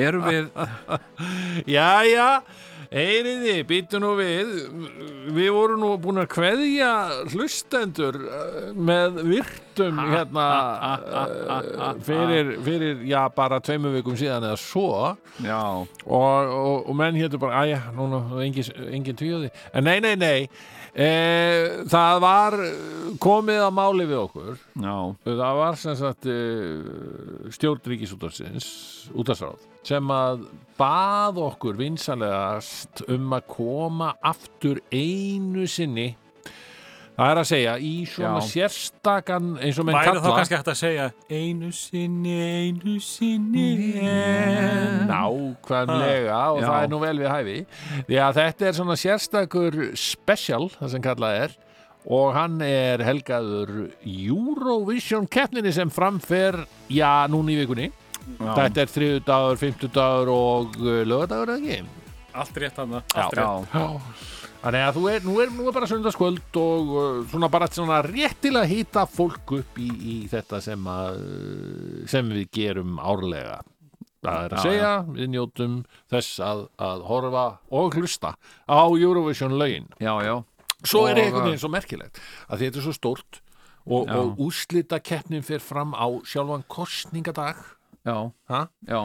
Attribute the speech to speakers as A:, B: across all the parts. A: Erum við
B: Jæja, heyriði, býtu nú við Við vorum nú búin að kveðja hlustendur eh, með virtum hérna eh, fyrir, fyrir, já, bara tveimur vikum síðan eða svo og,
A: Já,
B: og, og menn hétu bara, æja, núna, engin, engin tvíði En nei, nei, nei E, það var komið að máli við okkur
A: já,
B: það var sem sagt e, stjórn ríkisútarsins útarsráð sem að bað okkur vinsanlegast um að koma aftur einu sinni það er að segja í svona
A: Já.
B: sérstakan eins og menn
C: Væri þá
B: kalla
C: kannski hægt að segja Einu sinni, einu sinni enn.
B: nákvæmlega og
A: Já.
B: það er nú vel við hæfi því að þetta er svona sérstakur special, það sem kallað er og hann er helgaður Eurovision keppninni sem framfer já, núna í vikunni
A: já.
B: Þetta er þriðudagur, fimmtudagur og lögadagur eða ekki?
C: Allt rétt hann
B: Já.
C: Allt rétt
A: Já,
B: Já. Þannig að þú er, nú er, nú er bara sundarskvöld og uh, svona bara svona rétt til að hýta fólk upp í, í þetta sem, að, uh, sem við gerum árlega. Það er að
A: Já,
B: segja, við njótum þess að, að horfa og hlusta á Eurovision lögin.
A: já, já,
B: Svo er
A: Og- uh,
B: einhvern veginn svo merkilegt að þetta er svo stórt og,
A: Já.
B: og úslita keppnin fyrir fram á sjálfan kostningadag.
A: já,
B: Ha?
A: já.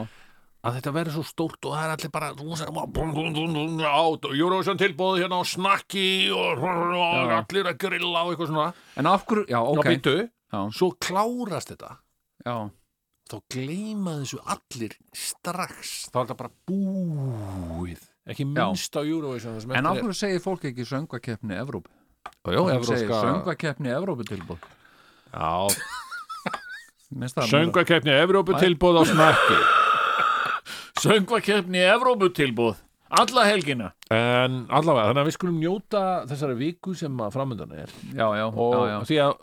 B: að þetta verður svo stórt og það er allir bara rosa- á Eurovision tilbúð hérna og snakki og, og
A: Já.
B: allir að grilla og eitthvað svona
A: En af hverju, já, ok,
B: og býtu,
A: Já.
B: svo klárast þetta
A: já,
B: þá gleyma þessu allir strax, þá er þetta bara búið ekki minnst á Eurovision það sem
A: en af
B: eftir er.
A: hverju segir fólk ekki söngakeppni Evróp?
B: Jó,
A: Þú segir
B: evróska
A: söngakeppni Evrópu tilbúð
B: Já,
A: Mér finnst það meira-
B: Söngvakeppni Evrópu tilbúð á snakki
D: Söngvakefni Evrópu tilbúð Alla helgina
B: En allavega, þannig að við skulum njóta þessari viku sem að framöndan er
A: Já, já,
B: og
A: já, já.
B: því að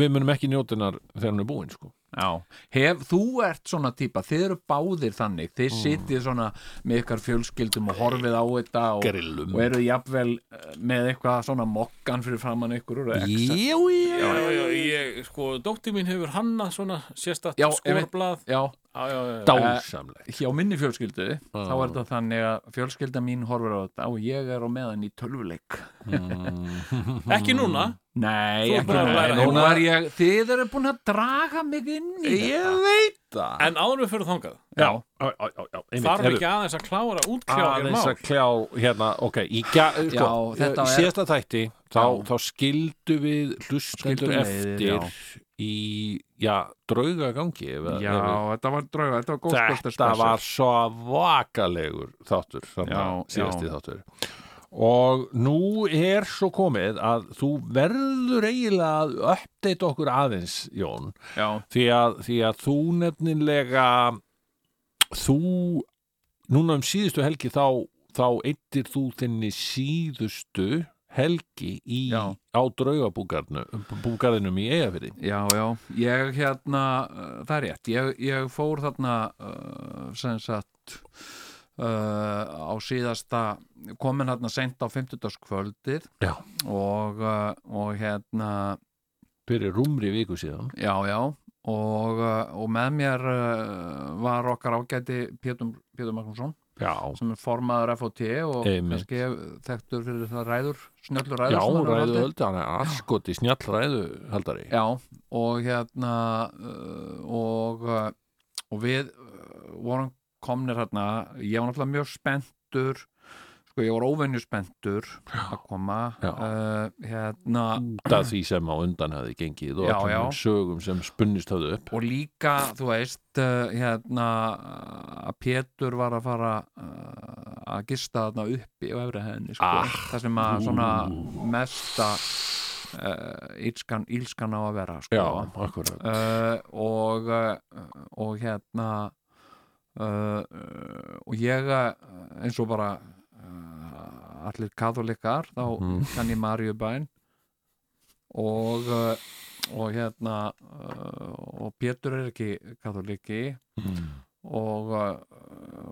B: við munum ekki njóta hennar þegar hann er búinn sko.
A: Já, hef, þú ert svona típa, þið eru báðir þannig, þið mm. sitið svona með ykkar fjölskyldum og horfið á þetta og,
B: Grillum.
A: og eru jafnvel eh, með eitthvað svona mokkan fyrir framann ykkur úr exa.
B: Jú, jú
C: Já, já, ég, sko, dótti mín hefur hanna svona sérstætt
A: Já, einmitt.
C: skorblað
A: Já,
C: Já, já, já, já.
B: Dásamleg
A: hjá minni fjölskyldu, þá er þetta þannig að fjölskylda mín horfir á þetta og ég er á meðan í tölvuleik.
C: Ekki núna
A: Nei,
C: Þú ert búin að læra
A: Nú
C: núna.
A: er ég, þið eru búin að draga mig inn í þetta.
B: veit það
C: En áður við fyrir þangað
A: Já,
C: Þarf ekki aðeins að klára útklára
B: aðeins
C: mál
B: að kljá hérna, ok, í gæ, sko,
A: Já, þetta
B: í
A: er-
B: síðasta þætti þá,
A: Já.
B: þá skildu við
A: Skildum
B: hlustendur
A: leiðir,
B: eftir
A: já.
B: í, já, draugagangi ef,
A: já,
B: ef,
A: þetta var drauga, þetta var góðskvölda
B: þetta var svo vakalegur þáttur,
A: Já,
B: þannig síðasti
A: já.
B: þáttur og nú er svo komið að þú verður eiginlega að uppdate okkur aðeins, Jón
A: Já,
B: því að, því að þú nefnilega þú núna um síðustu helgi þá, þá eittir þú þinni síðustu helgi í,
A: Já.
B: á draugabúgarðinum í eigafyrði
A: Já, já, ég hérna, uh, það er rétt, ég, ég fór þarna uh, sem sagt uh, á síðasta, komin hérna sent á 50. kvöldið
B: Já.
A: og, uh, og hérna,
B: fyrir rúmri viku síðan
A: já, já, og, uh, og með mér uh, var okkar ágæti Pétur, Pétur Magnússon
B: já,
A: sem er formaður FOT og
B: Einmitt.
A: kannski þekktur fyrir það ræður, snjöllu
B: já
A: ræður sem hann er
B: ræðu
A: haldið.
B: höldi hann er askoti snjall ræðu haldari
A: Já, og hérna uh, og, uh, og við uh, vorum komnir hérna ég var náttúrulega mjög spenntur sko, ég var óvenju spenntur að koma
B: Já.
A: uh, hérna,
B: út af því sem á undan hefði gengið og
A: Já,
B: öllum
A: já.
B: þeim sögum sem spunnist höfðu upp
A: og líka, þú veist uh, hérna að Pétur var að fara uh, að gista þarna uppi og efri henni sko,
B: Ah.
A: það sem að svona mesta uh, ílskan, ílskan á að vera sko.
B: já, akkurat
A: uh, og uh, og hérna uh, og ég uh, eins og bara uh, allir katholikar þá
B: Mhm.
A: kann ég Maríu bæn og uh, og hérna uh, og Pétur er ekki katholiki
B: Mm.
A: og uh,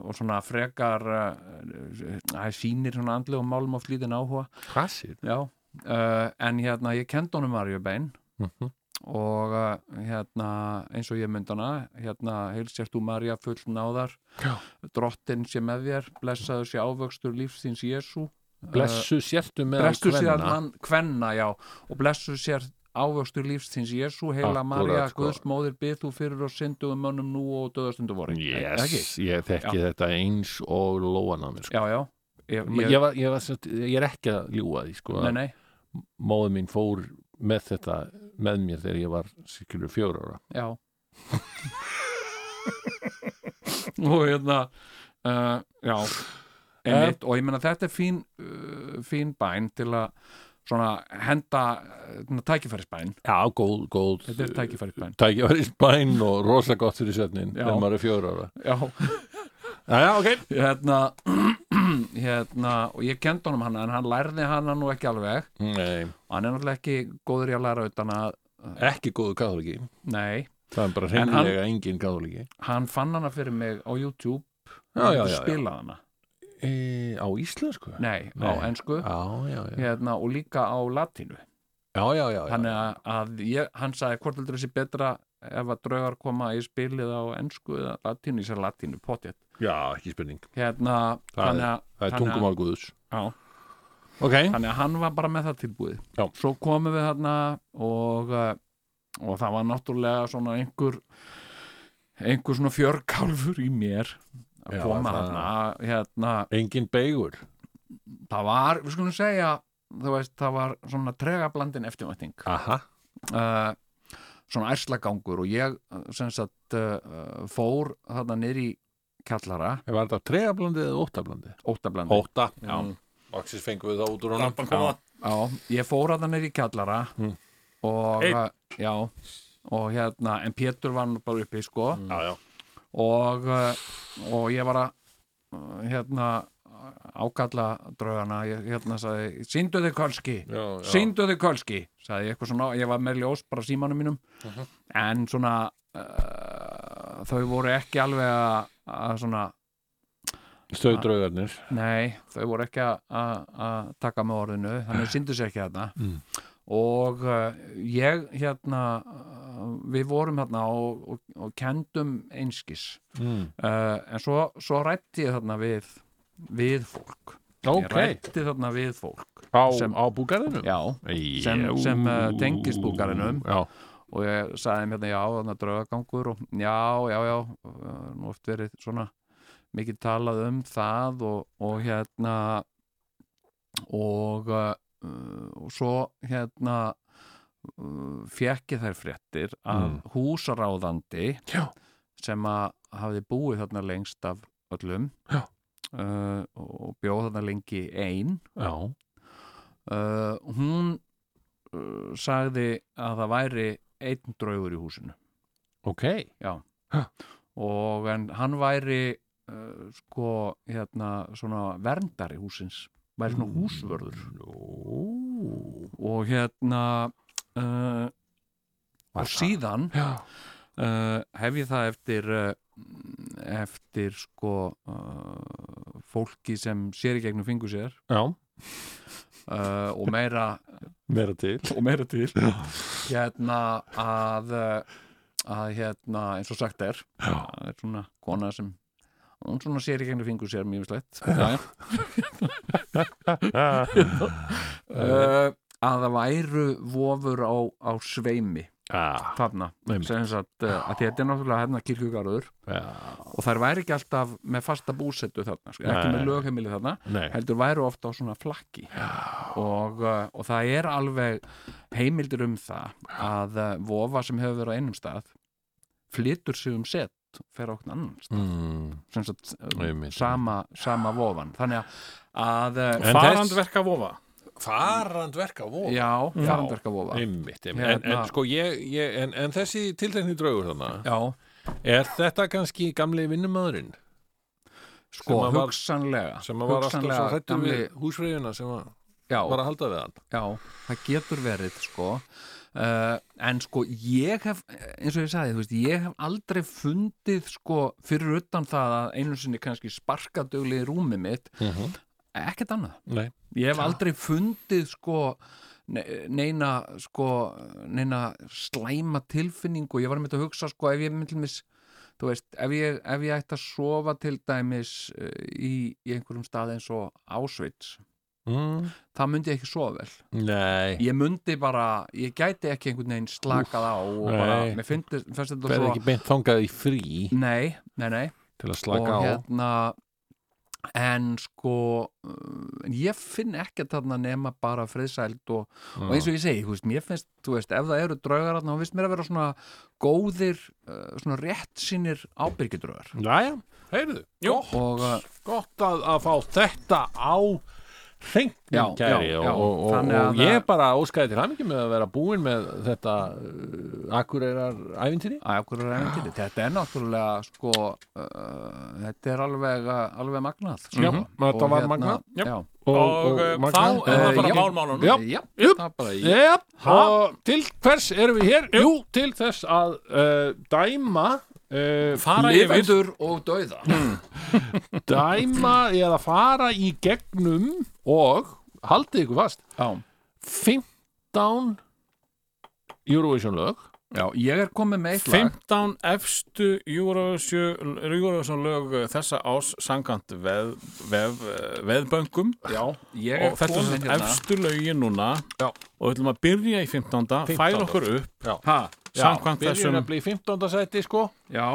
A: og svona frekar uh, sínir svona andlegum málum og flýtin áhuga
B: Hvassir?
A: já, uh, en hérna ég kendi honum Marju Bein
B: Mhm.
A: og uh, hérna eins og ég myndana hérna heilsjart þú Marja full náðar
B: Já.
A: drottin sé með þér blessaður sé ávöxtur lífsins Jésu
B: Blessu sértu með
A: blessu sér mann kvenna já og blessu sér ávöxtur lífsins Jésu heila
B: Akkúrat,
A: Marja
B: sko.
A: Guðsmóðir bið þú fyrir og syndugum mönnum nú og döðastundu voru
B: Yes, ég þekki þetta eins og lóan á mér sko.
A: já, já ég,
B: ég,
A: ég,
B: var, ég, var, satt- ég er ekki að ljúga því sko.
A: nei, nei,
B: Móður mín fór með þetta með mér þegar ég var sikilur fjögur ára
A: já og hérna uh, já einmitt, og ég meina þetta er fín uh, fín bæn til að svona henda uh, tækifærisbæn
B: Já, góð, góð
A: þetta er tækifærisbæn
B: tækifæri spæn og rosa gott fyrir svefnin
A: Já.
B: þegar maður er fjögur ára
A: já
B: Já, já, ok
A: hérna, hérna og ég kendi honum hana en hann lærði hana nú ekki alveg
B: Nei,
A: og hann er náttúrulega ekki góður í að læra utan að
B: ekki góðu katholiki
A: nei,
B: Það er bara
A: En hann-
B: hreinlega engin katholiki
A: hann fann hana fyrir mig á YouTube
B: Já, já,
A: og
B: já, já.
A: spilaði hana
B: e, Á íslensku?
A: nei, á
B: Nei.
A: ensku
B: Já, já, já
A: hérna, og líka á latínu
B: Já, já, já, já.
A: þannig að, að ég, hann sagði hvort heldur þessi betra ef að draugar koma í spilið á ensku eða latínu, ég sagði latínu, potjett
B: já ekki spurning
A: hérna,
B: Það er-
A: þannig að,
B: Það er
A: Þannig að-
B: tungumál guðus
A: já
B: Ok,
A: þannig að hann var bara með það tilbúið
B: Já.
A: svo komum við þarna og, eh, og það var náttúrulega svona einhver einhver svona fjörkálfur í mér að
B: Já,
A: koma
B: það-
A: þarna hérna,
B: engin beigur
A: það var, við skulum segja þú veist, það var svona tregablandin eftirvætting
B: Aha
A: uh, svona ærslagangur og ég eh, sem sagt uh, uh, fór þarna niður í kjallara,
B: Var þetta tregablandi eða Mm. óttablandi?
A: óttablandi
B: Ótta
A: Já.
B: Axis fengum við það út úr honum
C: Lampan koma
A: Já, ég fór að það neyri í kjallara
B: Mm.
A: og eh,
C: Einn.
A: já, og hérna en Pétur var nú bara uppi sko
B: Já, já
A: og, uh, og ég var að uh, hérna ákalla draugana ég, hérna sagði, síndu þið kölski
B: Já,
A: síndu þið kölski sagði ég eitthvað svona, ég var með ljós bara á símanum mínum
B: Mhm.
A: en svona uh, þau voru ekki alveg að- að svona
B: Stöð draugarnir
A: Nei, þau voru ekki að- að að taka með orðinu, þannig síndu sér ekki þarna
B: Mm.
A: og uh, ég hérna uh, við vorum hérna og, og, og kendum einskis
B: mm.
A: uh, en svo, svo rætti ég þarna við við fólk ég
B: Ok,
A: rætti þarna við fólk
B: á,
A: sem-
B: á búgarðinu
A: já, sem- sem, eh, tengist búgarðinum.
B: Já,
A: og ég sagði þeim hérna já, þarna draugagangur og já, já, já uh, nú oft verið svona mikið talað um það og, og hérna og uh, og svo hérna uh, fekk ég þær fréttir að
B: Mm.
A: húsaráðandi
B: Já.
A: sem að hafði búið þarna lengst af öllum
B: Já.
A: uh, og bjóð þarna lengi ein
B: já,
A: uh, hún uh, sagði að það væri einn draugur í húsinu
B: ok
A: og en hann væri uh, sko hérna svona verndari húsins væri
B: Mm.
A: svona húsvörður
B: Nú.
A: og hérna uh,
B: Var
A: og
B: það?
A: síðan
B: Já,
A: uh, hef ég það eftir uh, eftir sko uh, fólki sem sér í gegnum fingur sér
B: já,
A: uh, og meira
B: meira til
A: og meira til hérna að eh, að hérna eins og sagt er
B: Já.
A: það er svona kona sem hún svona sér í gegnum fingur sér mjög slett uh, Eh, að það væru vofur á, á sveimi
B: Já,
A: þarna
B: Einmitt.
A: sem sagt eh, að þetta er náttúrulega hérna kirkjugarður
B: já,
A: og þær væri ekki alltaf með fasta búsettu þarna sko, ekki
B: Nei.
A: með lögheimili þarna
B: nei
A: heldur væru ofta á svona flakki og, uh, og það er alveg heimildir um það að uh, vofa sem hefur verið á einum stað flytur sig um set og fer á okkur annan stað
B: mm.
A: sem sagt, uh,
B: Einmitt.
A: sama, sama vofan þannig að uh,
B: En þess-
C: Farandverka vofa
B: Farandverka vofa
A: já, farandverka vofa
B: Einmitt, einmitt.
A: Hérna.
B: En, en sko ég, ég en, en þessi tiltekni draugur þannig
A: já,
B: Er þetta kannski gamli vinnumöðurinn Sem
A: sko,
B: að var-
A: hugsanlega
B: sem að var alltaf svo
A: hugsanlega
B: hrættur
A: gamli-
B: við húsfreyjuna sem að
A: já,
B: var að halda við hann
A: já, það getur verið sko uh, en sko ég hef eins og ég sagði, þú veist, ég hef aldrei fundið sko fyrir utan það að einu sinni kannski sparkadugli í rúmið mitt,
B: Mhm.
A: ekkert annað
B: Nei.
A: ég hef aldrei fundið sko ne- neina sko neina slæma tilfinningu ég var með að hugsa sko ef ég myndi mis þú veist, ef ég, ef ég ætti að sofa til dæmis uh, í, í einhverjum stað eins og Ásveits
B: Mm.
A: það myndi ég ekki sofa vel
B: Nei.
A: ég myndi bara, ég gæti ekki einhvern veginn slakað á og
B: nei.
A: bara, mér fyndist fannst þetta
B: Verði
A: svo
B: ekki beint þangað í frí
A: nei, nei, nei
B: til að slaka
A: og
B: á.
A: hérna en sko uh, en ég finn ekkert þarna nema bara friðsæld og,
B: Mm.
A: og eins og ég segi, þú veist, mér finnst þú veist, ef það eru draugar þarna, þá finnst mér að vera svona góðir, uh, svona rétt sínir ábyrgidraugar
B: Jæja, heyrðu. Gott,
A: og uh,
B: gott að, að fá þetta á
A: Já,
B: hreint
A: já,
B: kæri og,
A: já.
B: og, og,
A: Þannig að
B: og ég
A: það-
B: bara óskaði til hamingi með að vera búinn með þetta uh, akureyrar æfintinni
A: Æ, okkur er efnir þetta er náttúrulega sko uh, þetta er alveg, alveg magnað sko.
B: Já, þetta
A: Og
B: var magnað.
A: já, já.
B: og,
C: Og, eh, þá er
A: Eh,
C: það bara
A: já.
C: málmálunum.
B: Já.
A: já, Eh,
B: Jú.
A: það er bara í
B: Já, og til hvers erum við hér? Jú, til þess að uh, dæma uh,
C: Fara yfir
A: lifendur og dauða
B: dæma eða fara í gegnum og haldið ykkur fast
A: já
B: 15 Eurovision lög
A: Já, ég er komið með eitt lag
C: 15 efstu Eurovision lög þessa ás sangant veð, veð, veðböngum
A: Já, ég
C: og
A: er
C: þetta er
A: komið
C: sem
A: hérna
C: sagt efstu lögin núna
B: Já.
C: og við ætlum að byrja í 15. 15. færa okkur upp
B: Já.
A: ha,
C: samkvæmt
B: Byrjum
C: þessum
B: að bli 15. seti sko
A: Já,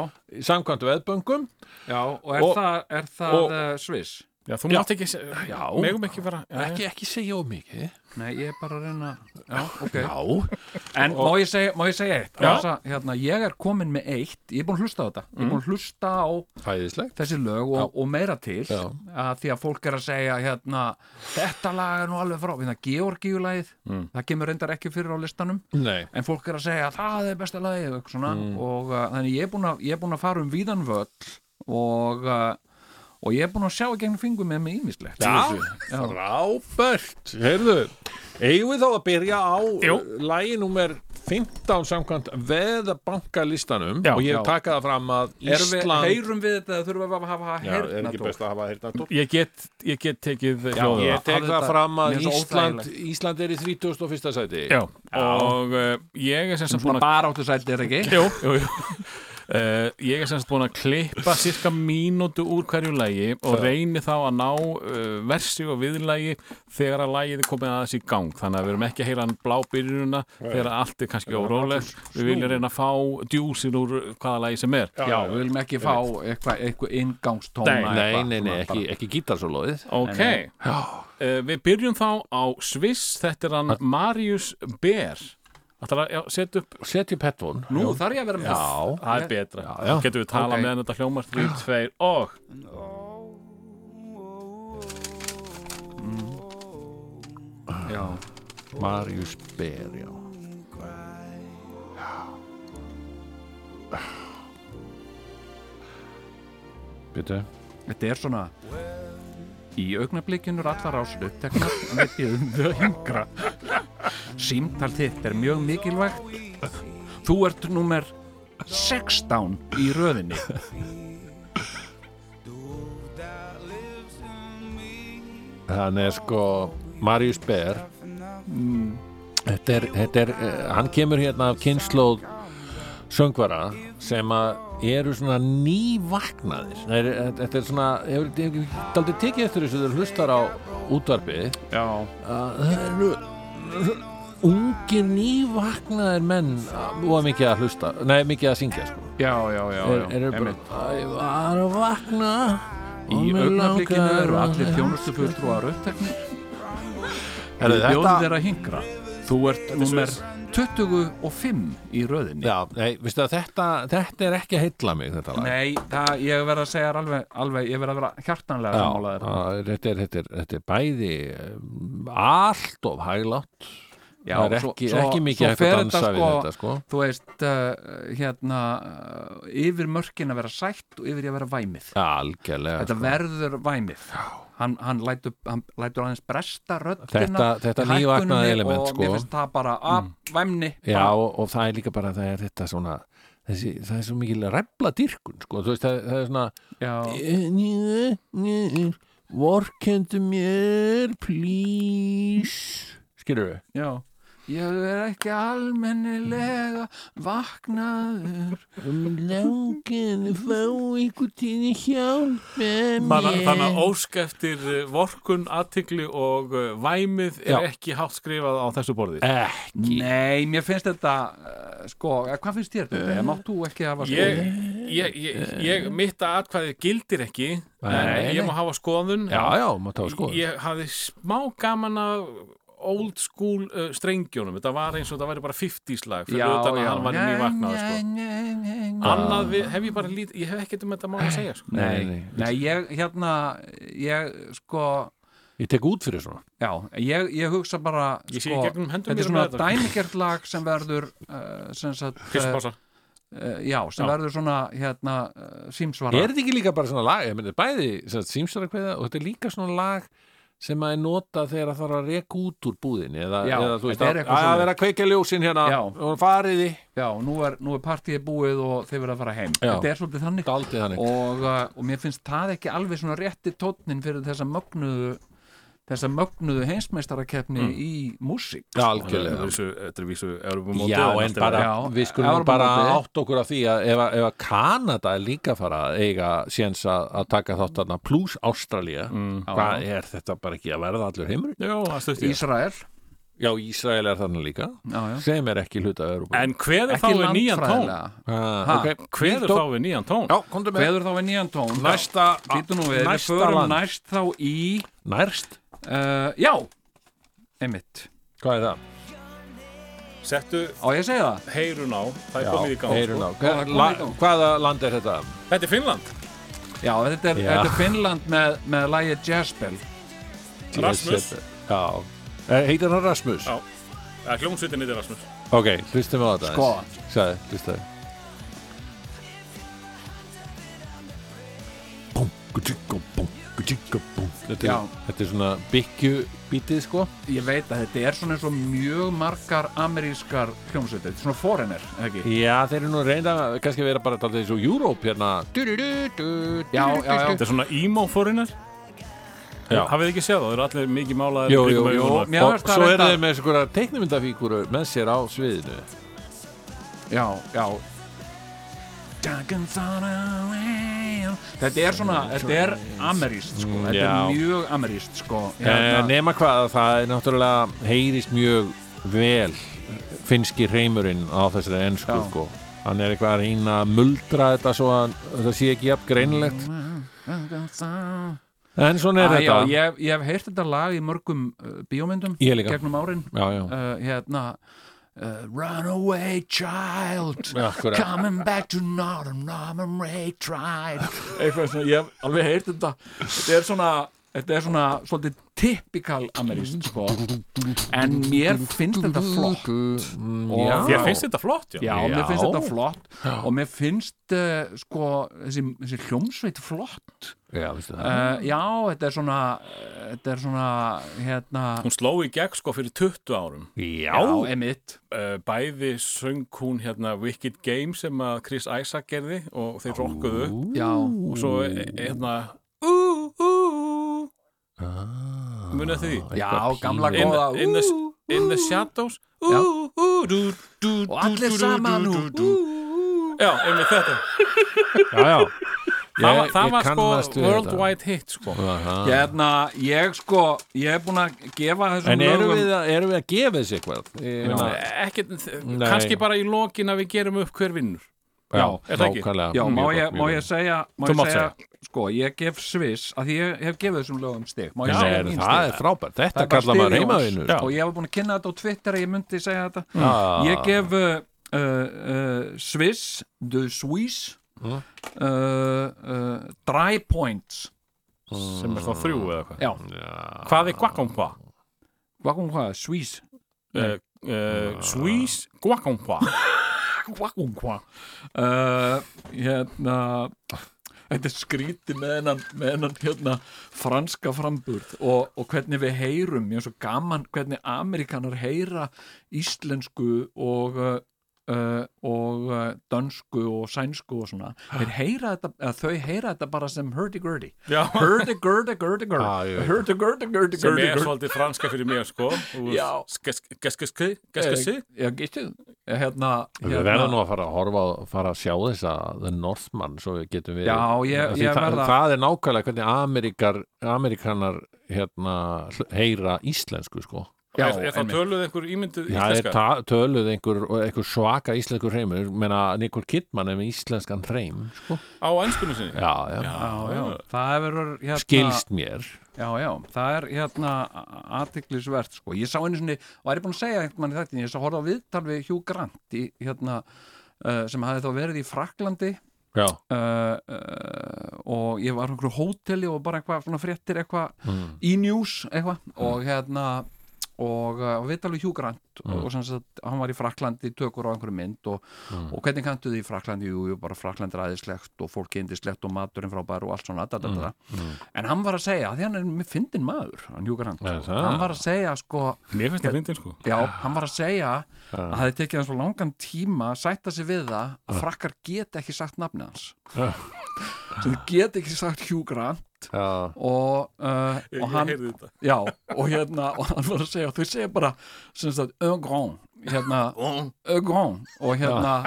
B: samkvæmt veðböngum
A: já, og er
B: Og-
A: það, er það
B: og-
A: uh, Sviss?
C: já, þú mátt ekki se-
B: Já.
C: megum ekki vera já, já.
B: ekki, ekki segja of mikið
A: Nei, ég er bara að reyna Já, ok
B: Já,
A: En má ég segja, má ég segja eitt?
C: Já.
A: Þessa, hérna, ég er komin með eitt Ég er búin að hlusta á þetta Ég er búin að hlusta á
B: hæðislegt
A: þessi lög og, og meira til
B: Já.
A: að Því að fólk er að segja hérna, Þetta lag er nú alveg frá Hérna, Georgíulagið Það kemur reyndar ekki fyrir á listanum
B: Nei,
A: en fólk er að segja að það er besta lagið og, eitthvað svona, og uh, þannig ég er búin að, ég er búin að fara um víðan völl og, uh, og ég er búin að sjá í gegnum fingum með mig ímislegt
B: Já.
A: Já.
B: frábært Heyrðu, eigum við þá að byrja á lægi númer 15 samkvæmt veðabankalistanum
C: Já,
B: og ég
A: já.
B: hef takað það fram að
A: Erum við,
B: Ísland
A: heyrum við þetta eða þurfum við að hafa
E: Já, er ekki
A: heyrnatól
E: best að hafa heyrnatól?
C: ég get, ég get tekið hljóðið
B: Ég tek
A: Hafðu
B: það
A: þetta-
B: fram
A: mér
B: að
A: finnst það
B: Ísland,
A: óþægilegt.
B: Ísland er í 31. sæti
C: já. og uh, ég er sem sagt búin
A: svona
C: að
A: bara áttu sætti er ekki
C: jú, jú, jú. Uh, ég er sem sagt búin að klippa cirka mínútu úr hverju lægi og reyni þá að ná uh, versi og viðlægi þegar að lægið er komin aðeins í gang þannig að við erum ekki að heyra hann blá byrjununa þegar allt er kannski órólegt við viljum reyna að fá djúsin úr hvaða lægi sem er
A: Já, við viljum ekki fá eitthvað eitthva ingangstóna
C: Nei,
B: Nei,
A: eitthvað
B: nei, nei,
A: svona
B: ekki, ekki gítarsólóðið
C: Ok, uh, við byrjum þá á Sviss, þetta er hann Marius Ber Ætlar að já, setja upp,
B: Setjum pettvón
A: bara. Nú þarf ég að vera með
C: það er betra
B: Já, já.
C: Getum við talað
A: Ok.
C: meðan þetta hljómar 3, 2 og
A: Já,
B: Marius Ber, já Býtu
A: þetta er svona Í augnablikinu er allar áslu Teknar með því um þau yngra Símtal þitt er mjög mikilvægt Þú ert númer 16 í röðinni
B: Hann er sko Marius Ber þetta er, þetta er, eh, hann kemur hérna af kynnslóð söngvara sem að eru svona nývaknaðir Það er, þetta er svona, hefur þetta aldrei tekið eftir þessu þegar þú hlustar á útvarpið
A: Já,
B: að það eru ungir nývaknaðir menn og mikið að hlusta nei, mikið að syngja sko
A: já, já, já,
B: er, er,
A: já.
B: bara,
A: einmitt.
B: "Æ, ég var að vakna
A: Í augnablikinu eru allir þjónustufulltrú að röðteknir
B: Herðu,
A: Við bjóðum
B: þetta,
A: þér að hingra Þú ert númer 25 í röðinni
B: já, nei, veistu að þetta þetta er ekki að heilla mig þetta lag
A: Nei, það, ég verð að segja þér alveg, alveg Ég verð að vera hjartanlega
B: Já,
A: sammálaðir
B: að þetta er, þetta, er, þetta er bæði um, allt of eh, hæglátt
A: Já,
B: það er
A: svo-
B: ekki,
A: svo-
B: ekki mikið
A: svo
B: hægt að
A: fer
B: dansa
A: þetta,
B: við
A: sko,
B: þetta sko
A: þú veist uh, hérna, uh, yfir mörkin að vera sætt og yfir í að vera væmið
B: algjörlega
A: þetta
B: sko.
A: verður væmið hann, hann, lætur, hann lætur aðeins bresta röddina
B: Þetta- þetta
A: í hækkuninni
B: nývaknaða element,
A: og
B: sko. Mm.
A: mér finnst það bara að væmni
B: já og, og það er líka bara það er þetta svona þessi, það er svo mikil rebla dyrkun sko þú veist það, það er svona
A: já,
B: Njö, njö, vorkendu mér, please skilur við
A: já. ég er ekki almennilega vaknaður
B: um langan að fá einhvern tíni hjálp með
C: Þannig þannig að ósk eftir eh, vorkun, aðtikli og eh, væmið er
B: Já. Eh,
C: ekki hátt skrifað á þessu borði.
B: ekki
A: nei, mér finnst þetta uh, sko, eh, hvað finnst þér þetta? máttu ekki hafa sko
C: Ég, ég, ég, ég mitt að atkvæðið gildir ekki, en
B: Nei,
C: ég
B: nei.
C: má hafa skoðun.
B: já já, maður tafa sko
C: Ég hafði smá gaman af old school uh, strengjónum. Þetta var eins og þetta væri bara 50 slag fyrir utan að hann var inn í vaknaði, sko.
A: sko
C: Annað við, hef ég bara lít, ég hef ekkert um þetta mála að segja, sko.
A: Nei,
B: Nei,
A: nei,
B: nei.
A: ég hérna ég sko
B: ég tek út fyrir svona
A: já, ég, ég hugsa bara
C: Ég sé
A: sko,
C: í gegnum hendur
A: þetta er
C: mér
A: svona
C: með þetta.
A: dæmigert lag sem verður uh, sem sagt, uh,
C: Pisspása.
A: uh, já, sem
C: Já.
A: verður svona hérna uh, símsvara
B: er þetta ekki líka bara svona lag, ég meni bæði símsara kveða og þetta er líka svona lag sem að er nota þegar það þarf að reka út úr búðinni eða,
A: Já,
B: eða þú veist
A: þetta er
B: að,
A: eitthvað
B: að
A: svoleiðis.
B: vera að kveika ljósin hérna
A: Já.
B: og fariði
A: já, nú er, nú er partíið búið og þeir verða að fara heim
B: Já.
A: þetta er svolítið þannig
B: daldið þannig
A: og, uh, og mér finnst það ekki alveg svona rétti tónnin fyrir þessa mögnuðu þessa mögnuðu heimsmeistarakeppni í músík
B: Mm. Já,
C: Þetta
B: algjörlega
C: er vísu- þetta er vísu Evrópumótið,
B: Já, en
C: allt er
B: bara,
C: verið.
A: Já,
B: við skulum
A: Evrópumótið.
B: bara átt okkur af því að ef, að- ef að Kanada er líka að fara að eiga séns að, að taka þátt þarna pluss Ástralía, hvað er þetta bara ekki að verða allur heimur?
C: Já, það stutt ég.
A: Ísrael
B: Já, Ísrael er þarna líka,
A: já, já.
B: sem er ekki hluta að Europa.
C: En hveður þá
A: ekki
C: við nýjan tón?
A: landfræðilega
B: Ah,
A: Ha,
B: ok,
C: Hveður þá við nýjan tón?
B: Já, komdu með
A: Veður þá við nýjan tón
B: næsta,
A: Býtu nú við, við
B: Ah, næsta
A: förum
B: land.
A: næst þá í
B: Nærst,
A: uh, Já, einmitt
B: hvað er það?
C: Settu
A: Á ég að segja það?
C: heyrun á, það er komið í gang.
B: heyrun á.
C: sko.
B: Hver,
A: komið í
B: la,
A: gang.
B: hvaða land er þetta?
C: Þetta er Finnland.
A: Já, þetta er,
B: Já.
A: þetta er Finnland með, með lægið Jazzbell
C: Rasmus.
B: Já, Eh, heitir hann Rasmus?
C: Já. Það er hljómsveitin yfir Rasmus.
B: Ok, hlustum við á þetta.
A: Skoða.
B: Sæði, hlustaði. Þetta
A: Já.
B: er, þetta er svona byggju bítið sko
A: Ég veit að þetta er svona eins og mjög margar amerískar hljómsveitir Þetta er svona foreigner, eða ekki?
B: Já, þeir eru nú reynda kannski að vera bara dálítið eins og Europe hérna
A: Já, já, já
C: Þetta er svona emo forinnar.
B: Já.
C: Hafið þið ekki séð það? Það eru allir mikið málaðir.
B: Jú, jú,
C: kringum
B: jú
C: augun
B: Og
C: og-
A: Mér fannst það
B: svo eru
A: reyndar-
B: þeir með þessu hverja teiknumyndafíkuru með sér á sviðinu
A: Já, já Duncan's on a rail. Þetta er svona, þetta er ameríst sko Þetta
B: já.
A: er mjög ameríst sko
B: eh,
A: Hérna-
B: Nema hvað að það er náttúrulega heyrist mjög vel finski reymurinn á þessari ennsku
A: Já.
B: sko Hann er eitthvað að reyna að muldra þetta svo að þetta sé ekki jafn greinilegt
A: Duncan's on-
B: En svona er
A: Æ, Ah, já,
B: þetta
A: ég, ég hef heyrt þetta lag í mörgum uh, bíómyndum
B: Ég líka.
A: gegnum árin
B: Já, já,
A: uh, hérna uh, Runaway child
B: akkurat
A: Coming back to Northern Northern Ray tried Eitthvað svona, ég hef alveg heyrt þetta Þetta er svona, þetta er svona svolítið typikal ameríst sko. En mér finnst þetta flott
B: Já.
C: Þér finnst þetta flott, já.
A: Já, mér finnst
B: Já.
A: þetta flott og mér finnst uh, sko, þessi, þessi hljómsveit flott
B: Já, veistu það
A: uh, Já, þetta er svona uh, þetta er svona hérna,
C: Hún sló í gegn sko fyrir 20 árum.
B: Já,
A: já, emitt
C: Uh, Bæði söng hún hérna Wicked Game sem að Chris Isaac gerði og þeir rokkuðu upp.
A: Já,
C: Og svo eh, hérna,
B: Ah,
C: munið því.
A: já
B: eitthvað
A: gamla
B: pínu.
C: In-
A: góða
C: in the-
A: ú,
C: In the Shadows.
A: Já.
C: Og
A: Og allir saman nú
C: Já, einmitt þetta.
B: Já, já
C: Það
B: Ég-
C: var, það
B: ég
C: var
B: kannast
C: sko
B: við
C: worldwide hit sko.
B: Aha.
A: Hérna, ég sko ég er búin að gefa þessum
B: En erum
A: lögum
B: við, að, erum við að gefa þessi eitthvað? Ég meina-
C: Ekki, kannski bara í lokin að við gerum upp hver vinnur
A: Já,
C: er það ekki?
B: nákvæmlega.
A: Já,
B: Mjög
A: má
B: gott,
A: ég,
B: mjög
A: má
B: gott.
A: ég segja, má
C: Þú
A: ég
C: mátt
A: segja Sko, ég gef sviss að því ég hef gefið þessum lögum stig Má ég
B: Nei,
A: segja
B: er,
A: mín
B: það er
A: stig?
B: frábært, þetta
A: Það er bara
B: kallar maður
A: stig Jóns.
B: heimavinnur
A: Og ég hef búin að kynna þetta á Twitter að ég myndi segja þetta
B: Ah.
A: Ég gef uh, uh, uh, Swiss, The Swiss uh,
B: Mm.
A: uh, Dry Points
C: sem er þá þrjú eða hvað
A: Já,
C: Hvað er guacampa?
A: hvað kom hvað, Swiss
C: uh, uh, Svís Guacampa
A: Guagunkva uh, hérna þetta er skríti með hennan, með hennan hérna, franska framburð og, og hvernig við heyrum ég er svo gaman hvernig Amerikanar heyra íslensku og uh, uh, og uh, dönsku og sænsku og svona Þeir heyra þetta, eða, þau heyra þetta bara sem hurdy-gurdy
C: Já.
A: hurdy-gurdy gurdy
B: Ah, ég
A: gurdy
B: veit.
A: hurdy-gurdy
C: sem
A: gurdy
C: er
A: gurdy
C: svolítið franska fyrir mig sko
A: Já.
C: Gaskasku Gaskasku
A: já, getur hérna,
B: Við verðum nú að fara að horfa á- fara að sjá þessa The Northman svo við getum við
A: Já, ég-
B: Því
A: ég
B: það,
A: verð að-
B: það er nákvæmlega hvernig Amerikar, Amerikanar hérna, hl- heyra íslensku sko
A: Já,
C: Er er það
A: einmitt.
C: töluð einhver ímynduð
B: Það er
C: íslenska?
B: ta- töluð einhver, einhver svaka íslenskur hreimur menna Nikol Kidman er með íslenskan hreim sko.
C: Á ennskunum sinni?
B: já, já,
A: Já, já, það verður hérna,
B: skilst mér
A: Já, já, það er hérna aðtiklisvert sko. Ég sá einu svona, og er ég búin að segja einhvern mann í þetta, ég sá horfði á viðtal við Hugh Grant í, hérna, uh, sem hafði þá verið í Fraklandi uh,
B: Já,
A: uh, og ég var á einhverju hóteli og bara eitthvað svona fréttir eitthvað
B: Mm.
A: í news eitthvað og hérna og uh, viðtal við Hugh Grant
B: Mm.
A: og, og sem sagt, hann var í Fraklandi, tökur á einhverju mynd og,
B: Mm.
A: og hvernig kanntu þið í Fraklandi jú, jú, bara Frakland er aðeinslegt og fólk eindislegt og maturinn frábær og allt svona da, da, da, da.
B: Mm.
A: en hann var að segja, af því hann er með fyndin maður hann Hugh Grant,
B: Er það?
A: hann var að segja sko,
C: Mér finnst það fyndin sko
A: já, hann var að segja að það hefði tekið hann svo langan tíma að sætta sig við það að frakkar geta ekki sagt nafnið hans
B: Já.
A: sem þið geta ekki sagt Hugh Grant
B: já,
A: og, uh,
C: Ég,
A: og
C: ég
A: hann
C: heyrði þetta
A: Já, og hérna, og hann var að segja og þau segja bara, sem sagt, un grand hérna, un grand og hérna,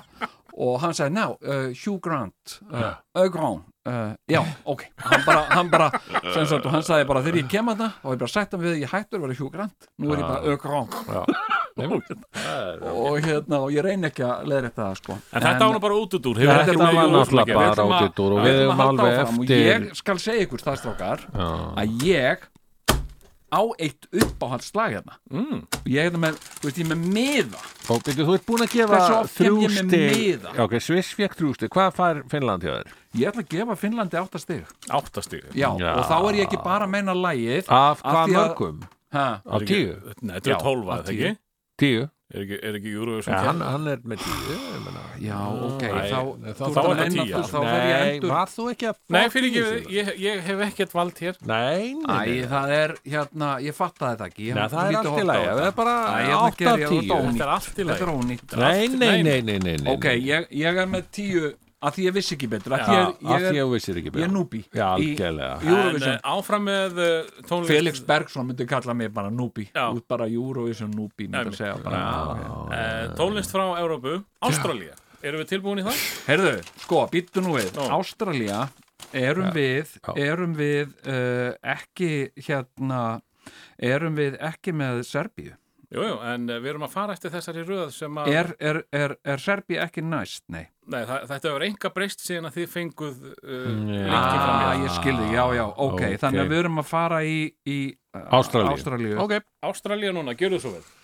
A: og hann segja now, uh, Hugh Grant uh, un grand, uh, já, ok hann bara, hann bara, sem sagt, og hann sagði bara þegar ég kem að það, og ég bara sætt hann við ég hættur að vera Hugh Grant, nú er ég bara un grand
B: já.
A: og hérna, og ég reyni ekki að leiðri þetta sko.
C: En þetta ána bara út út úr
B: Þetta
C: hefur ekki
B: var
C: með jólum að
B: náttúrulega
C: gera. Við
B: bara
C: ætlum að-
B: út úr og
A: Við
B: við
A: erum
B: erum
A: að halda
B: alveg
A: áfram og
B: eftir
A: ég skal segja ykkur það strákar
B: Já,
A: að ég á eitt uppáhaldslag hérna
C: Mm.
A: ég er með, þú veist, ég er með miða
B: og byrju, þú ert búin að gefa
A: Hversu oft kem ég með
B: þrjústig
A: miða?
B: Ok, Sviss fekk þrjústig, hvað fær Finnland hjá þér?
A: ég ætla að gefa Finnlandi áttastig
C: Áttastig
A: já,
B: Já.
A: og þá er ég ekki bara að meina lægið
B: Af
A: Af
B: hvað
A: því að-
B: mörgum?
A: ha,
B: Af tíu?
C: Nei, þetta
A: Já,
C: er tólfa,
A: af
C: þetta
A: tíu.
C: ekki?
B: Tíu?
C: Er ekki, er ekki Eurovision
B: Ja,
C: ja,
B: hann, hann er með tíu ég meina.
A: já, ok,
C: Æ,
A: þá
B: þá-
A: þú ert
C: þá
A: að
C: er þetta
A: reyna
C: tíu,
A: aftur,
C: já.
A: þá fer ég endur
B: var þú ekki að
C: Nei, fyrir ekki, ég, ég hef ekkert vald hér
B: Nei, nei, nei,
A: Æ, það er, hérna, ég fattaði þetta ekki ég-
B: nei, það
A: þú
B: er
A: lítið
B: allt í
A: horft á
B: lagi Það
A: þetta.
B: er bara
A: Æ, hérna
B: 8
A: ger
B: af
A: ég það
B: 10
A: ónýtt.
C: Þetta er allt í
A: þetta
C: lagi
A: er ónýtt
B: Nei, nei,
C: nei,
B: nei, nei, nei, nei
A: ok, ég, ég er með tíu að því ég vissi ekki betur að
C: Já,
A: því
B: Af
A: ég,
B: því
A: ég,
B: að vissir ekki
A: ég er núbi
B: Já,
A: í
B: algjörlega
C: En
A: Eurovision
C: eh, áfram með uh, tónlist
A: Felix Bergson myndi kalla mig bara núbi
C: Já.
A: út bara Eurovision núbi myndi
C: Æmi.
A: að segja bara ok.
C: uh, Tónlist frá Európu Ástralía Erum við tilbúin í það?
A: Heyrðu, sko, býttu nú við
C: Nú.
A: Ástralía erum við erum við uh, ekki hérna erum við ekki með Serbíu
C: Jú, jú, en uh, við erum að fara eftir þessari röð sem að
A: er, er, er, er Serbíu ekki næst? Nei
C: Nei, það, þetta hefur enga breyst síðan að þið fenguð uh,
B: Já.
C: lengi fram
A: ah,
C: í
A: Ég skilði, já, já, ok,
B: Ok.
A: þannig að við erum að fara í, í uh,
B: Ástralíu.
A: Ástralíu.
B: Ok,
C: Ástralía núna, gjörðu svo vel
F: oh,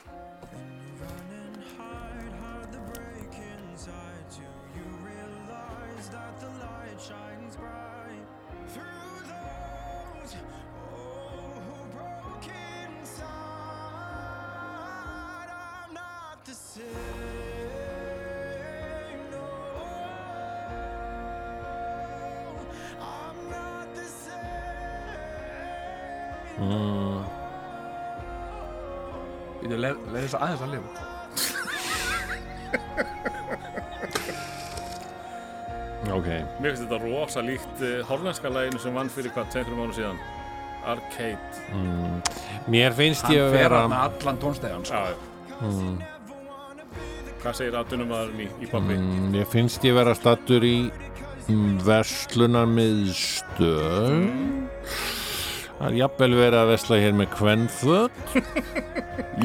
A: Við leið þess aðeins að lifa
B: ok
C: Mér finnst þetta rosa líkt uh, hollenska læginu sem vann fyrir hvað, 2-3 mánu síðan Arcade
B: Mér finnst ég
A: Hann
B: að
A: fer
B: vera
A: hann allan tónstæðan sko.
C: Já, já Hvað segir atvinnumaðurinn í, í Bambi?
A: Mm.
G: Mm,
B: Mér finnst ég vera stattur í verslunarmiðstöð Það er jafnvel verið að vesla hér með kvenföt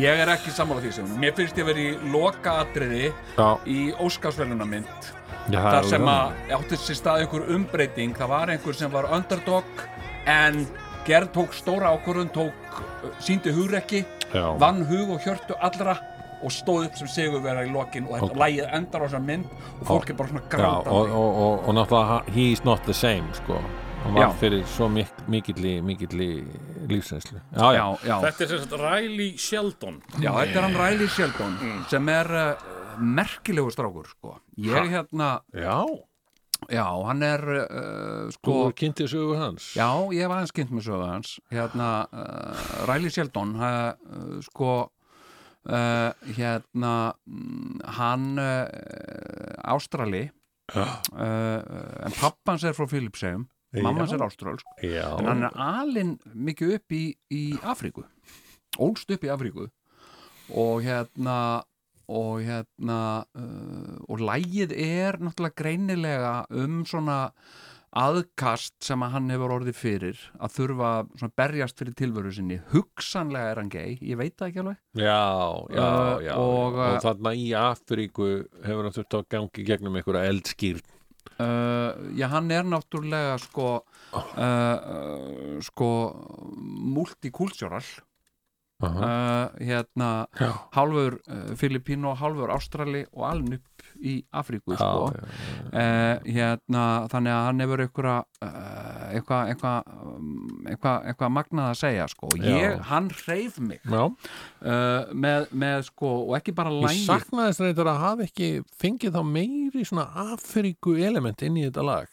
A: Ég er ekki sammála því sem Mér finnst ég verið í lokaatriði
B: Já,
A: í Óskarsvelunarmynd
B: já það
A: þar
B: er
A: sem
B: alveg
A: að átti sér stað einhver umbreyting það var einhver sem var underdog en Gerð tók stóra ákvörðun tók, uh, síndi hugrekki
B: Já.
A: vann hug og hjörtu allra og stóð upp sem sigurvera í lokin og þetta
B: Ok.
A: lægið endar á þessar mynd og fólk er bara svona
B: Já,
A: grátandi
B: og, og, og, og náttúrulega ha- he is not the same sko
G: hann var
A: Já.
G: fyrir svo mik mikilli, mikilli lífsæslu já, já,
A: já, já,
C: Þetta er sem sagt Riley Sheldon
A: já, þetta er hann Riley Sheldon sem er uh, merkilegu strákur sko. ég hérna,
G: já.
A: já, hann er uh,
G: þú
A: sko,
G: kynnti sögu hans
A: já, ég hef aðeins kynnt með sögðu hans hérna, uh, Riley Sheldon uh, uh, sko Uh, hérna mm, hann uh, Ástrali uh, uh, en pappans er frá Filipsheim mammans er áströlsk
G: já.
A: en hann er alinn mikið upp í, í Afríku ólst upp í Afríku og hérna og hérna uh, og lægið er náttúrulega greinilega um svona aðkast sem að hann hefur orðið fyrir að þurfa svona að berjast fyrir tilveru sinni hugsanlega er hann gay, ég veit það ekki alveg
G: Já, já,
A: Uh,
G: já,
A: og,
G: og,
A: uh,
G: og þarna í Afríku hefur hann þurft að gangi gegnum einhverja eldskýrn
A: Uh, já, hann er náttúrulega sko uh, uh, sko multikultúral uh, hérna
G: Já.
A: hálfur uh, Filipínu og hálfur Ástrali og aln upp í Afríku sko
G: já,
A: uh, hérna, þannig að hann hefur einhverja uh, eitthvað eitthva, eitthva, eitthva magnað að segja sko
G: Já.
A: ég, hann hreyf mig
G: já.
A: uh, með, með sko, og ekki bara
G: Ég
A: lægið
G: saknaðist reyndar að hafa ekki fengið þá meiri svona Afríku element inn í þetta lag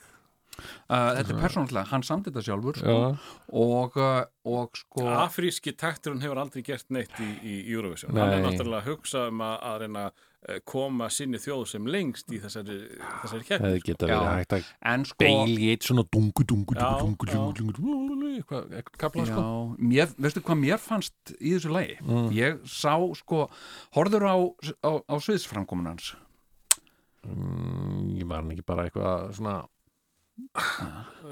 A: uh, þetta er persónulega, hann samt þetta sjálfur sko, og, uh, og sko
C: Afríski takturinn hefur aldrei gert neitt í, í Eurovision Hann er
G: Nei.
C: náttúrulega að hugsa um að, að reyna að koma sinni þjóð sem lengst í þessari, þessari keppni
G: Það geta
A: Já.
G: verið hægt að
A: en sko
G: beili eitt svona dungu, dungu,
C: Já,
G: dungu, dungu,
C: já.
G: dungu, dungu, dungu eitthvað, eitthvað kapla
A: Já,
G: sko
A: mér, veistu hvað mér fannst í þessu lagi?
G: Mm.
A: Ég sá, sko, horður á, á, á sviðsframkomunans.
G: Mm, Ég var hann ekki bara eitthvað svona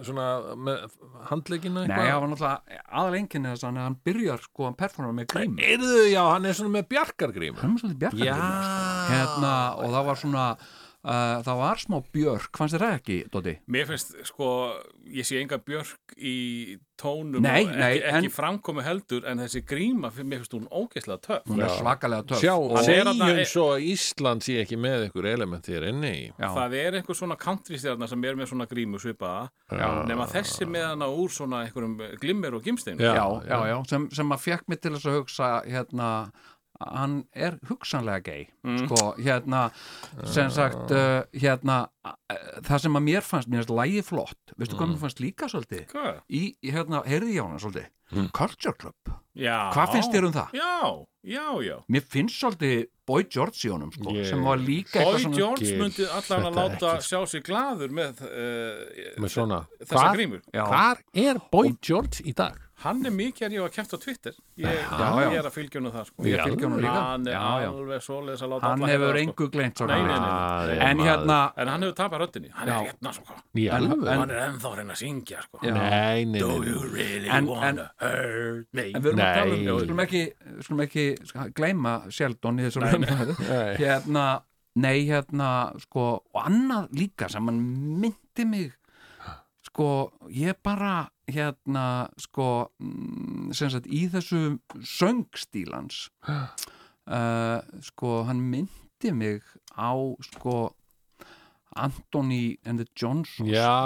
G: svona með handleikina
A: Nei, það var náttúrulega aðalenginni þess að hann byrjar, sko, hann performa með grím.
G: Erðu, já, hann er svona með bjarkargrím
A: Hann var svolítið bjargar
G: Já
A: Hérna, og það var svona, uh, það var smá björk, fannst þér það ekki, Dóti?
C: Mér finnst, sko, ég sé enga björk í tónum
A: Nei,
C: og ekki,
A: nei, en-
C: ekki framkomi heldur en þessi gríma, fyrir- mér finnst hún ógeðslega töf
A: Hún er svakalega töf.
G: Sjá,
A: og,
C: hann- er þarna-
G: segjum svo að Ísland sé ekki með ykkur element hér inni í
A: já,
C: Það er einhver svona countrystjarnar sem er með svona grímu svipaða
A: Já.
C: nema þessi með hana úr svona einhverjum eh, glimmer og gimstein
A: já, já, já, sem, sem að fekk mig til þess að hugsa, hérna, hann er hugsanlega gay sko, hérna sem sagt, uh, hérna uh, það sem að mér fannst, mér finnst lægi flott veistu hvað mér fannst líka svolítið
C: Hvað?
A: í, hérna, heyrði ég á hana svolítið Culture Club,
C: Já.
A: hvað finnst þér um það?
C: Já, já, já.
A: Mér finnst svolítið Boy George í honum, sko,
G: Ég-
A: sem var líka
C: Boy
A: eitthvað svona-
C: Jones
G: Gil,
C: myndi allan að
G: þetta
C: láta
G: ekki,
C: sjá sig glaður með, uh,
G: með svona
C: þessa grímur.
A: Já.
G: Hvar er Boy George í dag?
C: Hann er mikið að ég var kæft á Twitter. Ég,
A: já.
C: ég er að fylgja honum það, sko.
G: Ég
A: fylgi honum líka.
C: Hann er
A: Já, já.
C: alveg svoleiðis að láta
A: hann
C: alla heyra
A: hefur
C: það, sko.
A: engu gleymt svo
C: Nei, nei, nei.
G: Það er
A: en
G: maður.
A: hérna
C: En hann hefur tapað röddinni. Hann
A: Já.
C: er hérna, sko.
G: Í
A: en-
G: alvöru?
A: en-
C: Hann er ennþá að reyna að syngja, sko.
A: Já.
G: Nei, nei, nei,
C: Do
G: nei.
C: you really
A: En-
C: wanna hurt me?
A: En við erum að tala um,
G: Nei.
A: við skulum ekki, við skulum ekki gleyma Sheldon í þessu raunar.
G: Nei.
A: Hérna, nei, hérna, sko, og annað líka sem hann myndi mig, sko, ég bara, hérna, sko, mm, sem sagt, í þessu söngstílans, uh, sko, hann myndi mig á, sko, Anthony and the Johnsons
G: Já,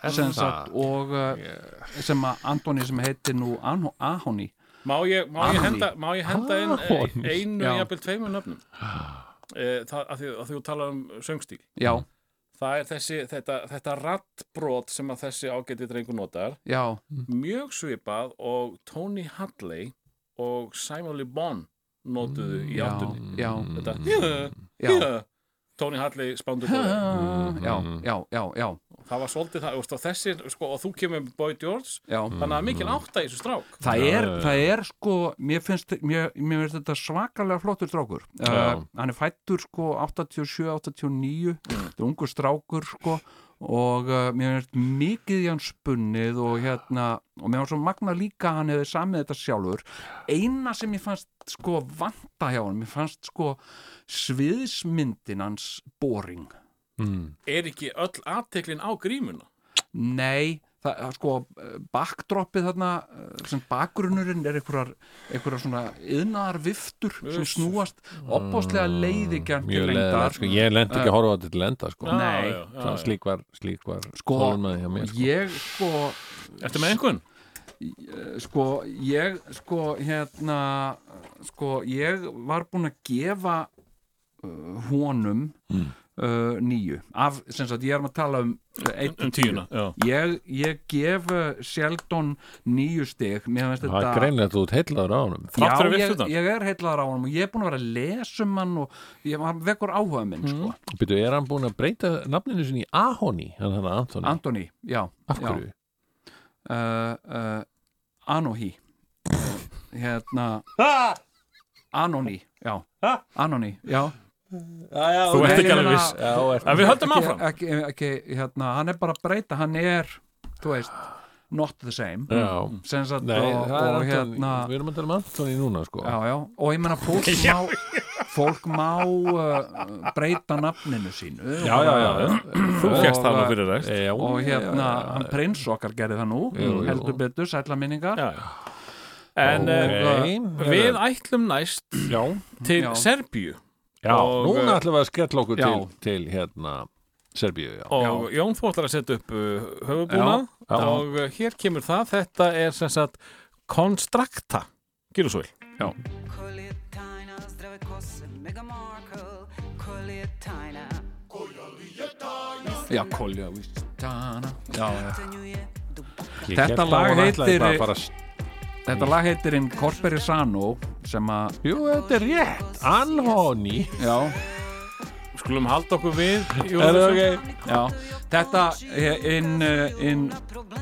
G: er
A: sem
G: það?
A: sagt, og uh, sem að Antoni sem heitir nú Ano- Ahoni
C: Má ég, má ég
A: Ahoni.
C: henda, má ég henda inn
G: Ahoni.
C: eh, einu,
A: Ah, Já.
C: jafnvel tveimur nöfnum? Eh, Það, að því að því þú talar um söngstíl.
A: já,
C: Það er þessi, þetta, þetta rattbrot sem að þessi ágæti drengur notar,
A: já,
C: mjög svipað og Tony Hadley og Simon Le Bon notuðu í
A: já,
C: áttunni.
A: já,
C: Þetta,
A: já,
C: Tony Hadley spándu bóði.
A: já, já, já, já, já,
C: Það var svolítið það, og þessi, sko, og þú kemur með Boy George,
A: já.
C: þannig að
A: Mm.
C: mikil átta í þessu strák.
A: Það
G: Mm. Já,
A: er,
G: já, já.
A: það er sko, mér finnst, mér, mér finnst þetta svakalega flottur strákur.
G: Já. Mm.
A: Uh, hann er fættur sko 87-89, þetta er ungur strákur sko og uh, mér finnst mikið í hann spunnið og hérna, og mér var svo magna líka að hann hefði samið þetta sjálfur. Eina sem ég fannst sko vanta hjá hann, mér fannst sko sviðsmyndin hans boring.
G: Mm.
B: Hmm.
C: Er ekki öll aðteklin á grímuna?
A: Nei, það, það sko backdropið þarna eh, sem bakgrunnurinn er einhverjar, einhverjar svona yðnar viftur sem
C: Uss.
A: snúast opbáslega leiði gert
B: Mm,
A: til
B: mjög leðar
A: lengdar
B: sko. ég lendi ekki að horfa á þetta til lenda sko.
C: Já,
A: Nei.
C: já, já,
B: Svona
C: já.
B: slík var, slík var
A: Sko,
B: þolinmæði hjá mér, sko.
A: ég sko
C: Ertu með einhvern?
A: sko ég sko hérna sko ég var búinn að gefa uh, honum
B: Mm.
A: uh, nýju af, sem sagt, ég er að tala um uh, einn
C: Um tíuna, já
A: Ég, ég gef uh, Sheldon nýju stig Mér finnst
B: það
A: þetta
B: er greinlega að þú ert heillaður á honum
C: Þrátt
A: Já,
C: fyrir
A: ég,
C: vifturnar?
A: ég er heitlaður á honum og ég er búin að vera að lesa um hann og ég var vekkur áhuga minn
C: Mm.
A: sko.
B: Býtu, er hann búin að breyta nafninu sinni í Ahoni, hann hann Antoni
A: Mm. Anthony, já
B: af hverju?
A: já. Uh, uh, Anohi Uh, Hérna Anoni, já Anoni, já
C: Þú
A: Nei,
C: ert ekki
A: ég
C: alveg
A: meina-
C: viss
B: Já, er,
C: En við höldum
A: ekki,
C: áfram
A: ekki, ekki, hérna, Hann er bara að breyta, hann er þú veist, not the same
B: já.
G: Mm.
A: sem sagt
B: Nei,
A: og,
B: það er
A: og
B: Antoni,
A: hérna
B: við erum að tala um Antoni núna sko.
A: já, já. og ég meina fólk má fólk má uh, breyta nafninu sínu
C: Já, já, já, já. Þú
A: Og,
C: fjast það
A: uh,
C: alveg fyrir ræst
B: Eh, já,
A: og hérna,
B: já, já,
A: hann
B: já.
A: prins okkar gerði það nú
B: Jú, jú.
A: heldur betur, sætla minningar
C: Já En
A: Og-
C: eh,
B: Ok.
C: við ætlum næst
B: já,
C: til
A: Já.
C: Serbíu
B: já
C: Og-
B: núna ætlum við að skella okkur
A: Já.
B: til, til hérna Serbíu, já
C: og Jón þú ætlar að setja upp uh, höfubúnað
B: Já, já.
C: og uh, hér kemur það þetta er sem sagt Konstrakta, gyrðu svo vel
H: Kolje tajna, zdrave kose, mega Markle, kolje tajna.
A: já, kolja, víst Tana. já, já.
H: Tanju je duboko.
B: Ég
A: Þetta
B: hélt að
A: lag
B: hún ætlaði
A: heitir-
B: bara að fara að st-
A: þetta lag heitir inn Corperi Sano sem að,
B: Jú, þetta er rétt, Anhoni
A: já,
C: skulum halda okkur við
B: Er það
C: Eurovision.
B: ok?
A: já þetta inn in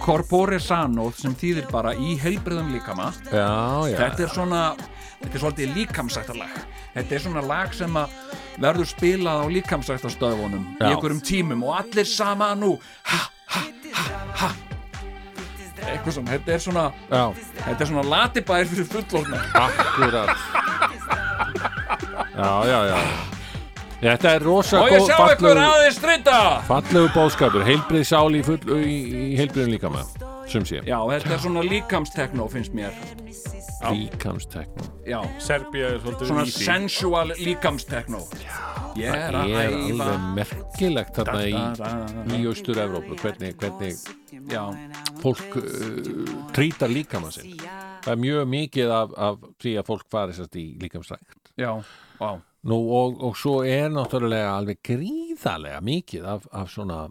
A: Corpore Sano sem þýðir bara í heilbriðum líkama
B: Já, já
A: þetta er svona þetta er svolítið líkamsættarlag þetta er svona lag sem að verður spilað á líkamsættarstöðunum í
B: Já.
A: einhverjum tímum og allir sama nú ha, ha, ha, ha eitthvað svona, þetta er svona
B: Já,
A: þetta er svona latibær fyrir fullorna
B: akkurat Já, já, já Þetta er rosa
A: og ég
B: góð
A: sjá
B: fallegu,
A: ykkur aðeins strita
B: fallegu bóðskapur heilbrið sál í, full, í, í heilbriðum líka með sem sé,
A: já, þetta er svona líkamstekno finnst mér
B: líkamsteknum
A: já,
C: Serbía er svolítið
A: svona
C: í því.
A: sensual líkamstekno ég er að
B: Ég er
A: æfa
B: alveg merkilegt þarna í, í Austur-Evrópu hvernig, hvernig
A: já,
B: fólk uh, trýtar líkamann sinn það er mjög mikið af, af því að fólk fari sérst í líkamsrækt
A: já, já
B: Nú, og, og svo er náttúrulega alveg gríðarlega mikið af, af svona uh,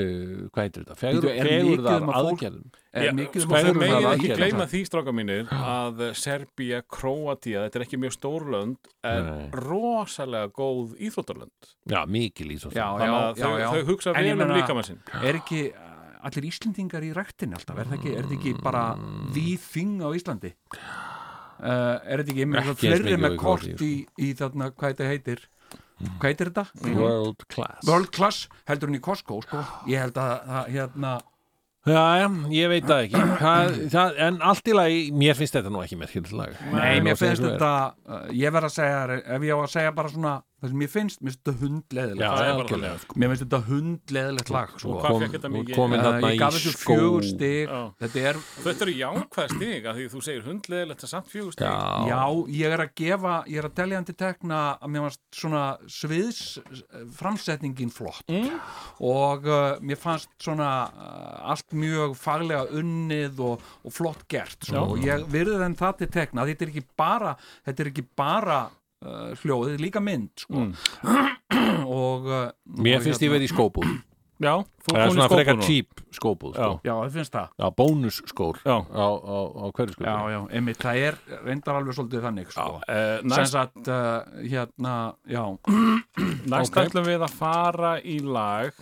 B: hvað heitir þetta? Fegur,
A: Bíddu, er
B: fegur
A: mikið
B: þar
A: um að fólk-
B: aðgerðum
A: er
C: Já,
A: mikið um
C: sko, þeir
B: fegrunaraðgerðum
C: megin
B: þar
C: ekki
B: aðgerðum
C: gleyma því stráka mínir að Serbía, Króatía þetta er ekki mjög stórlönd en
B: Nei.
C: rosalega góð íþróttarlönd
B: Já, mikið lýs og
A: já, já,
C: þannig að
A: já,
C: þau,
A: já.
C: þau hugsa
A: En
C: vel
A: ég
C: um
A: meina-
C: líkamann sinn
A: er ekki uh, allir Íslendingar í ræktin alltaf, er það ekki, er það ekki bara
B: Mm.
A: the thing á Íslandi uh, er þetta ekki, ég meina
B: Ekki
A: það
B: eins
A: fleiri
B: mikið og
A: með
B: í
A: kort
B: Kórdíu,
A: í, í þarna, hvað þetta heitir hvað heitir þetta?
B: Mm. World class
A: World Class heldur hún í Costco, sko ég held að, að hérna
B: Já, já, ég veit það ekki það, það, En allt í lagi, mér finnst þetta nú ekki merkileg
A: Nei, mér finnst þetta, uh, ég verð að segja þér, ef ég á að segja bara svona það sem mér finnst, mér finnst þetta
B: Já,
A: hundleðilegt
C: er bara
B: algjörlega
C: þannig.
B: sko.
A: mér finnst þetta hundleðilegt lag sko.
C: hvað fékk þetta mikið?
B: Komin
A: Uh,
B: þarna
A: ég gaf
B: í
A: þessu
B: skó
A: fjögur stig
C: Já.
A: þetta er
C: þetta eru jákvæð stig að því þú segir hundleðilegt að samt fjögur stig
B: Já,
A: Já, ég er að gefa, ég er að telja hann til tekna að mér fannst svona sviðs eh, framsetningin flott
B: Mm.
A: og uh, mér fannst svona uh, allt mjög faglega unnið og, og flott gert svona, og ég virði þenn það til tekna þetta er ekki bara, þetta er ekki bara uh, hljóð, þetta er líka mynd sko. og uh,
B: Mm. mér finnst ég verið í skóbúð
C: já, þú
B: Það er
C: komin í
B: svona frekar
C: skópuna
B: típ skóbúð sko.
A: Já, það finnst það
B: Já, bónusskór
C: Já.
B: á, á, á hverju skóbúð
A: Já, já, einmitt, það er reyndar alveg svolítið þannig sko.
C: Eh,
A: sem
C: næst,
A: sagt, uh, hérna, já
C: næst
B: ok.
C: ætlum við að fara í lag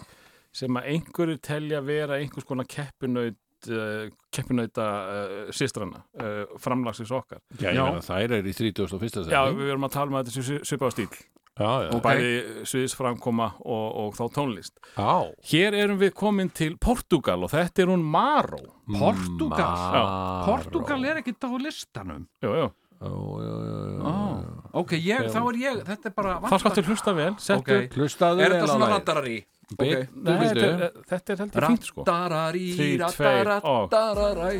C: sem að einhverju telja vera einhvers konar keppinaut uh, keppinauta uh, sýstrana uh, framlagsins okkar
B: Já, ég meina, þær eru í 31.
C: Já,
B: sæti.
C: við erum að tala um að þetta svipa á stíl
B: já, já.
A: og bæði
C: bæði sviðisframkoma og, og þá tónlist
B: já.
C: Hér erum við komin til Portugal og þetta er hún Maró
A: Portugal
C: Já.
B: Maró.
A: Portugal er ekki á listanum
C: Jú, jú,
B: Ó, já, já, já, já.
A: oh. ok, ég, þá er ég þetta er bara
C: það skáttu hlusta vel
A: Ok.
C: settu,
B: Hlustaðu
A: er
B: vel á
A: þetta svona
B: lagið.
A: ratarari
B: okay.
C: Nei, þetta, er, þetta er heldur fínt sko
A: Rattararí,
C: Þrír, tveir, og-
A: rattararí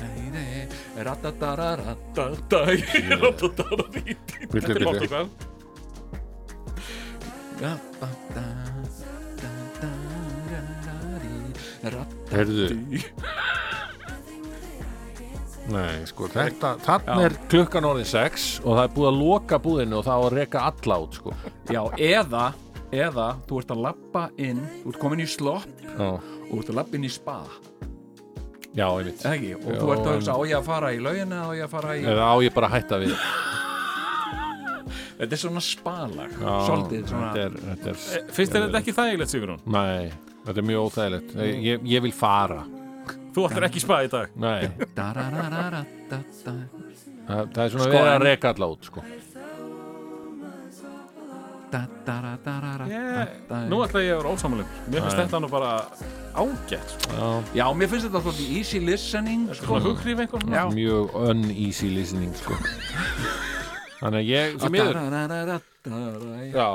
A: Nei, nei, rattararattatæ Rattararí
B: Bíddu,
C: Þetta er
B: bíddu.
C: langt okkar
B: Herðu Nei, sko, þetta Þannig er klukkan orðin 6 og það er búið að loka búðinu og það á að reka alla út, sko
A: Já, eða eða þú ert að labba inn þú ert komin í slopp
B: Já,
A: og þú ert að labba inn í spa
B: já einmitt
A: Eða ekki, og
B: Já,
A: þú ert að
B: en-
A: hugsa á ég að fara í laugina á ég að fara í
B: Eða á ég bara að hætta við
A: þetta er svona spalag,
B: Já,
A: svolítið svona,
B: þetta er, þetta er,
C: Eh, Fyrst er þetta ekki þægilegt Sigurún
B: Nei, þetta er mjög óþægilegt Ég, ég, ég vil fara
C: Þú ættir ekki spað í dag
B: Nei,
A: dararararata
B: það, það er svona
A: Sko,
B: sko, verið
A: en-
B: að reka alla út, sko
A: dararararata
C: Nú ætla ég að vera ósamlega Mér finnst þetta nú bara ágætt sko.
B: já,
A: já, mér finnst þetta svolítið easy listening sko.
C: Svona hughrif einhvern
A: Já.
B: Mjög uneasy listening, sko Þannig að ég, því miður
A: Dararararata.
B: Já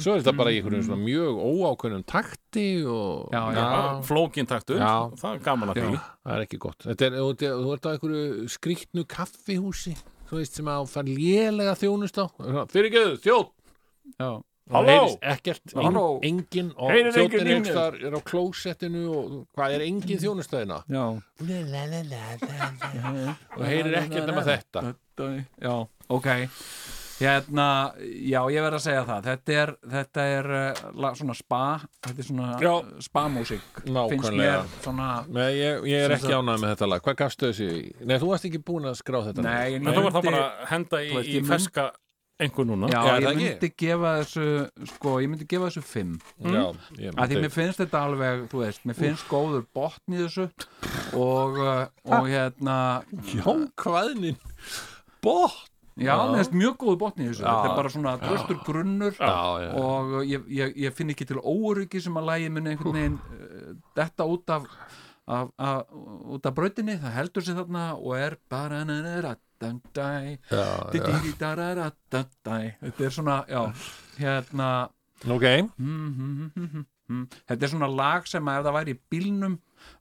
B: Svo er þetta bara í einhverjum svona mjög óákveðnum takti og
A: Já, já.
C: Flókin taktur
B: Já.
C: Það er gaman að því
B: það er ekki gott Þetta er, þú, þú ert á einhverju skrýtnu kaffihúsi þú veist sem að fara lélega þjónust á Fyrir ekki, þjótt
A: Já.
C: Halló?
B: Heyrist ekkert,
A: Halló?
B: engin og
C: Heyrir enginn
B: þjóttin
C: í
B: er,
C: mér?
B: ekstar, er á klósettinu og hvað er engin hérna? þjónustæðina
A: já,
B: og heyrir ekkert nema þetta
A: já, ok hérna, já, ég verð að segja það þetta er, þetta er uh, la- svona spa, þetta er svona
C: Já.
A: uh, spa-músík, finnst
B: Nákvæmlega.
A: mér svona,
B: Nei, ég, ég er
A: Sem
B: ekki ánægð með þetta lag Hvað gafstu þessu? í? Nei, þú varst ekki búin að skrá þetta lag.
A: nei, ég
C: En þú var það
A: myndi-
C: bara að henda í,
A: Þú veist,
C: í
A: ég mun-
C: ferska einhver núna
A: Já,
B: Já, er
A: ég
B: það ekki?
A: myndi gefa þessu sko, ég myndi gefa þessu 5
B: Já, ég
A: að því
B: myndi-
A: mér finnst þetta alveg, þú veist, mér finnst góður botn í þessu og, uh, og hérna
B: Jónkvæðnin Bótt
A: já, mér finnst mjög góður botn í þessu
B: Já.
A: þetta er bara svona dröstur grunnur
B: Já, já, já.
A: og uh, ég, ég, ég finn ekki til óryggi sem að lægi minni einhvern veginn uh, þetta út af, af, af út af brautinni, það heldur sér þarna og er bara nananaratandæ, didididararatandæ. þetta er svona, já hérna hm,
B: Ok,
A: Mhm. Þetta er svona lag sem að ef það væri í bílnum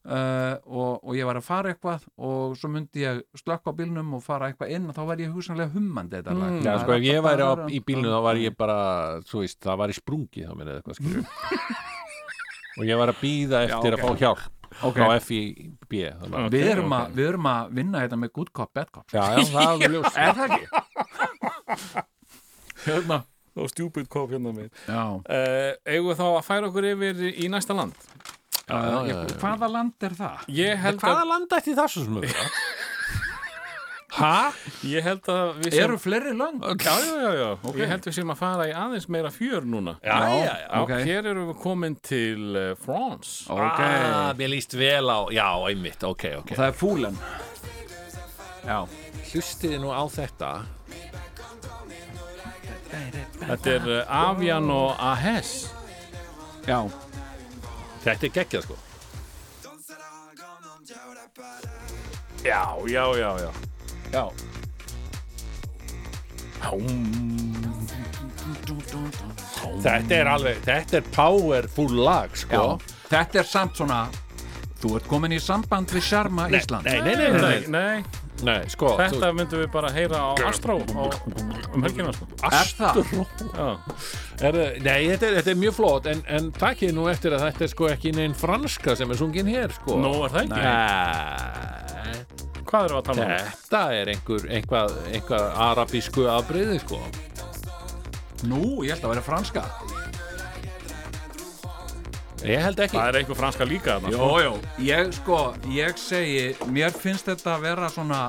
A: uh, og, og ég var að fara eitthvað og svo myndi ég slökka á bílnum og fara eitthvað inn og þá væri ég hugsanlega hummandi þetta lag
B: já, Mm. sko, ef ég væri á, í bílnu þá var ég bara, þú veist, það var í sprungi þá minni eitthvað skilur og ég var að býða eftir
A: ok.
B: að fá hjálp
A: Ok.
B: á FIB þannig.
A: Við erum, að, við erum að vinna þetta með good cop, bad cop
B: Já, já, það er alveg ljós
A: Er það ekki? Hérna
C: Og stjúpid kóp hérna með
A: Já,
C: uh, Eigum við þá að færa okkur yfir í næsta land
A: já,
B: já,
A: já, Hvaða land er það?
C: Ég held að,
B: Hvaða landa eftir þessu sem við Hæ?
C: ég held að við
A: Eru fleiri land?
C: Já, já, já, já. Ég held við séum að fara í aðeins meira fjör núna Já,
B: já, já.
A: ok.
C: Hér erum við komin til uh, France
A: Ok,
B: Ah, mér líst vel á, já, einmitt, ok, ok
A: það er fúlan Já,
B: Hlustiði nú á þetta
C: Þetta er uh, Avian og E Ahes
A: já,
B: Þetta er geggjað, sko
C: Já, já, já, já
A: já
B: Þetta er alveg, þetta er powerful lag, sko
A: Já, þetta er samt svona Þú ert komin í samband við Sjarma Ísland
B: Nei, nei, nei, nei, nei.
C: Nei, nei,
B: Nei, sko,
C: þetta myndum við bara heyra á Astro á, um helgina sko.
A: Er það?
C: Já.
B: er, nei, þetta er, þetta er mjög flott en, en takkið nú eftir að þetta er sko ekki neinn franska sem er sungin hér sko
C: Nó er það ekki?
B: Nei,
C: Hvað erum við að tala um?
B: þetta er einhver, einhvað, einhvað arabísku afbreyði sko
A: Nú, ég held að vera franska
B: Ég held ekki
C: Það er einhver franska líka þarna sko.
A: jó Ég sko, ég segi Mér finnst þetta að vera svona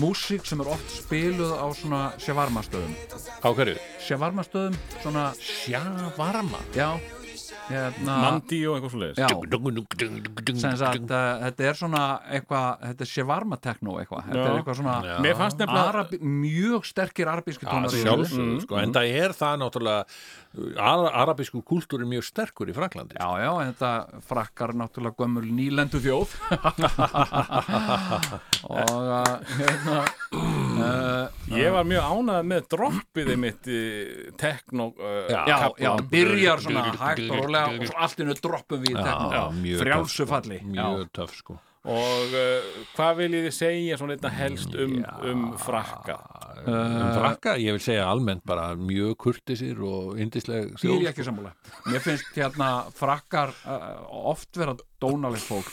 A: Músík sem er oft spiluð á svona Sjavarmastöðum
B: Á hverju?
A: Sjavarmastöðum, svona
B: Sjavarma
A: Já, hérna,
C: Nandi og eitthvað svo leiðis
A: já, sem sagt, uh, þetta er svona eitthvað, þetta er shawarma techno eitthvað, þetta er
C: Já.
A: eitthvað svona
C: Mér fannst nefnilega
A: Arabi, mjög sterkir arabíski
B: Já,
A: tónar í þessu.
B: sjálfsögðu, sko, en það er það náttúrulega uh, ara, arabísku kúltúr er mjög sterkur í sko. Fraklandi
A: Já, já, en þetta frakkar náttúrulega gömul nýlendu þjóð og uh, hérna uh,
C: Ég var mjög ánægð með droppiði mitt í tekno uh,
A: já,
C: kaflann.
A: já, byrjar svona hægt og rólega og svo allt innu droppum við í
B: já,
A: tekno
B: mjög sko.
A: frjálsu falli
B: mjög töff sko
C: Og uh, hvað viljið þið segja svona einna helst um, um frakka?
B: um frakka, ég vil segja almennt bara mjög kurtisir og indisleg
A: Því er
B: þjóð
A: ég ekki sammála Mér finnst hérna frakkar uh, oft vera dónalegt fólk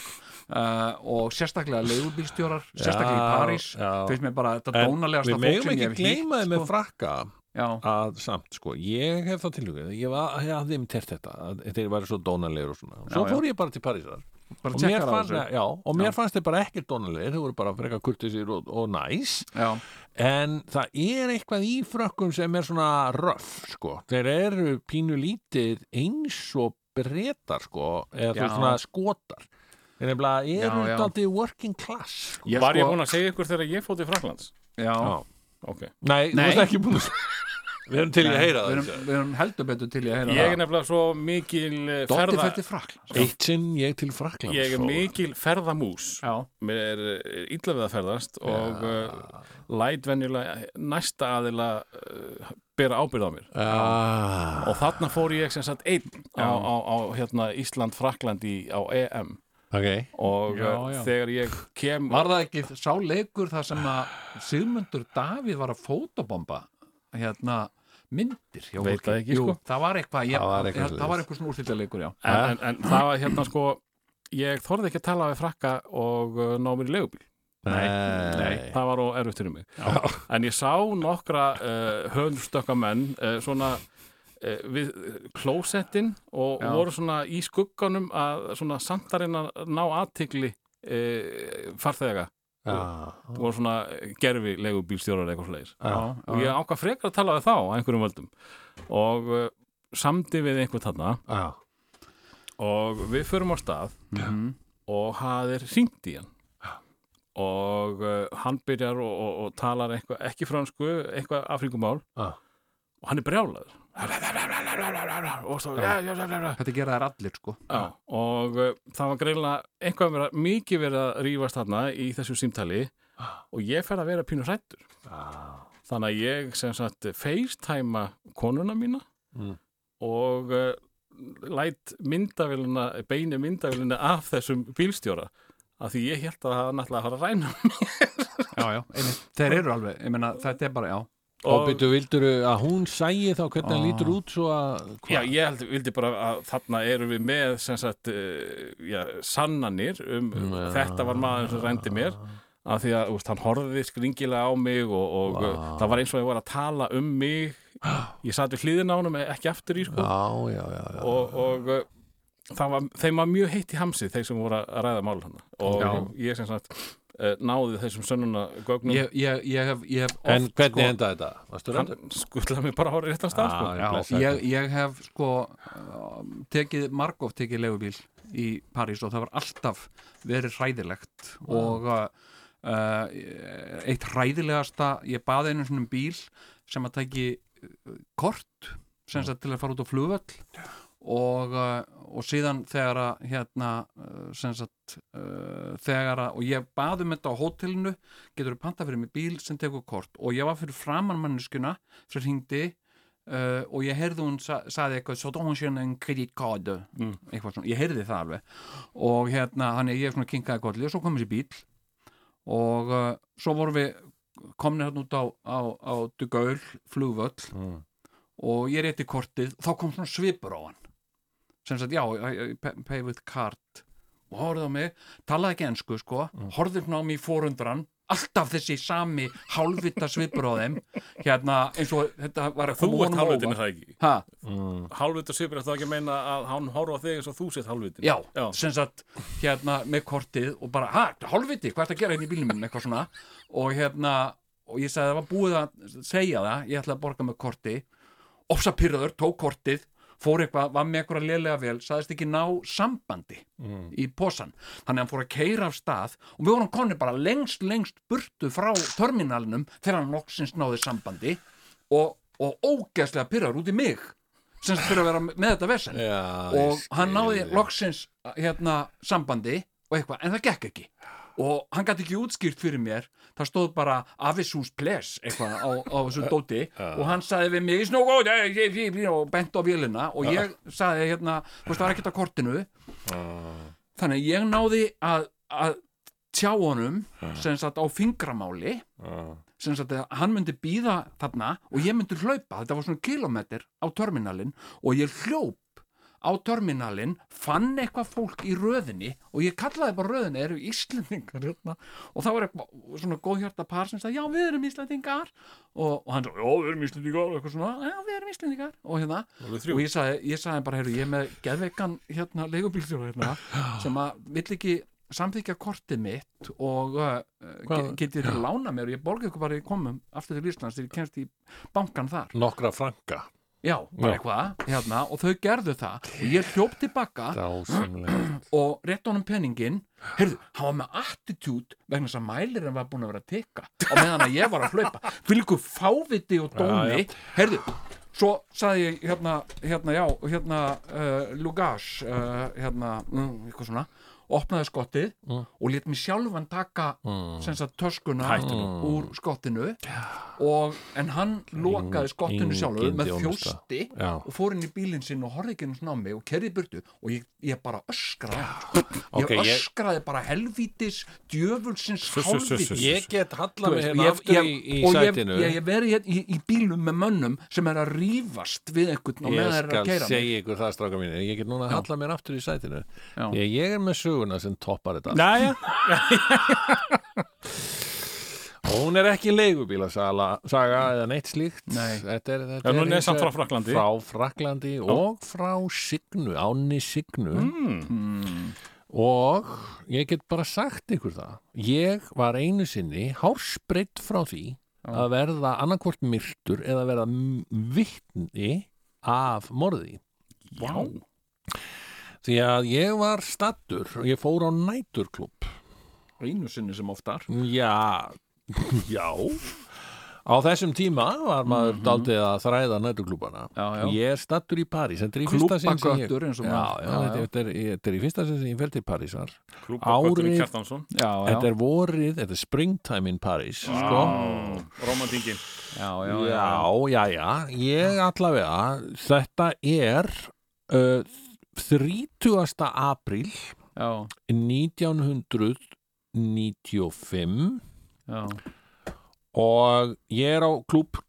A: uh, og sérstaklega leigubílstjórar sérstaklega í
B: Já,
A: París
B: já.
A: finnst mér bara þetta
B: En við
A: dónalegasta fólk
B: megum
A: sem ég
B: ekki
A: hef hýtt
B: gleyma þið með
A: sko.
B: frakka
A: Já,
B: að samt sko, ég hef það tilhugað ég var- ég hafði um tert þetta að þeir væri svo dónalegur og svona svo
A: Já, já.
B: fór ég bara til Parísar
A: bara
B: og mér,
A: tjekkar á
B: fannst,
A: þessu
B: já, og mér fannst þeir bara ekkert dónalegur þeir voru bara frekar kurtisir og, og næs
A: Já,
B: En það er eitthvað í frökkum sem er svona röf, sko. Þeir eru pínu lítið eins og breytar, sko, eða þú
A: Já.
B: veist svona skotar. Þeir nefnilega eru
A: Já, já.
B: daldið working class, sko.
A: Ég
C: Var ég
A: sko-
C: búinn að segja ykkur þegar ég fótt í Fraklands?
A: já,
B: Já.
C: Ok.
B: Nei, þú
A: Nei.
B: veist ekki búin að... Við erum til í að heyra
A: Við
B: það.
A: erum, við erum heldur betur til í að heyra
C: Ég er nefnilega svo mikil eh,
A: Dotti
C: ferða...
A: fyrir til Fraklands
B: Eitt sinn ég til sko. Fraklands.
C: Ég
B: og-
C: er mikil ferðamús.
A: Já,
C: Mér er eh, illa við að ferðast og uh, læt venjulega næsta aðila uh, bera ábyrð á mér.
B: Ah,
C: Og þarna fór ég sem sagt einn á, á, á hérna, Ísland-Frakland í, á EM
B: ok.
C: og
A: Já,
C: eh,
A: já.
C: þegar ég kem
A: var það ekki sá leikur þar sem að Sigmundur Davíð var að fótobomba hérna myndir hjá
C: Veit
A: fólki?
C: það ekki,
A: Jú,
C: sko.
A: það var eitthvað, ég,
B: Það var eitthvað
A: ég, það var
B: svoleiðis.
A: eitthvað svona úrslitaleikur, já
C: en, en, en það var hérna sko ég þorði ekki að tala við frakka og uh, ná mér í leigubíl
B: Nei.
C: það var á erfitt fyrir mig en ég sá nokkra uh, höfnstökka menn uh, svona uh, við klósettin og
A: Já.
C: voru svona í skugganum að svona samtarinn að ná aðtikli uh, farþega
B: Ah,
C: voru svona gerfi leigubílstjórar eitthvað slegis
B: ah.
C: og ég ákvað frekar að tala við þá á einhverjum völdum og uh, samdi við einhvern þarna
B: Ah.
C: og við förum á stað Mhm. og hann er hringt í hann og uh, hann byrjar og, og, og talar eitthvað, ekki fransku, eitthvað afrikumál
B: Ah.
C: og hann er brjálaður og svo ja, ja, ja, ja, ja.
A: Þetta gera þær allir, sko
C: Já, og uh, það var greinlega eitthvað vera, mikið verið að rífast þarna í þessu símtali
B: Ah.
C: og ég fer að vera pínu hrættur þannig að ég sem sagt facetæma konuna mína
B: Mm.
C: og uh, læt myndavélina, beini myndavélina af þessum bílstjóra af því ég held að það var náttúrulega að fara að ræna mig.
A: Já, já, einmitt, þeir eru alveg, ég meina, þetta er bara, já
B: Og byrju, vildur að hún sægi þá hvernig hann lítur út svo að... hva-
C: Já, ég held, vildi bara að þarna erum við með sem sagt, uh, já, sannanir um
B: Já.
C: þetta var maður sem rændi mér af því að úst, hann horfði skringilega á mig og, og
B: Vá.
C: það var eins og ég var að tala um mig ég sat við hliðina á honum ekki aftur í sko
B: Já, já, já, já.
C: og, og uh, það var, þeim var mjög heitt í hamsi þeir sem voru að ræða mál hann og ég sem sagt uh, náði þessum sönnuna gögnum
A: Ég, ég, ég hef, ég hef oft,
B: Mm. En hvernig
A: sko,
B: endaði þetta? Varstu
C: hann
B: röndur?
C: skutlaði mig bara á réttan stað sko.
B: Já,
A: Já,
B: blessaður.
A: ég, ég hef sko uh, tekið, margóft tekið leigubíl í París og það var alltaf verið hræðilegt og uh, uh, eitt hræðilegasta ég baði einu svona bíl sem að tæki uh, kort sem sagt til að fara út á flugvöll og, uh, og síðan þegar að hérna uh, sem sagt uh, þegar að, og ég baði um þetta á hótelinu getur þú panta fyrir mig bíl sem tekur kort og ég var fyrir framann manneskuna sem hringdi uh, og ég heyrði hún sa saði eitthvað svo dón sérna en kreditkod
C: Mm.
A: eitthvað svona, ég heyrði það alveg og hérna, hann er ég svona kinkaði kolli og svo kom þessi bíl og uh, svo vorum við komnir hérna út á, á, á Dugaul flugvöll
B: Mm.
A: og ég rétti kortið, þá kom svona svipur á hann sem sagt, já, I, I pay, pay with card og horfði á mig, talaði ekki ensku sko
C: Mm.
A: horfði svona á mig í fórundran alltaf þessi sami hálfvita svipur á þeim hérna eins og þetta var að
C: þú
A: koma
C: ert
A: honum á
C: hálfvitin
A: óvart.
C: er það ekki
A: Ha,
C: hálfvitin svipir þá ekki að meina að hann horfa á þig eins og þú sett hálfvitin
A: já, sem sagt hérna með kortið og bara, ha, hálfviti, hvað ertu að gera hérna í bílnum minn, eitthvað svona og hérna, og ég sagði það var búið að segja það, ég ætla að borga með korti ofsa pyrrður, tók kortið fór eitthvað, var með eitthvað lélega vel sagðist ekki ná sambandi í posan, þannig að hann fór að keira af stað og við vorum konni bara lengst lengst burtu frá terminalnum þegar hann loksins náði sambandi og, og ógeðslega pyrrar út í mig sem sagt fyrir að vera með þetta vesen
B: Já, ég
A: og hann náði
B: skil.
A: loksins hérna sambandi og eitthvað, en það gekk ekki og hann gæti ekki útskýrt fyrir mér það stóð bara Avisús Ples eitthvað á, á þessu dóti og hann saði við mig í snúgóð og bent á vélina og ég saði hérna, þú veist það var ekkert á kortinu þannig að ég náði að, að tjá honum sem sagt á fingramáli sem sagt að hann myndi býða þarna og ég myndi hlaupa, þetta var svona kilometr á terminalin og ég hljóp á terminalin, fann eitthvað fólk í röðinni og ég kallaði bara röðinni, eru Íslendingar hérna og það var eitthvað svona góðhjarta par sem sagði, já við erum Íslendingar og, og hann sagði, já við erum Íslendingar og eitthvað svona, já við erum Íslendingar og hérna, og ég sagði, ég sagði bara, heyrðu, ég er með geðveikan hérna leigubílstjóra hérna sem að vill ekki samþykja kortið mitt og uh,
B: Hvað-
A: ge- getið þið lána mér og ég borgið ykkur bara í komum aftur til Íslands þegar ég kemst í bankan þar
B: Nokkra franka
A: já, bara
B: Já.
A: eitthvað, hérna, og þau gerðu það og ég hljóp tilbaka
B: Dásamlega
A: og rétt honum penningin heyrðu, hann var með attitude vegna þess að mælirinn var búin að vera að teka og meðan að ég var að hlaupa fylgur fáviti og dómi heyrðu, svo saði ég hérna, hérna já, hérna uh, Lugas, uh, hérna mm, eitthvað svona, opnaði skottið
B: Mm.
A: og let mér sjálfan taka sem sagt töskuna úr skottinu og, en hann lokaði skottinu sjálfur með
B: engin þjónusta.
A: þjósti
B: Já.
A: og fór inn í bílinn sinn og horfði ekki einu svona á mig og kerði burtu og ég, ég bara öskraði á hann, sko. ég
B: Ok, ég-
A: öskraði bara helvítis djöfulsins
C: sus, sus,
A: hálfvítis
C: sus.
B: Ég get
A: Þú
B: hallað mig
A: veist,
B: hérna
A: ég,
B: aftur
A: ég,
B: í, í
A: og ég,
B: sætinu
A: ég, ég verið hér í, í bílum með mönnum sem er að rífast við einhvern
B: Ég
A: og meðan er
B: skal
A: að keira mig
B: segja ykkur það, stráka mínir Ég get núna að halla mér aftur í sætinu
A: Já.
B: ég, ég er með söguna sem toppar þetta
C: Næja,
B: Hún er ekki leigubílasala saga eða neitt slíkt
A: Nei.
B: Þetta er, þetta
C: Já, hún er
B: hins
C: samt
B: vegar
C: frá Frakklandi.
B: Frá Fraklandi og frá Signu, áni Signu
C: Hmm.
B: Og ég get bara sagt ykkur það Ég var einu sinni hársbreytt frá því að verða annarkvort myrtur eða verða m- vitni af morði
A: já,
B: Því að ég var stattur og ég fór á næturklubb
A: einu sinni sem oftar
B: Já, já Á þessum tíma var maður daldið að þræða næturklúbana
A: Mhm. Já, já.
B: Ég er stattur í París Þetta er í fyrsta sinn sem ég
A: Klúbbagöttur, eins og
B: já, já,
A: maður- já,
B: þetta-
A: já.
B: Þetta, er, þetta er í fyrsta sinn sem ég fer til Parísar
C: klúbakvöldurinn
B: Árið-
C: Kjartansson
A: já,
B: Þetta er vorið, þetta er springtime in Paris sko.
C: Romantingin
A: já, já,
B: já, já, já Ég allavega Þetta er uh, 30. apríl
A: já,
B: 1995
A: já.
B: og ég er á klúb og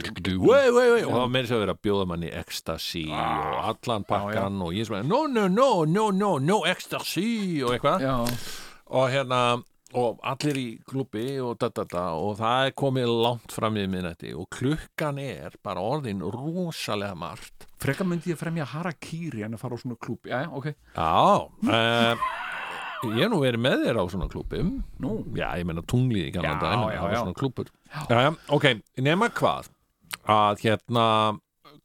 B: það meiri sér að vera að bjóða manni ecstasy og allan pakkan og ég er svona no, no, no, no, no, no ecstasy og eitthvað
A: já.
B: og hérna og allir í klúbbi og da, da, da og það er komið langt fram í minnetti og klukkan er bara orðin rosalega margt
A: Frekar myndi ég fremja harakýri en að fara á svona klúb já, já, ok,
B: Já, uh, ég hef nú verið með þér á svona klúbum
A: Nú.
B: Já, ég meina tunglið í gamla
A: Já,
B: dæmi
A: já,
B: á
A: já.
B: svona klúbur já, já, Ok, nema hvað að hérna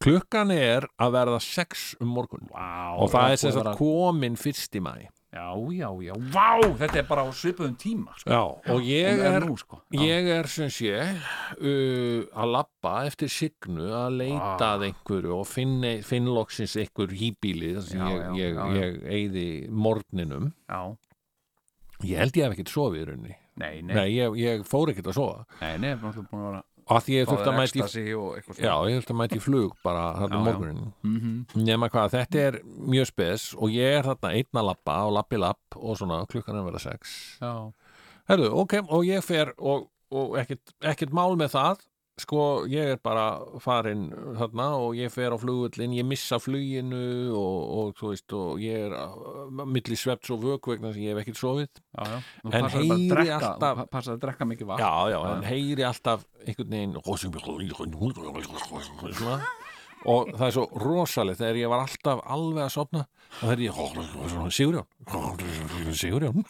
B: klukkan er að verða sex um morgun
A: Vá,
B: og það er
A: búið
B: sem
A: að
B: sagt
A: vera-
B: komin fyrst í mæ
A: Já, já, já, vá, þetta er bara á svipuðum tíma sko.
B: Já, og ég
A: En
B: er
A: nú, sko. Já.
B: Ég er sem sé uh, að labba eftir signu að leita
A: Ah.
B: að einhverju og finn, finn loksins einhver hýbíli þar sem
A: Já,
B: ég,
A: já,
B: ég,
A: já, já.
B: ég eyði morgninum
A: Já,
B: Ég held ég hef ekkert sofið í rauninni
A: nei, nei,
B: Nei, ég, ég fór ekkert að sofa
A: nei, nei, við erum búin að vera
B: að því ég þurfti að
A: Báðir
B: mæti
A: ecstasy og eitthvað
B: Já, ég þurfti að mæti í flug bara þarna
A: Já,
B: um
A: já.
B: morgunin
A: Mhm.
B: Nema hvað, þetta er mjög spes og ég er þarna einn að labba og labbi labb og svona klukkan er að vera sex
A: já,
B: Herðu, ok, og ég fer og, og ekkert, ekkert mál með það sko, ég er bara farin þarna og ég fer á flugullin ég missa fluginu og, og þú veist, og ég er að- milli svefts og vöku vegna sem ég hef ekkert sofið
A: já, já.
B: En
A: Þú passaði bara að
B: heyri
A: drekka,
B: alltaf-
A: alltaf... passaði að drekka mikið vatn
B: já, já, hann heyri alltaf einhvern veginn svona, og það er svo rosalegt þegar ég var alltaf alveg að sopna og þegar ég Sigurjón Sigurjón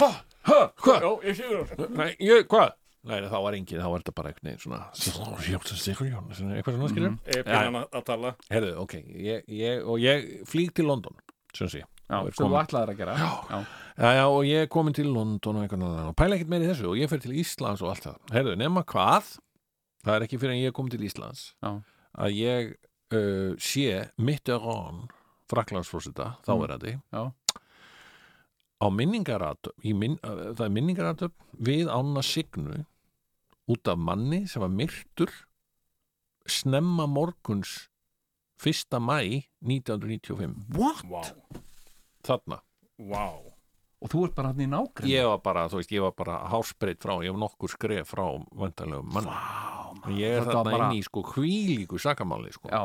B: Ha, ha, hvað? Já, ég Sigurjón Nei, ég, hvað? Nei, nei, þá var engin, þá var þetta bara einhvern veginn svona eitthvað svona
A: Mhm.
B: skilur
C: Ég byrja hann að tala
B: Herðu, ok, ég, ég, og ég flýg til London sem sé
A: já, sem þú ætlaðir að gera já,
B: Já, já, og ég er komin til London og einhvern veginn og pæla ekkert meira í þessu og ég fer til Íslands og allt það Herðu, nema hvað það er ekki fyrir en ég er komin til Íslands
A: Já.
B: að ég uh, sé Mitterrand fraklandsfórseta, þáverandi
A: Mm, Já.
B: á minningaratöp minn, uh, það er minningaratöp við ána signu út af manni sem var myrtur snemma morguns 1. mæ 1995
A: What?
C: Vá,
B: þarna
C: vá
A: og þú ert bara hann í nágrinn
B: ég var bara, þú veist, ég var bara hásbreytt frá, ég var nokkur skref frá vandalegum mann wow, ég er
A: þetta var
B: þarna
A: bara-
B: inn í sko hvílíku sakamáli sko,
A: já.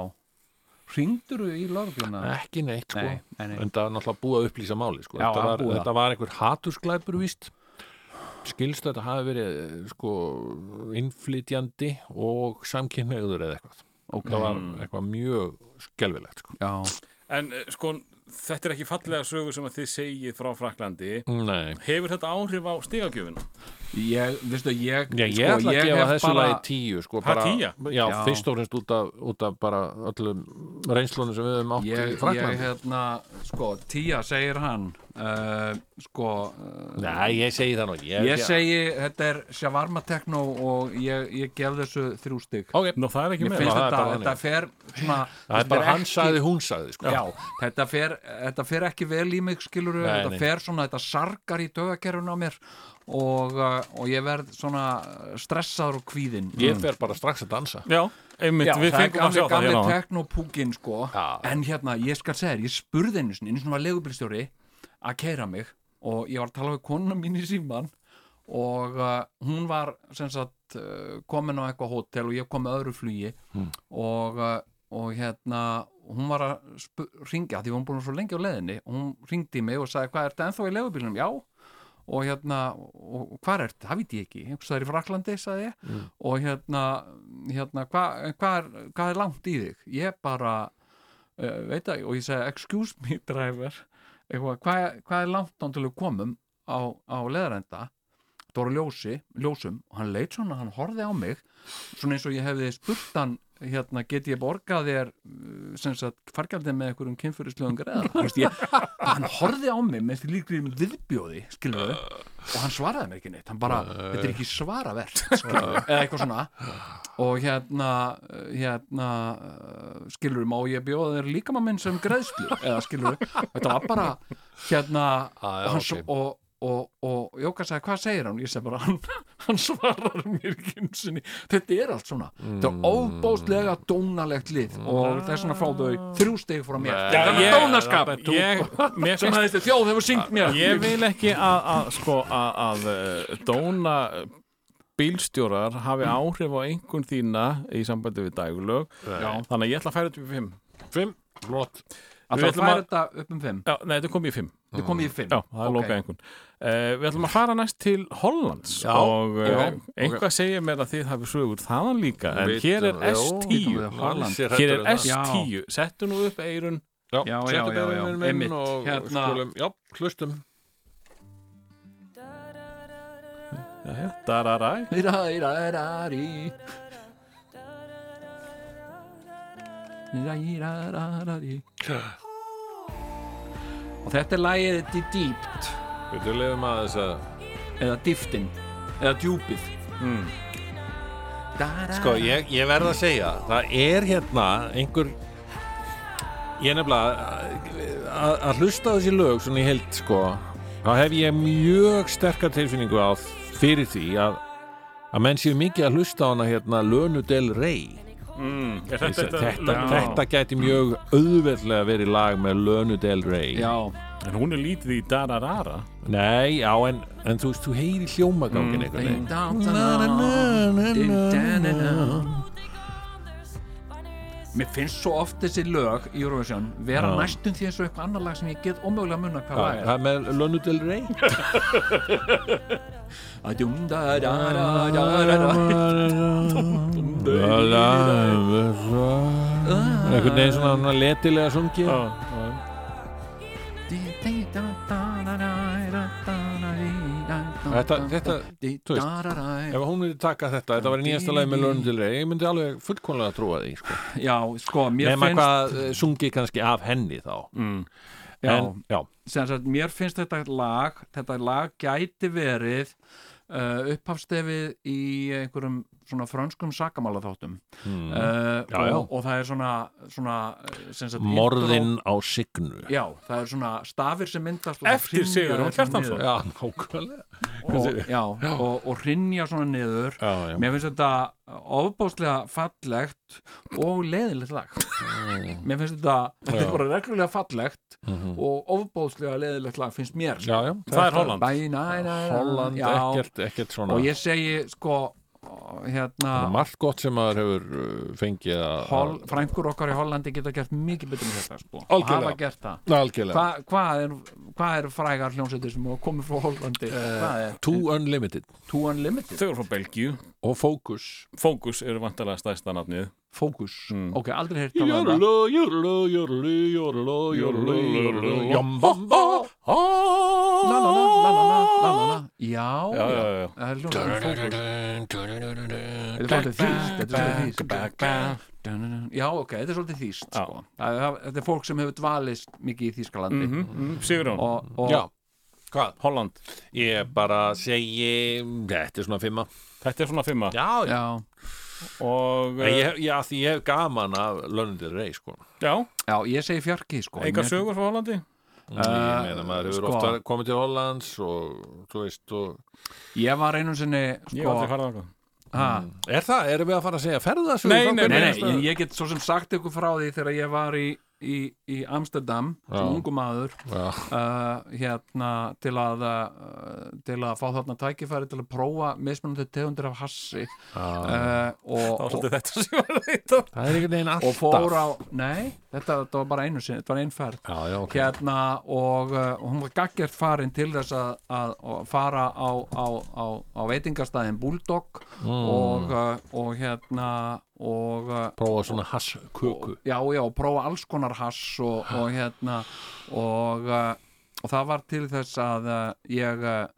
A: ringdur þú í lörgluna
B: ekki neitt sko
A: nei, nei, nei.
B: en það var náttúrulega búið að upplýsa máli sko.
A: Já,
B: þetta,
A: að
B: var,
A: búið að.
B: þetta var einhver hatursglæpur víst skilst að þetta hafi verið eh, sko innflytjandi og samkynneigður eða eitthvað
A: ok,
B: það var eitthvað mjög skelfilegt sko.
A: já,
C: En eh, sko, þetta er ekki fallega sögur sem að þið segið frá Fraklandi
A: Mm.
B: nei
C: Hefur þetta áhrif á stigagjöfuna?
A: ég, veistu, Sko, ég
B: Já, ég ætla að gefa
A: hef
B: þessu
A: bara-
B: lagi tíu sko,
C: Ha,
B: bara,
C: tíja?
B: Já,
A: Já.
B: fyrst og fremst út af, út af bara öllum reynslunum sem við höfum átt
A: ég,
B: í
A: ég
B: Fraklandi
A: hérna, sko, tía segir hann uh, sko uh,
B: Nei, ég segi það nú ekki.
A: ég segi, þetta er shawarma techno og ég, ég gef þessu þrjú stygg
B: Ok,
C: Nú, það er ekki
A: Mér
C: með
A: finnst
B: það er
A: þetta,
B: bara
A: þetta fer svona,
B: það er
A: þetta
B: bara
A: er
B: hann
A: ekki-
B: sagði, hún sagði sko.
A: Já, þetta fer, þetta fer ekki vel í mig skilur,
B: Nei,
A: þetta
B: nei.
A: fer svona, þetta sargar í dögakerfinu á mér og, uh, og ég verð svona stressaður og kvíðinn
B: Ég fer bara strax að dansa
C: Já, einmitt,
A: Já,
C: við
A: það er
C: fengum að sjá
A: gamli,
C: það
A: gamli
C: hérna áðan.
A: teknopúkin sko
B: Já.
A: en hérna, ég skal segja þér, ég spurði einu sinni einu sinni var legubilstjóri að keira mig og ég var að tala við konuna mín í síman og uh, hún var sem sagt uh, komin á eitthvað hótel og ég kom með öðru flugi
C: Hmm.
A: og, uh, og hérna hún var að spu- hringja því hún búin svo lengi á leiðinni og hún hringdi í mig og sagði hvað ertu ennþá í legubílnum? Já og hérna, og og hvar ertu? Það veit ég ekki, einhvers það er í Fraklandi, sagði ég og hérna, hérna hvað hva er, hva er langt í þig? Ég bara, uh, veit það, og ég segi excuse me driver eitthvað, hvað hva er langt án til við komum á, á leðarenda þetta voru ljósi, ljósum og hann leit svona, hann horfði á mig svona eins og ég hefði spurt hann hérna, get ég borgað þér uh, sem sagt, fargjaldið með einhverjum kynfyrirsluðum greðar, þú veist ég hann horfði á mig með því líkri um viðbjóði skilur og hann svaraði mér ekki neitt hann bara, þetta er ekki svaravert skilur eða eitthvað svona og hérna, uh, hérna skilur má ég bjóða þér líkama minn sem greiðslu eða skilur, þetta var bara hérna
B: Ah, já,
A: og, hans,
B: ok.
A: og, og, og Jóka sagði hvað segir hann, ég segi bara hann, hann svarar mér ekki einu sinni þetta er allt svona, þetta er óbóðslega dónalegt lið og þess vegna fá þau þrjú stig frá mér
B: Nei.
A: þetta
C: ég-
A: er dónaskap
C: Ég, mér
A: sem
C: finnst
A: að þetta þjóð hefur syngt mér
C: Ég vil ekki að, að sko að, að eh, dóna bílstjórar hafi áhrif á einhvern þína í sambandi við dægulög
A: Já.
C: þannig að ég ætla að færa þetta upp í 5
B: Fimm, flott
A: að
C: Við
A: það
C: ætlum
A: færi
C: að-
A: þetta upp um fimm
C: Já, nei, þetta kom í 5 Já,
A: þið komið í fimm
C: það er
A: Ok.
C: lokað einhvern uh, Við ætlum að fara næst til Hollands
B: Já,
C: og uh,
B: já,
C: einhvað segir mér að þið hafi sögur þaðan líka en
B: Við-
C: hér er
B: já,
A: Lítum
C: S10
A: við Holland.
C: Hér er S10, settu nú upp eirun
A: Já, já,
B: Settu
A: já, já,
B: beðurinn minn
A: einmitt.
B: og og
A: Hérna.
B: skulum Já, hlustum
C: Eh, Dararæ
A: Írarærarí. Írarærarí. og þetta er lagið Þetta er dýpt
B: Við lefum að þess að
A: eða dýftin eða djúpið
B: Hmm. Sko, ég, ég verð að segja, það er hérna einhver ég nefnilega að, að hlusta á þessi lög svona í heild sko, þá hef ég mjög sterkar tilfinningu á fyrir því að, að menn séu mikið að hlusta á hana hérna Lönu Del Rey
C: Er
B: þetta,
C: þetta,
B: þetta,
A: já.
B: gæti mjög auðveldlega verið lag með Lönu Del Rey
A: já,
C: En hún er lítið í Dararara
B: Nei, já, en, en þú veist, þú heyri hljómagangin mm,
A: Ding
B: einhvern
A: dong, dong, ding, dong, dong. mér finnst svo oft þessi lög í Eurovision vera
B: Já.
A: næstum því eins og eitthvað annar lag sem ég get ómögulega að munna hvað lag
B: veginn
A: er
B: Það með Lönu Del Rey
A: Að dum, da, da, da, da, da, da.
B: einhvern veginn svona, svona letilega sungi
A: Ding, ding, da, da, da, da, da, da, da, da, da, da.
B: Þetta, þetta, þú veist,
A: Dararæ.
B: ef hún myndi taka þetta, þetta var nýjasta leið með Lörn til rey, ég myndi alveg fullkomlega trúa því, sko.
A: Já, sko, mér
B: Nefna
A: finnst
B: hvað eh, sungi kannski af henni þá.
C: mm.
A: já,
B: En, já,
A: sem sagt, mér finnst þetta lag þetta lag gæti verið uh, upphafstefið í einhverjum svona frönskum sakamála þáttum
B: Mm. Já, já.
A: og, og það er svona, svona eh, sem sagt, intro-
B: morðin á signu.
A: Já, það er svona stafir sem myndast og
C: Eftir
A: hrynja
C: Sigurjón
A: svona
C: Kjartansson.
A: niður.
B: Já, nákvæmlega.
A: og, já, og, og rinja svona niður
B: Já, já.
A: mér finnst þetta ofbáslega fallegt og leðilegt lag
B: Hmm.
A: mér finnst þetta, þetta er bara reglulega fallegt
B: Mhm.
A: og ofbáslega leðilegt lag finnst mér
B: Já, já.
C: Það er Holland
A: Bæ, næ, næ, næ,
B: Holland,
A: já,
B: ekkert, ekkert svona.
A: og ég segi sko hérna
B: Það er margt gott sem maður hefur uh, fengið að...
A: Hol, frængur okkar í Hollandi geta gert mikið betur með þetta sko, og
B: Algjörlega.
A: hafa gert það
B: Algjörlega.
A: Hva- hvað er, hva er frægar hljómsveitir sem hafa komið frá Hollandi hvað er,
B: Two Unlimited
A: Two Unlimited
C: Þau eru frá Belgíu,
B: og Focus.
C: Fókus eru vantarlega stærsta nafnið
A: Focus,
C: Mm.
A: ok, aldrei heyrt talað um það
B: Jórló, jórló, jórló, jórló, jórló, jórló, jambamba.
A: la la la, la la la, la la já,
C: Já, já, já, já.
A: það er hljómsveitir Focus þetta er svolítið þýst þetta er svolítið þýst sko. já, ok, þetta er svolítið þýst
C: Já.
A: sko. Það er- þetta er fólk sem hefur dvalist mikið í Þýskalandi
C: Mhm, mhm. Sigurjón,
A: og, og
B: Já, hvað?
C: Holland
B: Ég bara segi, þetta er svona fimma.
C: Þetta er svona fimma
B: Já, já.
A: já,
C: Og eh,
B: Ég, hef- já, því ég hef gaman af löndir rey, sko.
C: já,
A: já, ég segi fjarki sko.
C: engar
A: Mér-
C: sögur frá Hollandi
B: ég meina, maður hefur
A: sko.
B: ofta komið til Hollands og, þú veist, og...
A: ég var einu sinni
C: Ég hef aldrei
A: sko,
C: farið þangað
A: ha,
C: Mm.
B: Er það, erum við að fara að segja ferðasögur?
C: Nei,
B: frá
A: Nei,
C: nei,
B: hvernig?
A: nei, ég- ég get svo sem sagt ykkur frá því þegar ég var í, í, í Amsterdam sem
B: Já.
A: ungu maður
B: Já.
A: uh, hérna til að uh, til að fá þarna tækifæri til að prófa mismunandi tegundir af hassi uh,
C: Það var
A: og, og,
C: svolítið þetta sem ég var að leita að.
B: Það er einhvern veginn alltaf.
A: og fór á nei, þetta, þetta var bara einu sinni, þetta var einferð
B: Já, já, ok.
A: hérna og, uh, og hún var gaggjert farin til þess að, að, að fara á, á, á, á veitingastæðin Bulldog og, uh, og hérna og uh,
B: Prófa svona hassköku.
A: já, já, og prófa alls konar hass og, og hérna og, uh, og það var til þess að uh, ég uh,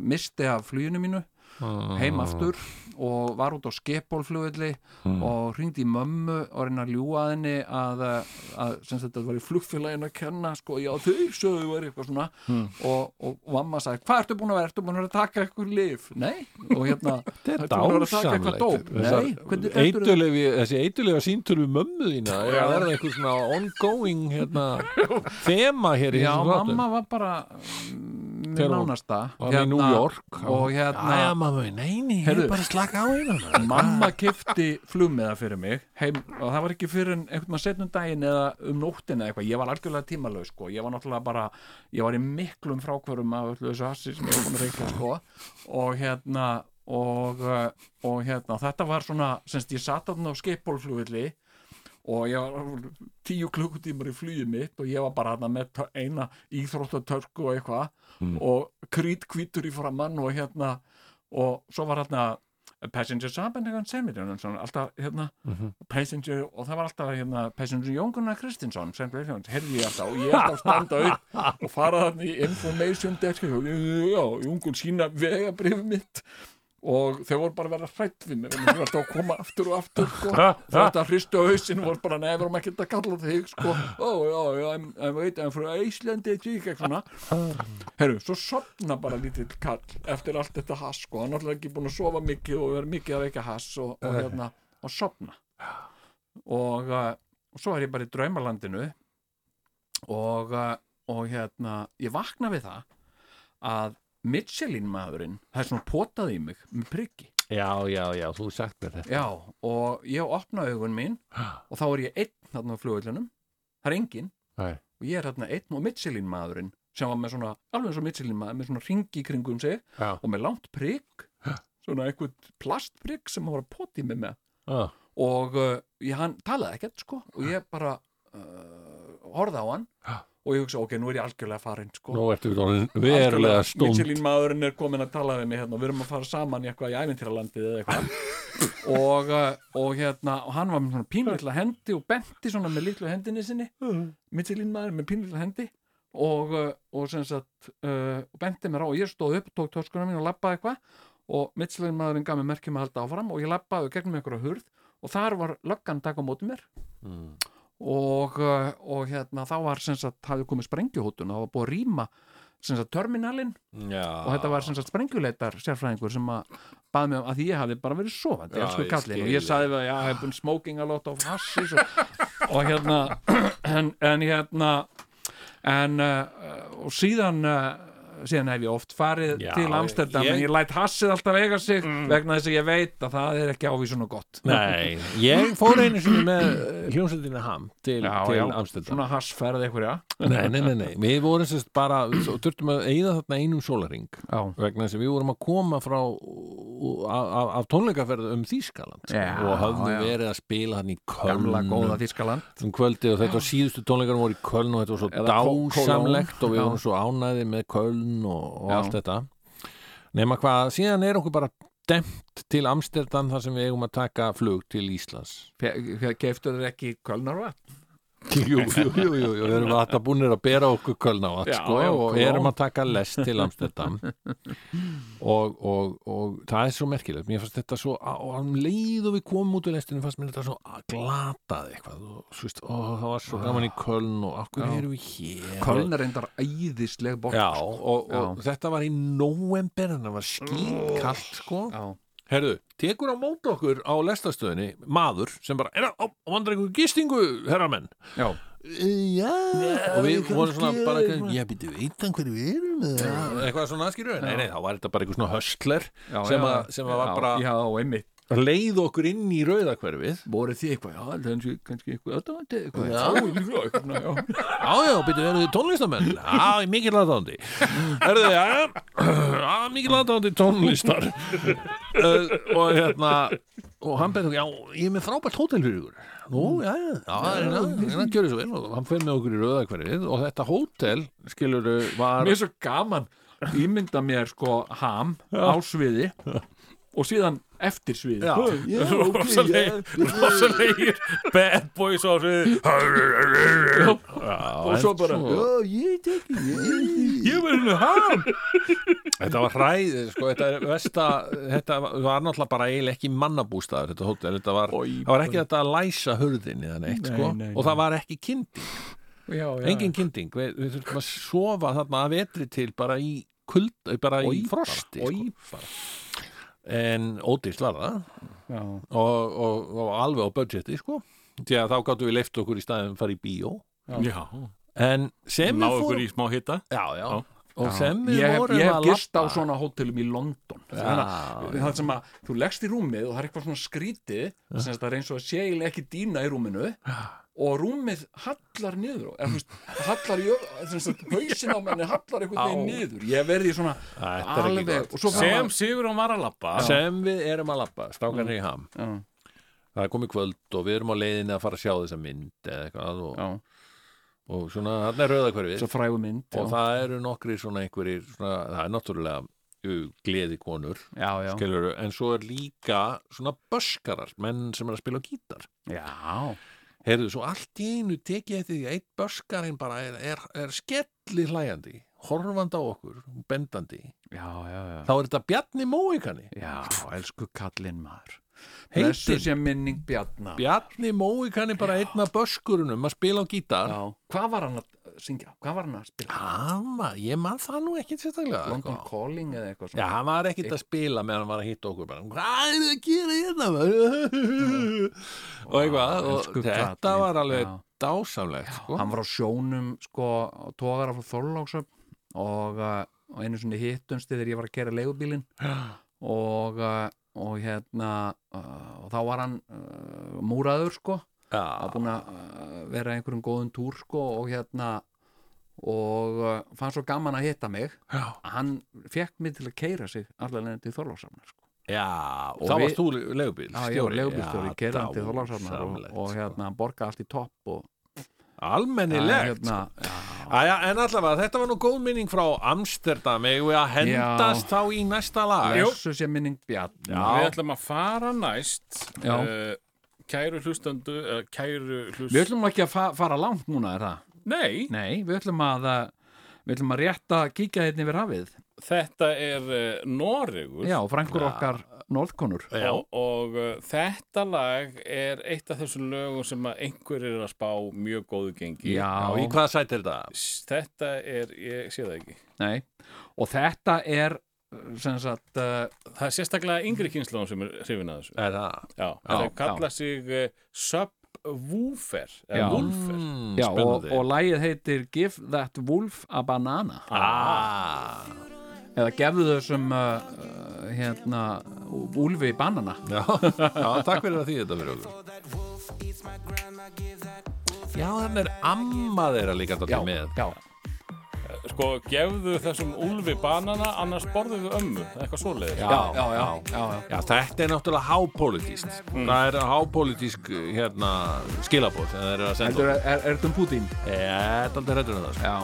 A: misti af fluginu mínu heim
B: Ah.
A: aftur og var út á skepólflugulli
B: Hmm.
A: og hringdi í mömmu og reyna að ljúga að henni að, uh, að sem sagt þetta var í flugfélaginu að kenna sko, já þau sögðu var eitthvað svona
B: Hmm.
A: og, og, og mamma sagði, hvað ertu búin að vera? Ertu búin að vera að taka eitthvað lif? Nei, og hérna
B: Þetta
A: ertu búin að vera að taka eitthvað dóp? Nei, hvernig dettur þér-
B: Eitulefi, þessi eitulefa síntölu við mömmu þína er að verða eitthvað svona ongoing hérna, þema hér í
A: Já,
B: þessum þáttum.
A: mamma var bara með
B: Þegar hún
A: nánasta
B: var í New York.
A: Hérna, og hérna,
B: Jæja, mamma, nei, nei, ég
A: Heyrðu.
B: er bara að slaka á hérna.
A: mamma kifti flugmiða fyrir mig heim, og það var ekki fyrir en einhvern veginn setnum daginn eða um nóttin eða eitthvað, ég var algjörlega tímalaug sko, ég var náttúrulega bara ég var í miklum frákvörum af öllu þessu hassi sem ég var búin að reykja sko og hérna og, uh, og hérna, þetta var svona semst ég satt þarna á skeipbólflugvilli og ég var tíu klukkutímar í flugið mitt og ég var bara hana með tö- eina íþróttatörku og eitthvað og krít kvítur í framann og hérna og svo var hérna passenger sabendegan semidjón alltaf hérna passenger og það var alltaf hérna passenger Jón Gunnar Kristinsson sem herði ég alltaf og ég alltaf standa upp og fara þarna í information desk og já, Jón Gunn sína vegabrif mitt og þau voru bara að vera hrætt við mér og þau voru alltaf að koma aftur og aftur sko. þau voru að hristu hausinn og voru bara nefnir um ekki að kalla þig sko. oh, já, já, I'm, I'm, right, I'm from Iceland eitthvað eitthvað svona Herru, svo sopna bara lítill kall eftir allt þetta hass sko, hann er náttúrulega ekki búin að sofa mikið og vera mikið að reykja hass og, og hérna, og sopna og, uh, og svo er ég bara í draumalandinu og, uh, og hérna ég vakna við það að Michelin maðurinn það er svona potað í mig með priggi
B: Já, já, já, þú hefur sagt mér þetta.
A: já, og ég opna augun mín og þá er ég einn þarna á flugvöllunum það er enginn
B: Nei.
A: og ég er þarna einn og Michelin maðurinn sem var með svona, alveg eins og Michelin maður með svona ringi kringum sig
B: Já.
A: og með langt prigg svona einhvern plastprigg sem hann var að poti mig með
B: Ah.
A: og uh, ég, hann talaði ekkert sko og ég bara uh, horfði á hann
B: Já.
A: og ég hugsa ok, nú er ég algjörlega farinn sko
B: Nú ertu orðin verulega
A: Algjörlega,
B: stund.
A: Michelin maðurinn er komin að tala við mig hérna og við erum að fara saman í eitthvað í ævintýralandið eða eitthvað og, uh, og hérna og hann var með svona pínlilla hendi og benti svona með litlu hendinni sinni Michelin maður með pínlilla hendi og, uh, og sem sagt uh, og benti mér á og ég stóð upp, tók töskuna mín og labbaði eitthvað og mittslegin maðurinn gaf mér merkjum að halda áfram og ég labbaði gegnum einhverja hurð og þar var löggan að taka á móti mér
B: Mm,
A: og, uh, og hérna þá var sem sagt, hafði komið sprengjuhótun og það var búið að rýma sem sagt terminalinn
B: Já.
A: og þetta var sem sagt sprengjuleitar sérfræðingur sem að baði mig um að því ég hafði bara verið sofandi
B: Já,
A: elsku
B: ég
A: kallinn
B: skil
A: og ég
B: þig.
A: sagði við að já, ég hef búin smoking a lot of hassis og, og hérna en, en hérna en uh, og síðan uh, síðan hef ég oft farið
B: Já,
A: til Amsterdam
B: ég- Mm.
A: en ég læt hassið alltaf eiga sig vegna þess að ég veit að það er ekki ávísun og gott
B: Nei, ég fór einu sinni með eh, hljómsveitina Ham til,
A: já,
B: til
A: já,
B: Amsterdam
A: svona hassferð einhverja
B: nei, nei, nei, nei, við vorum sérst bara og þurftum að eigða þarna einum sólaring
A: já,
B: vegna þess að við vorum að koma frá af, af tónleikaferð um Þýskaland sko,
A: Já,
B: og höfðum
A: já.
B: verið að spila hann í
A: gamla góða
B: Köln
A: Þískaland
B: um kvöldi og þetta var síðustu tónleikarum voru í Köln og þetta var svo
A: Eða Kó-
B: dásamlegt og við
A: Já.
B: vorum svo ánæði með Köln og, og
A: Já.
B: allt þetta nema hvað, síðan er okkur bara demt til Amsterdam þar sem við eigum að taka flug til Íslands
A: geftur þér ekki kölnarvat
B: Jú, jú, jú, jú, jú, við erum alltaf búinir að bera okkur kölnávat,
A: Já,
B: sko,
A: já,
B: og
A: klá.
B: erum að taka lest til Amsterdam og, og, og það er svo merkilegt, mér fannst þetta svo, á- og um leið og við komum út úr lestinu, fannst mér þetta svo að glatað eitthvað, og svo veist, ó, það var svo gaman í Köln og akkur
A: Já.
B: erum við hér
A: Köln er endar æðisleg bort
B: Já, og, og
A: Já.
B: þetta var í november, en það var skýtkalt, sko
A: já.
B: Herðu, tekur á móti okkur á lestastöðinni maður sem bara, er það, vandrar einhver gistingu, herramenn Eh,
A: Já.
B: Já, og við vorum svona bara eitthvað, já, byrju, veit hann hverju við erum eða?" eitthvað svona aðskýru, nei, nei, þá var þetta bara eitthvað svona höstler
A: já,
B: sem
A: já.
B: að- sem að var
A: já,
B: bara-
A: já, einmitt,
B: leið okkur inn í rauðakverfið
A: voruð þið eitthvað já, þannig að kannski eitthvað aðdáandi eitthvað
B: Já.
A: já, eitthvað, já, já.
B: Já, já, byrju, eru þið tónlistamenn? Já, ég er mikil aðdáðandi Eru þið, já, já, mikil aðdáðandi tónlistar uh, Og hérna, og hann betur, já, ég er með frábært hótel fyrir ykkur Nú, já, já, já, já, já, hann gjörir svo vel og hann fer með okkur í rauðakverfið Og þetta hótel, skilur, var
A: mér er svo gaman ímynda mér sko ham á sviði og síðan eftir sviði
B: Já.
C: rosalegir rosalegir bad boys á svið
A: og svo bara
C: ég verður nú hann
B: Þetta var hræð, sko, þetta er vesta, þetta var náttúrulega bara eiginlega ekki mannabústaður, þetta hótel, þetta var, það var ekki þetta að læsa hurðinni eða neitt, sko,
A: nei,
B: og það var ekki kynding,
A: já, já.
B: engin kynding, við, við þurfum að sofa þarna að vetri til bara í kulda, bara í
A: Oj,
B: frosti,
A: bara, oj,
B: sko. En ódýrt var það
A: já.
B: og, og, og alveg á budgeti, sko, því að þá gáttum við leift okkur í staðum að fara í bíó,
C: já,
B: en sem við
C: ná ykkur
B: fórum,
C: í smá hitta
B: já, já, og sem við
A: ég hef,
B: vorum
A: ég hef
B: að
A: gist á
B: labba-
A: svona hótelum í London
B: Já,
A: það sem að þú leggst í rúmið og það er eitthvað svona skrítið sem sagt, það er eins og að sé eiginlega ekki dýna í rúminu og rúmið hallar niður eða þú veist, hallar jö, sem sagt, hausin á menni hallar einhvern veginn niður ég verði í svona
B: þetta er ekki gott.
A: og svo
C: sem Sigur og Maralappa
B: sem við erum að labba, strákarnir
A: Mm.
B: í ham
A: Já.
B: það er komið kvöld og við erum á leiðinni að fara að sjá þessa mynd eða eitthvað og,
A: já,
B: og svona, þarna er rauðakverfið
A: svo frægu mynd
B: og það eru nokkri svona einhverjir svona, það er náttúrulega gleði konur
A: já, já,
B: skilur, en svo er líka svona böskarar, menn sem er að spila á gítar
A: já,
B: heyrðu, svo allt í einu tekið eftir því að einn böskarinn bara er, er, er skelli hlæjandi horfandi á okkur, bendandi
A: já, já, já.
B: þá er þetta Bjarni Móikani
A: já elsku kallinn maður
B: Heitinn.
A: þessu sé minning Bjarnar
B: Bjarni Móikani bara einn af böskurunum að spila á gítar
A: já. hvað var hann að syngja, hvað var hann að spila
B: Amma, ég man það nú ekkit sérstaklega
A: London
B: sko.
A: Calling eða eitthvað
B: Já,
A: svona
B: hann var ekkit að spila meðan hann var að hitta okkur bara, hvað er það að gera hérna? maður?" og eitthvað, og
A: elsku
B: þetta
A: kallinn,
B: var alveg
A: já.
B: dásamlegt, sko
A: hann var á sjónum sko, tógar af Þorláksöp og, uh, og einu svona hittumst þegar ég var að kera leigubílin og, uh, og hérna uh, og þá var hann uh, múraður sko, að
B: Já,
A: búin að uh, vera einhverjum góðum túr sko og hérna og uh, fann svo gaman að hitta mig
B: já,
A: að hann fekk mig til að keira sig allar leiðin til Þorláksöfnar sko.
B: já
A: Og
B: þá
A: við-
B: varst þú leigubíl
A: Já, ég var leigubílstjóri, keira hann til Þorláksöfnar og,
B: dásamlegt,
A: og
B: sko.
A: hérna hann borgaði allt í topp og
B: Almennilegt, sko
A: hérna, já,
B: Æja, en allavega, þetta var nú góð minning frá Amsterdam, eigum við að hendast þá í næsta lag
A: Blessuð sé minning Bjarni
C: við ætlum að fara næst
A: Já.
C: uh, kæru hlustandu uh, kæru hlust
A: Við ætlum ekki að fa fara langt núna, er það?
C: nei,
A: Nei, við ætlum að uh, við ætlum að rétta kíkja hérna yfir hafið
C: Þetta er uh, Noregur
A: já, frængur okkar norðkonur
C: Já. og, og uh, þetta lag er eitt af þessum lögum sem að einhver er að spá mjög góðu gengi
A: já,
B: í hvaða sæti er þetta?
C: S- Þetta er, ég sé það ekki
A: nei og þetta er sem sagt uh,
C: Það er sérstaklega yngri kynslóðum sem er hrifin að þessu
B: Er það?
C: Já,
A: já.
C: það kalla sig uh, Subwoofer
A: Já.
C: eða Wolfer
A: Mm. já, og,
B: spennandi.
A: og lagið heitir Give That Wolf a Banana
B: Ah,
A: eða gefðu þessum uh, uh, hérna, úlfi banana
B: já, já, takk fyrir að því þetta fyrir okkur Já, þannig er amma þeirra líka
A: já,
B: þetta með
A: já,
C: Sko, gefðu þessum úlfi banana annars borðuðu ömmu, eitthvað svoleiðis
A: já, já, Mm. já, já, já.
B: Já, þetta er náttúrulega hápolítist Það er hápolítisk hérna, skilabóð sem þeir eru að senda
A: Heldur,
B: okkur.
A: er, er, er þetta um Putin?
B: Ég er aldrei hræddur um það sko.
A: Já,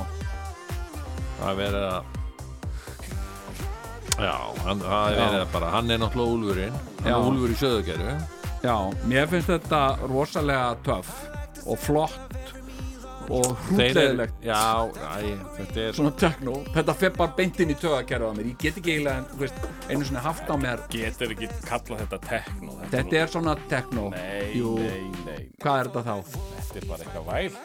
B: Það er verið að Já, hann, það er verið að bara hann er náttúrulega úlfurinn hann
A: Já.
B: er úlfur í söðugerðu
A: já, mér finnst þetta rosalega töff og flott og hrútlegilegt
B: Já, æ, þetta er
A: svona tekno, þetta fer bara beintin í tögakerfið á mér, ég get ekki eiginlega þú veist, einu svona haft á mér
C: Getur ekki kallað þetta tekno
A: þetta er svona tekno
C: Nei,
A: Jú,
C: nei, nei,
A: hvað er þetta þá?
C: þetta er bara eitthvað væl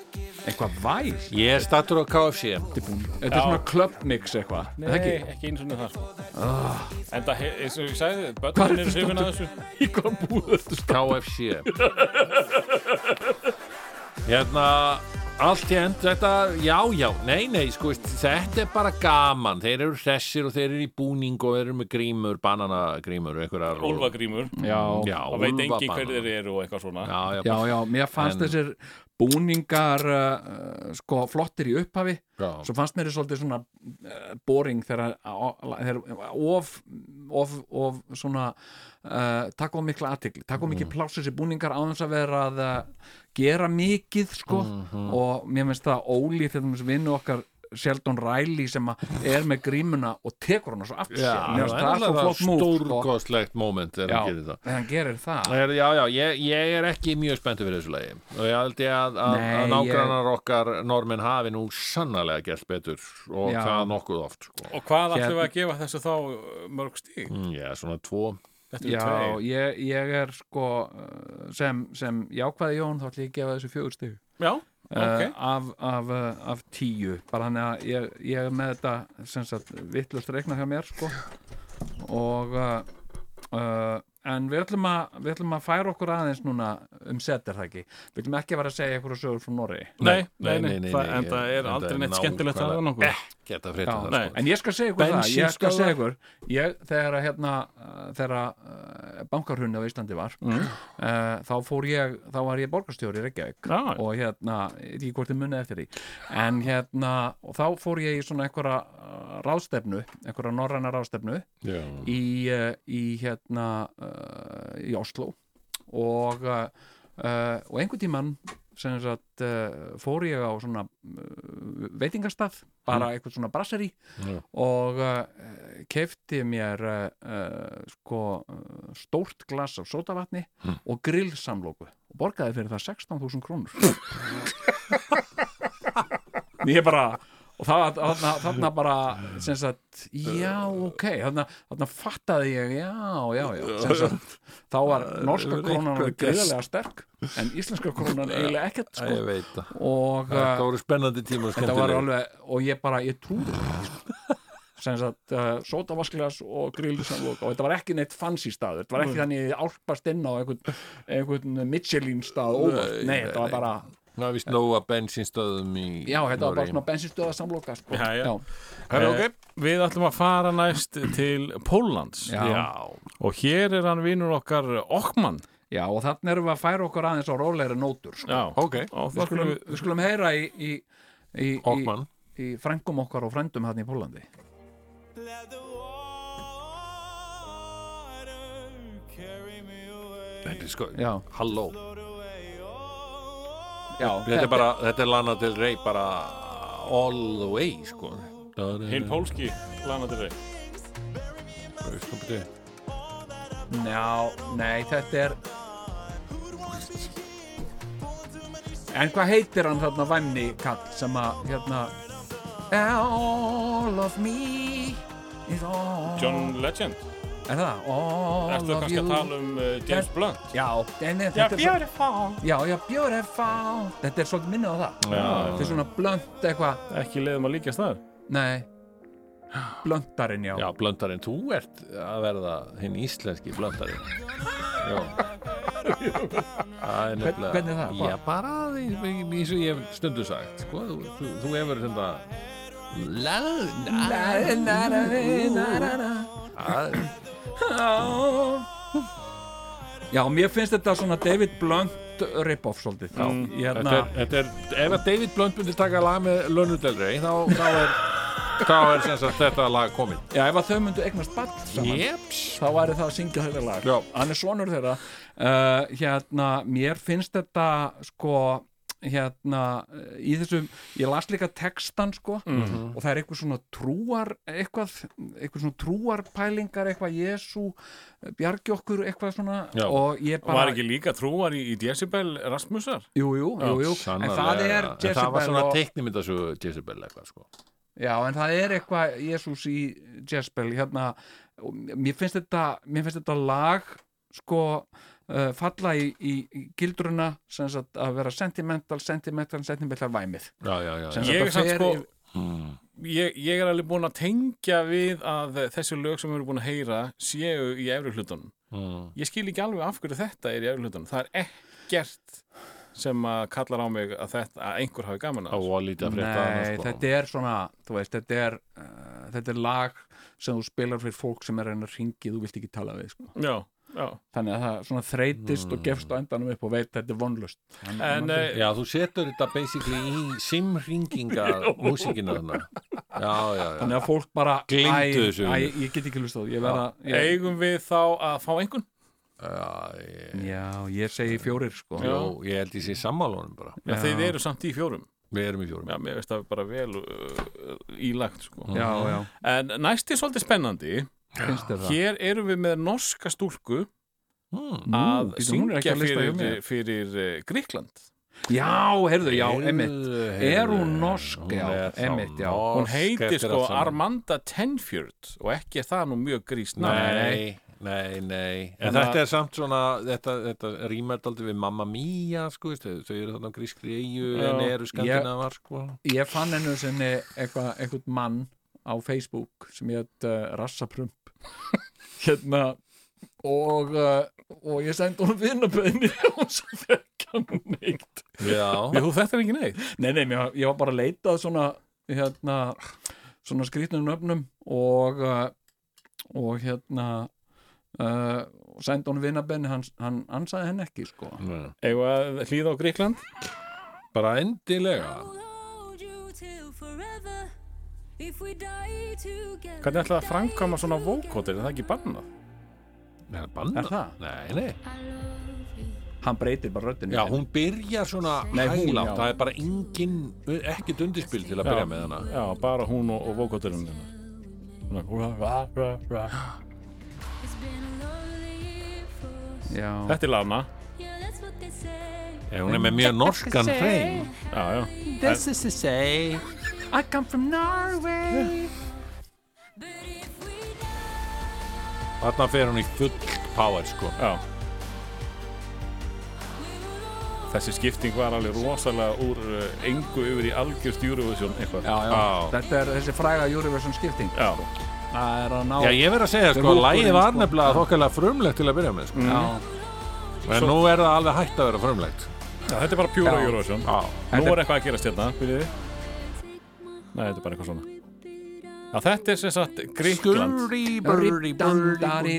A: Eitthvað væl?
B: Ég er stattur á KFC
A: Þetta er búin- þetta er svona clubmix eitthvað, er það ekki? Ah.
C: Nei, ekki eins og það sko. En það, he- eins og ég sagði,
A: Hvar
C: börnin
A: ertu
C: eru hrifin að þessu
A: Í hvað búið þetta?
B: KFC Hérna Allt í end, þetta, já, já, nei, nei, sko, veist, þetta er bara gaman, þeir eru hressir og þeir eru í búning og þeir eru með grímur, bananagrímur, einhverjar...
C: Úlfagrímur
A: Já,
B: Já,
C: og veit engin
B: úlfabanana.
C: hver þeir eru og eitthvað svona
B: Já, já,
A: já, já, mér fannst
B: En-
A: þessir búningar uh, uh, sko flottir í upphafi
B: Já.
A: svo fannst mér þið svolítið svona uh, boring þegar, þegar of, of, of svona uh, takk á mikla aðtikli takk á
B: Mm.
A: mikið pláss þessi búningar á þess að vera að uh, gera mikið sko
B: Mhm.
A: og mér finnst það ólíf þegar þessi vinnu okkar Sheldon Riley sem að er með grímuna og tekur hana svo aftur sér
B: Já,
A: Mér finnst það er svo flott múl sko.
B: stórkostlegt moment þegar
A: Já,
B: hann gerir það
A: þegar hann gerir það
B: Er, já, já, ég, ég er ekki mjög spenntu fyrir þessu lagi og ég held ég að, að,
A: Nei,
B: að nágrannar okkar normin hafi nú sannlega gert betur og
A: Já.
B: það nokkuð oft sko.
C: Og hvað
A: Hérna.
C: ætlum við að gefa þessu þá uh, mörg stíg?
B: Mm, Já, svona tvo
C: Þetta eru
A: Já,
C: tveir
A: ég, ég er sko uh, sem, sem jákvæði Jón þá ætlum ég að gefa þessu fjögur stig
C: Já, ok
A: uh, af, af, uh, af tíu bara þannig að ég, ég er með þetta sem sagt vittlust reikna hjá mér sko og uh, uh, en við ætlum, að, við ætlum að færa okkur aðeins núna um set er það ekki við ætlum ekki að vera að segja einhverju sögur frá Norri
C: Nei, nei, nei, það- en
B: ég-
C: það er
B: enda
C: aldrei neitt skemmtilegt að það
B: nákvæmlega
C: nokkuð
A: Eh,
B: Ekkert að
A: Já,
B: frétta það
C: nei.
B: sko.
A: en ég skal segja ykkur það ég skal
B: Bensínstöðvar.
A: segja ykkur ég, þegar að hérna uh, þegar að uh, bankarhunni á Íslandi var uh, þá fór ég þá var ég borgarstjóri í Reykjavík
C: Já.
A: og hérna, ég veit ekki hvort ég munið eftir því en hérna, og þá fór ég í svona einhverja uh, ráðstefnu einhverja norræna ráðstefnu
B: Já.
A: í, uh, í hérna uh, í Oslo og uh, uh, og einhvern tímann sem sagt uh, fór ég á svona uh, veitingastað bara eitthvað svona brasseri
B: Já.
A: og uh, kefti mér uh, uh, sko uh, stórt glas af sótavatni
B: Hmm.
A: og grillsamlóku og borgaði fyrir það 16.000 krónur ég bara og það- þarna, þarna bara sem sagt, já, ok þarna, þarna fattaði ég, já, já, já sem sagt, þá var norska krónan alveg greiðlega sterk en íslenska krónan eiginlega ekkert
B: Æ, Ég
A: sko.
B: veit það
A: og
B: Það
A: uh,
B: voru spennandi tíma og
A: þetta var
B: skemmtilega
A: alveg og ég bara, ég trúði því sko. sem sagt, uh, sótavasklas og grillsamlok og þetta var ekki neitt fancy staður þetta var ekki þannig álpast inn á einhvern, einhvern Michelin stað óvart, nei, þetta var bara
B: Það við snóa bensinstöðum í
A: já, þetta var bara
B: Noregi.
A: svona bensinstöða samloka sko.
C: Já, já.
B: Herra,
C: Eh, Við ætlum að fara næst til Póllands
A: Já.
C: Og hér er hann vinur okkar eh, Okkmann
A: Já, og þannig erum við að færa okkur aðeins á rólegri nótur sko.
C: Já,
B: Ok,
A: við,
C: og þá skulum
A: skulum,
C: við
A: við skulum heyra í, í, í, í,
B: Hockman
A: í frængum okkar og frændum hann í Pólandi
B: Þetta er sko,
A: Já.
B: halló
A: Já,
B: Þetta er bara, þetta er Lana Del Rey bara all the way, sko
C: Hinn pólski lanaður
B: Pól
A: Já, nei, þetta er En hvað heitir hann þarna væmni kall sem að hérna All of me is all
I: John Legend
A: Er það? All
I: Ertu
A: of
I: kannski
A: you
I: að tala um
C: eh,
I: uh, James Blunt
A: Já,
I: Já,
A: en, en, þetta er svo-
I: beautiful
A: já, já, beautiful Þetta er svolítið minnið á það Þetta er svona blönd eitthvað
I: Ekki leiðum að líkast þar
A: Nei Blöndarinn, já,
B: Já, blöndarinn, þú ert að verða hinn íslenski blöndarinn Já Það er nefnilega
A: hvernig er það? Hvað?
B: Já, bara því því sem ég hef stundu sagt sko, þú, þú, þú hefur þetta
A: Já, mér finnst þetta svona David Blunt rip-off svolítið Já, hérna,
B: þetta er, þetta er, Ef að David Blönd myndi taka lag með Lönnudelrei þá, þá er þá er sem sagt þetta lag komið
A: já, ef að þau myndu eignast ball saman
B: Jeps
A: þá væri það að syngja þetta lag
B: Já.
A: hann er svonur þeirra uh, hérna, mér finnst þetta sko hérna, í þessum, ég las líka textan sko,
B: Mhm.
A: og það er eitthvað svona trúar, eitthvað eitthvað svona trúarpælingar, eitthvað Jésu bjargi okkur, eitthvað svona
B: Já.
A: og ég bara,
C: Var ekki líka trúar í, í Decibel Rasmusar?
A: jú, jú, jú, jú en það er
B: En það var
A: Jezebel
B: svona
A: og,
B: teiknimyndasögu Jezebel eitthvað sko
A: já, en það er eitthvað Jésús í Jezebel hérna, og mér finnst þetta mér finnst þetta lag sko uh, falla í, í, í gildruna sem sagt að vera sentimental sentimental, sentimental væmið
B: Já, já, já, Mm,
A: Sem
B: já.
A: sagt-
C: Ég
A: Þetta
C: er samt
A: fer
C: sko
A: yfir-
C: ég, ég er alveg búin að tengja við að þessi lög sem við erum búin að heyra séu í efri hlutunum
B: Mm.
C: Ég skil ekki alveg af hverju þetta er í efri hlutunum Það er ekkert sem að kallar á mig að, þetta, að einhver hafi gaman
B: Það
C: að
B: var lítið að frétta
A: Nei,
B: annars, sko.
A: þetta er svona þú veist, þetta er, uh, þetta er lag sem þú spilar fyrir fólk sem er að reyna að ringi þú vilt ekki tala við sko.
C: Já, já
A: þannig að það svona þreytist
B: Mm.
A: og gefst á endanum upp og veit þetta er vonlust Þannig að
C: En
A: maður-
C: eh,
B: Já, þú setur þetta basically í simringingar músíkina þarna. Já, já, já.
C: eh,
A: þannig að fólk bara
B: Gleymdu þessu.
A: æ, æ, ég get ekki hlust á því ég verða ég-
C: eigum við þá að fá einhvern?
B: já ég,
A: já, ég segi fjórir sko
B: jó, ég held ég sé sammálunum bara.
C: Já. Þeir eru samt í fjórum
B: Við erum í fjórum.
C: Já, mér veist það bara vel uh, ílagt sko.
A: já, já,
C: En næst er svolítið spennandi
A: finnst þér það
C: Hér erum við með norska stúlku
B: Hmm.
C: að
A: býtu, hún er
C: syngja
A: ekki á lista hjá
C: fyrir,
A: mér.
C: fyrir eh, Grikkland
A: já, heyrðu, já, emitt Er hún norsk?
B: Hún
A: Já,
B: er þá
A: einmitt, já.
B: norsk
C: Hún heitir
B: eftir
C: sko
B: allt saman.
C: Armanda Tenfjörd og ekki er það nú mjög grísn
B: Nei, nei, nei. En
C: Þannig að-
B: þetta er samt svona, þetta, þetta rýmert aldrei við Mamma Mia, sko, veist, þau, þau eru þarna á grískri eigu en eru skandinavar, sko.
A: ég fann hennu sinni eitthvað eitthvað mann á Facebook sem ég hett uh, rassaprump hérna og, uh, og ég sendi hún vinnaböðinni og svo þekka hann um neitt
B: Já,
C: Þú þetta er ekki neitt
A: nei, nei, mér, ég var bara að leita að svona hérna, svona skrýtnum nöfnum og uh, og hérna uh, og sendi hún vinnabenni hann, hann ansaði henn ekki sko
C: Eða hlýða á Grikkland
B: bara endilega.
C: Hvernig ætlaði að framkama svona vókotir en það er ekki bannað
B: Nei, banna.
A: Er það?
B: Nei, nei.
A: hann breytir bara röddinu
B: Já, hún byrjar svona
A: Nei, hún,
B: hæglátt,
A: já.
B: það er bara engin, ekkert undirspil til að byrja með hana.
C: Já, bara hún og, hérna. og vókotirinn
A: já,
C: Þetta er Lana
B: Ég, hún er með mjög norskan hrein.
C: Já, já
B: This is to say, I come from Norway. Þarna fer hún í full power, sko.
C: Já Þessi skipting var alveg rosalega úr uh, engu yfir í algjörst Eurovision eitthvað.
A: já, já.
B: Já.
A: þetta er þessi fræga Eurovision skipting
C: Já.
A: það er að ná
B: Já, ég verð að segja, sko,
A: húkurinn,
B: lægið var
A: sko.
B: nefnilega þokkalega frumlegt til að byrja með, sko.
A: Já.
B: En nú er það alveg hægt að vera frumlegt.
C: Já, þetta er bara pjúra Eurovision.
B: Já.
C: Nú er eitthvað að gerast hérna, viljið þið? Nei, þetta er bara eitthvað svona. Já, þetta er sem sagt Gríkland.
B: Skurri, burri, burri,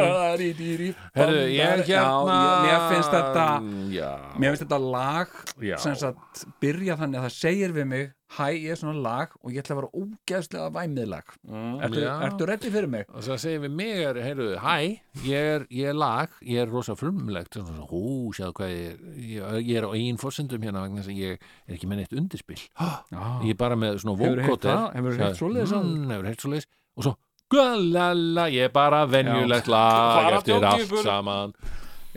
B: burri.
A: Herru,
B: ég hérna...
A: Mér finnst þetta
B: Mm, Já.
A: Mér finnst þetta lag
B: Já.
A: sem sagt byrja þannig að það segir við mig Hæ, ég er svona lag og ég ætla að vera ógeðslega væmið lag Ertu,
B: Mm, Já.
A: ertu reddi fyrir mig?
B: og svo segir við mig er, heyrðu, hæ, ég er, ég er lag ég er rosa frumlegt og svo, hú, sjáðu hvað ég er ég, ég er á eigin fórsendum hérna vegna þess að ég er ekki með neitt undirspill ég er bara með svona
A: Hefurðu heyrt
B: vókóter
A: það? Hefurðu heyrt svoleiðis áður?
B: mm, hefur heilt svoleiðis og svo, guðlala, ég er bara venjulegt lag
C: Bara
B: eftir
C: djók,
B: allt
C: djúpur.
B: saman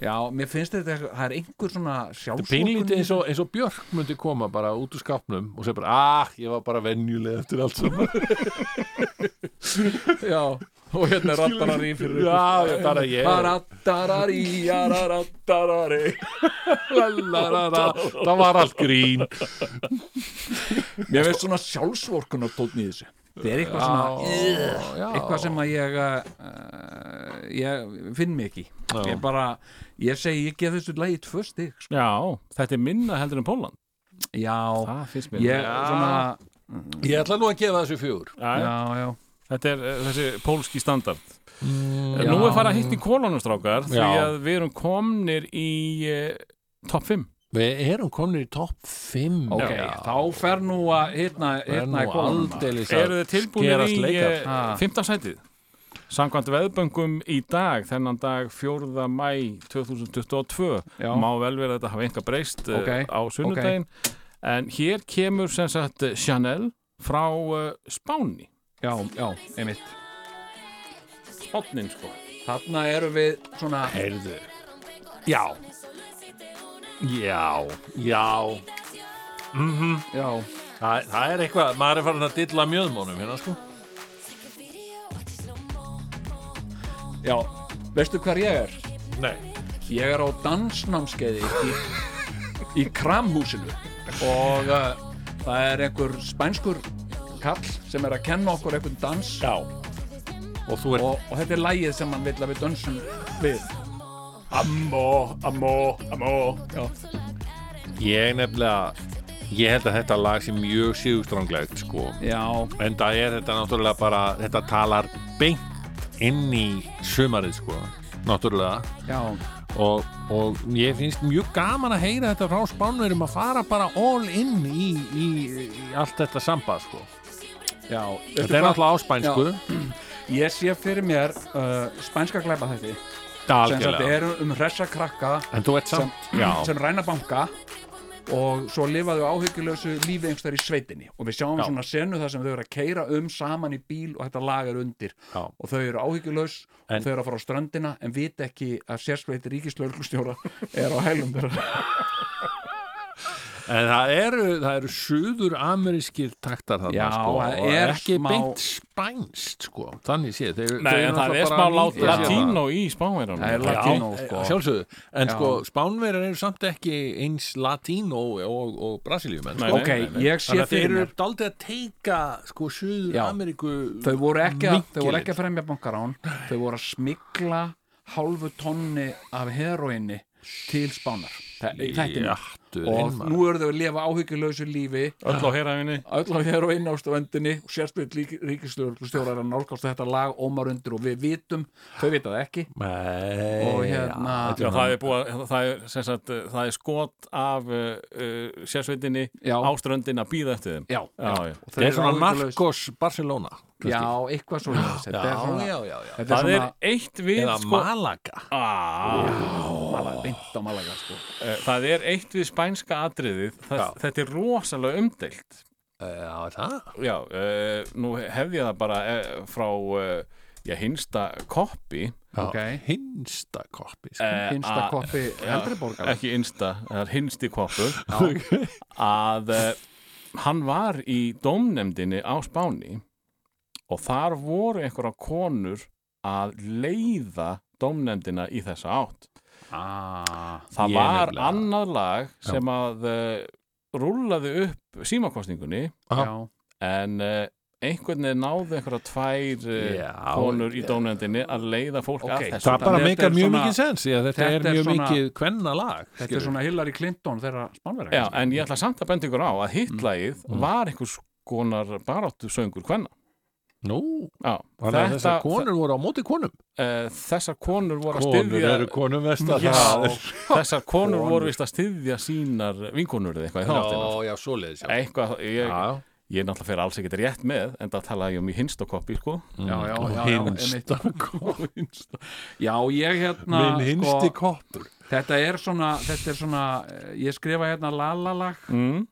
A: já, mér finnst þetta eitthvað- það er einhver svona
B: Þetta er
A: sjálfsvorkunn
B: pínlítið eins og, eins og Björk myndi koma bara út úr skápnum og segja bara, ah, ég var bara venjuleg eftir allt saman. já,
A: og hérna rattarar í fyrir
B: já, já, bara ég.
A: rattarar í rattarar í
B: Lalarara, það var allt grín.
A: mér finnst svona sjálfsvorkunar tótt í þessu það er eitthvað svona
B: já.
A: eitthvað sem að ég uh, ég finn mig ekki ég bara, ég segi, ég gef þessu lagi tvö stig, sko.
C: Já, þetta er minna heldur en Póland
A: já,
C: Það finnst mér
A: ég svona
B: Ég ætla nú að gefa þessu fjögur.
C: Já, já.
A: já, já,
C: Þetta er eh, þessi pólski standard Nú er farið að hitt í kolonum strákar því
B: Já.
C: að við erum komnir í eh, topp 5
B: Við erum komin í topp 5.
A: ok, þá fer nú að hérna, hérna
B: Hérna
A: í
B: er
A: kolumna.
B: aldeilis
C: Eru þið tilbúinir
B: Skerast
C: í
B: leikar.
C: eh,
A: Ha.
C: fimmta sætið? Samkvæmt veðböngum í dag, þennan dag 4. mæ 2022
A: Já.
C: má vel vera að þetta hafa einhver breyst eh,
A: Ok,
C: á sunnudaginn en hér kemur sem sagt eh, Chanel frá uh, Spáni
A: já, já, einmitt
C: Spánin sko
A: þarna eru við svona
B: Heyrðu. Já. Já, já.
A: já,
B: Það, það er eitthvað, maður er farin að dilla mjöðmónum hérna, sko.
A: já, veistu hvar ég er?
B: Nei.
A: ég er á dansnámskeiði í, í kramhúsinu og uh, það er einhver spænskur kall sem er að kenna okkur einhvern dans já.
B: Og þú er...
A: og, og þetta er lagið sem hann vil að við dönsum við
I: Ammo, ammo, ammo
B: Ég nefnilega, ég held að þetta lag sé mjög síðustranglegt, sko.
A: já,
B: En það er þetta náttúrulega bara, þetta talar beint inn í sumarið, sko. Náttúrulega.
A: já
B: Og, og ég finnst mjög gaman að heyra þetta frá spánverum að fara bara all in í, í, í allt þetta sambað, sko.
A: Já,
B: Þetta er náttúrulega á spænsku.
A: Ég sé fyrir mér uh, spænska glæpa þetta sem þetta
B: Algjörlega.
A: er um hressa krakka
B: En þú ert
A: sem,
B: samt, já.
A: sem ræna banka og svo lifaðu áhyggjulösu lífi einhvers þar í sveitinni og við sjáum svona senu þar sem þau eru að keira um saman í bíl og þetta lag er undir
B: Já.
A: og þau eru áhyggjulös
B: En-
A: og þau eru að fara á ströndina en vita ekki að sérsveit ríkislauglustjóra er á hælum þeirra
B: En það eru, það eru suður amerískir taktar þarna
A: Já,
B: sko,
A: það
B: og
A: er
B: ekki
A: smá-
B: beint spænst sko, þannig séð þeir,
C: Nei, en það er smá lát- latínó í
A: Það er
C: Spánverðanum
A: latínó
B: sko.
A: sko
B: sjálfsögðu, en
A: Já.
B: sko spánverjar eru samt ekki eins latínó og, og brasilíum en,
C: Nei,
B: sko.
C: nei.
A: Ok, ég sé
B: þannig að þeir
A: fyrir
B: eru
A: mér
B: daldið að teika sko suður
A: Já.
B: ameríku
A: þau voru ekki að, þau voru
B: Vinkilinn.
A: ekki að fremja bankarán þau voru að smikla hálfu tonni af heroinni til spánar Þa- þetta er
B: jættu
A: og nú eru þau að lifa áhyggjulausu lífi
C: Öll á herafinni
A: öll á heroinn ástofendinni og sérstöld ríkistjórar að nálgast þetta lag ómar undir og við vitum þau vita það ekki og
B: Eh,
A: hérna
C: Já, það er, búa, það, er, sem sagt, eh, það er skot af uh, uh, sérsveitinni
A: Já.
C: á ströndin að býða eftir þeim
A: já,
C: Já, já.
A: Og þau
B: það er
A: eru
B: svona
A: áhyggjulaus-
B: Marcos Barcelona
A: já, eitthvað svona þetta er svona,
B: já, já, já.
A: Þetta
C: Það
A: er
C: er
A: svona
C: eitt við
B: eða
C: sko,
B: Malaga
A: Malaga, beint á Malaga sko.
C: eh, Það er eitt við spænska atriðið það, Þetta er rosalega umdeilt
B: já, það
C: Já, uh, nú hefði ég það bara uh, frá uh, já, hinsta koppi
A: ok,
B: hinsta koppi sko.
C: eh,
A: hinsta
C: að-
A: koppi eldri borgar
C: Ekki insta, það er hinsti koppur að uh, hann var í dómnefndinni á Spáni og þar voru einhverja konur að leiða dómnefndina í þessa átt
A: ah,
C: það
B: Ég
C: var
B: nefnilega-
C: annað lag sem að uh, rúllaði upp símakostningunni
B: Já.
A: já
C: en uh, einhvern veginn náði einhverja tvær
A: Eh,
C: uh,
B: Já,
C: konur í dómnefndinni að leiða fólk
A: Ok,
C: að þessu
B: það bara
A: Þetta er
B: meikar mjög
A: svona-
B: mikið sens já, þetta,
A: Þetta
B: er
A: er
B: mjög
A: svona-
B: mikið kvenna lag
A: Þetta er svona Hillary Clinton þeirra spánverja
C: Já, en ég ætla samt að benda ykkur á að hittlægið mm. var einhvers konar baráttu söngur hvenna
B: Nú,
C: Já,
B: þannig að þessar konur voru á móti konum
C: eh, þessar konur voru að styðja
B: konum vestar
C: Já, þessar konur voru vist að styðja sínar vinkonur eða eitthvað í þáttina
B: já, svoleiðis já.
C: eitthvað,
B: Já,
C: ég,
B: já.
C: ég náttúrulega fer alls ekkert rétt með en það talaði ég um í hinstokoppi sko.
A: já, já,
B: Og
A: já, já, einmitt.
B: hinsta kopp
A: já ég hérna
B: minn hinsti
A: sko,
B: koppur
A: þetta er svona, þetta er svona eh, ég skrifa hérna lalalag hérna-
C: mm.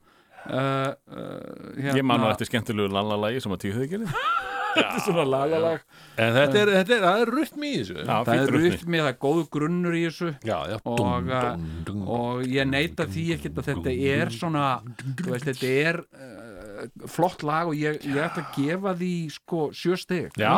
A: uh, uh, hérna,
C: ég man nú eftir skemmtilegu lalalagi sem að tíu þau gerir
J: Þetta er svona lagalag
B: En þetta er, þetta er, það er rytmi í þessu
C: Já,
A: það
C: fínn
A: er
C: rytmi.
A: rytmi, það er góð grunnur í þessu
B: já, já
A: og, og ég neita því ekkert að þetta er svona þú veist, þetta er uh, flott lag og ég, ég ætla að gefa því sko sjö stig
B: já,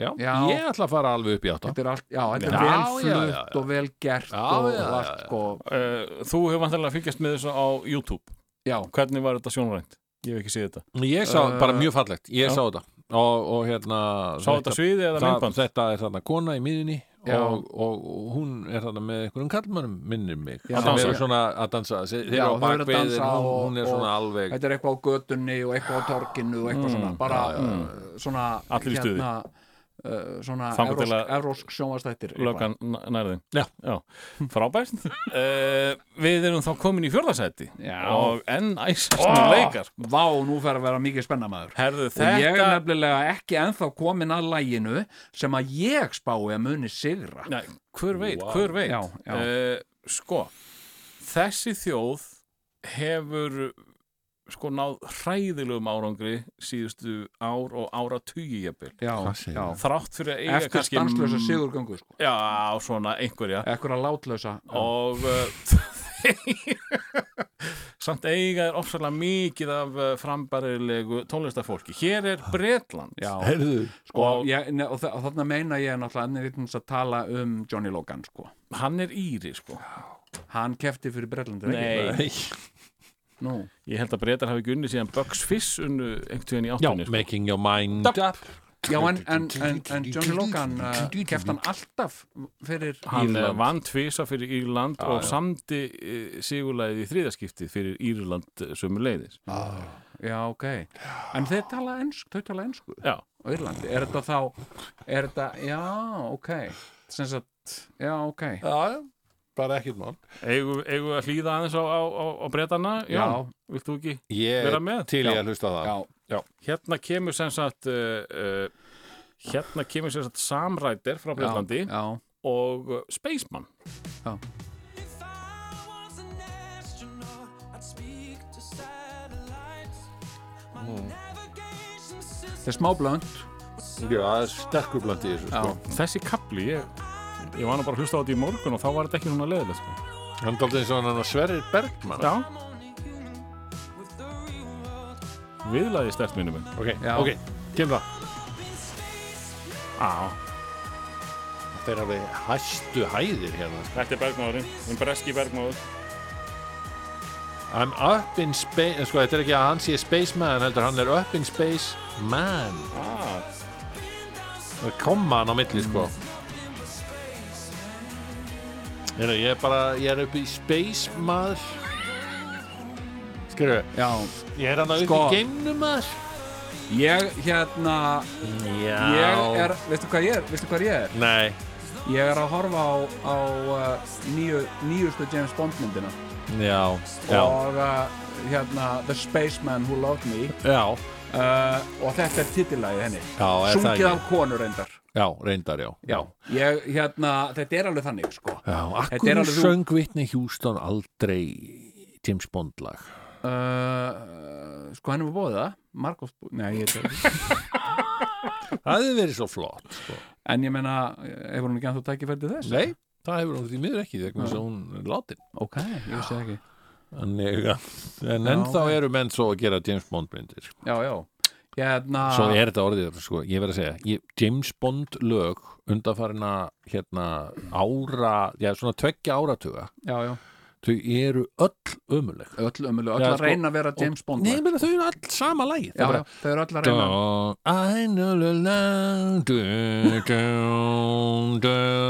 B: já,
A: Já.
B: ég ætla að fara alveg upp í átta
A: þetta er, allt, já, þetta
B: Já,
A: er vel
B: já, já,
A: flutt
B: já.
A: og vel gert
B: Já,
A: og
B: já,
A: allt
B: já, já.
A: sko
C: Uh, þú hefur vantarlega fylgjast með þessu á YouTube
A: já,
C: Hvernig var þetta sjónrænt? Ég hef ekki séð þetta
B: Ég sá, bara mjög fallegt, ég sá þetta og, og hérna
C: Sá þetta sviði eða
B: það,
C: myndband?
B: þetta er þarna kona í miðinni
A: Já.
B: og, og, og hún er þarna með einhverjum kallmönnum minnir mig
A: Já.
B: sem
C: Að dansa.
B: eru svona að dansa þeir þeir eru
A: Já,
B: á
A: þau eru að
B: bakvið
A: dansa
B: en hún,
A: og-
B: hún er svona alveg
A: þetta er eitthvað á götunni og eitthvað á torkinu og eitthvað svona bara uh, svona hérna,
C: Allir í stuði.
A: uh, svona
C: Þangað til
A: evrósk,
C: að-
A: evrósk sjónvastættir
C: Lögan nærðin
B: Já.
C: Frábært uh, Við erum þá komin í fjórðasæti
A: Já.
C: Og enn æsast oh. leikar
A: Vá, nú fer að vera mikið spennamaður
C: Herðu
A: og ég er
C: þetta
A: nefnilega ekki ennþá komin að læginu sem að ég spái að muni sigra
C: Nei, Hver veit, hver veit
A: Já, já.
C: Eh, Sko Þessi þjóð hefur sko náð hræðilegum árangri síðustu ár og ára tugi jafnvel
A: já,
B: segir
A: já.
C: þrátt fyrir að eiga
A: eftir
C: kannski mm.
A: stanslösa sigurgöngu sko.
C: já, svona einhverja
A: ekkur að látlösa
C: og uh, samt eiga er ofsalega mikið af uh, frambærilegu tónlistafólki hér er Bretland
A: já,
B: Heyrðu,
A: sko,
C: og-
A: ég, ne, og, þa og þarna meina ég náttúrulega enn vitnins að tala um Johnny Logan sko.
C: hann er Íri sko
A: hann kefti fyrir Brellandir
C: Nei,
B: Nei,
A: Nú,
C: ég held að Bretar hafi ekki unni síðan Bugs Fizz unnu einhvern tíðan í
B: já,
C: áttunni sko.
B: making your mind up
A: já en, en, en, en Johnny Logan uh, kefti hann alltaf fyrir
C: hann
A: Írland.
C: Írland. vann tvisa fyrir Írland og samdi uh, sigurlæði í þriðaskiptið fyrir Írland uh, sömu leiðis
A: já, ok en þeir tala ennsku, þau tala ennsku
C: já,
A: á Írlandi, er þetta þá er þetta, já, ok sem sagt, já, ok
B: Já, já, bara ekkert mál
C: eigum, eigum við að hlýða aðeins á, á, á, á Bretana
A: Já.
C: vilt þú ekki
B: Ég
C: vera með?
B: til ég að hlusta á það
A: já,
C: hérna kemur sem sagt uh, uh, hérna kemur sem sagt Samræder frá Breitlandi
A: já,
C: og uh, Spaceman
F: If I was an astronaut, I'd speak to satellites. My navigation
A: það
F: system
A: er smá blönd
B: Já, það er sterkur blant í þessu sko.
C: þessi kapli, ég, ég var nú bara að hlusta á þetta í morgun og þá var þetta ekki svona leðilegt sko.
B: Hann er aldrei eins og hann sverrir Bergmann
C: já,
F: only human with the real world.
C: viðlaði stert minni minn
B: Ok,
A: Já.
B: ok, kemur það
F: Up in space,
C: á,
B: Þetta er alveg hæstu hæðir hérna
C: þetta er bergmáðurinn hinn breski bergmáður
B: I'm up in space sko, Þetta er ekki að hann sé spaceman heldur hann er up in space man
C: ah.
B: Það koma hann á milli sko Heru, Ég er bara, ég er upp í space maður Skurðu,
A: já,
B: ég er hann upp
A: Sko.
B: í geimnum maður
A: ég hérna
B: Já
A: ég er, veistu hvað ég er, veistu hvað ég er
B: Nei,
A: ég er að horfa á, á uh, nýju, nýjustu James Bond myndina
B: já, já,
A: og uh, hérna The Spaceman Who Loved Me
B: já,
A: uh, og þetta er titillægi henni
B: já, er það
A: sungið
B: ekki
A: af konur reyndar
B: Já, reyndar, já
A: já, ég, hérna, þetta er alveg þannig sko.
B: Já,
A: Þetta er
B: akkur
A: alveg þú-
B: söng Whitney Houston aldrei James Bond lag
A: uh, sko henni var bóðið það Markov, nei, ég veit ekki
B: Það hefur verið svo flott sko.
A: En ég meina, hefur hún ekki anþá tækifæri til þess?
B: Nei, það hefur hún því miður ekki þegar hún er látin
A: Ok, ég vissi það ekki.
B: Þannig að, en ennþá eru menn svo að gera James Bond myndir sko.
A: Já, já. Hérna,
B: Svo er þetta orðið, sko, ég verð að segja ég, James Bond lög undanfarina hérna ára já, svona tveggja áratuga
A: já, já.
B: þau eru öll ömuleg
A: Öll ömuleg, öll
B: Já,
A: að
B: sko,
A: reyna að vera James Bond. sko.
B: Nei, ég meina þau eru öll sama lagi
A: já, já, þau eru öll að reyna.
B: Don't I know the land Don't, don't,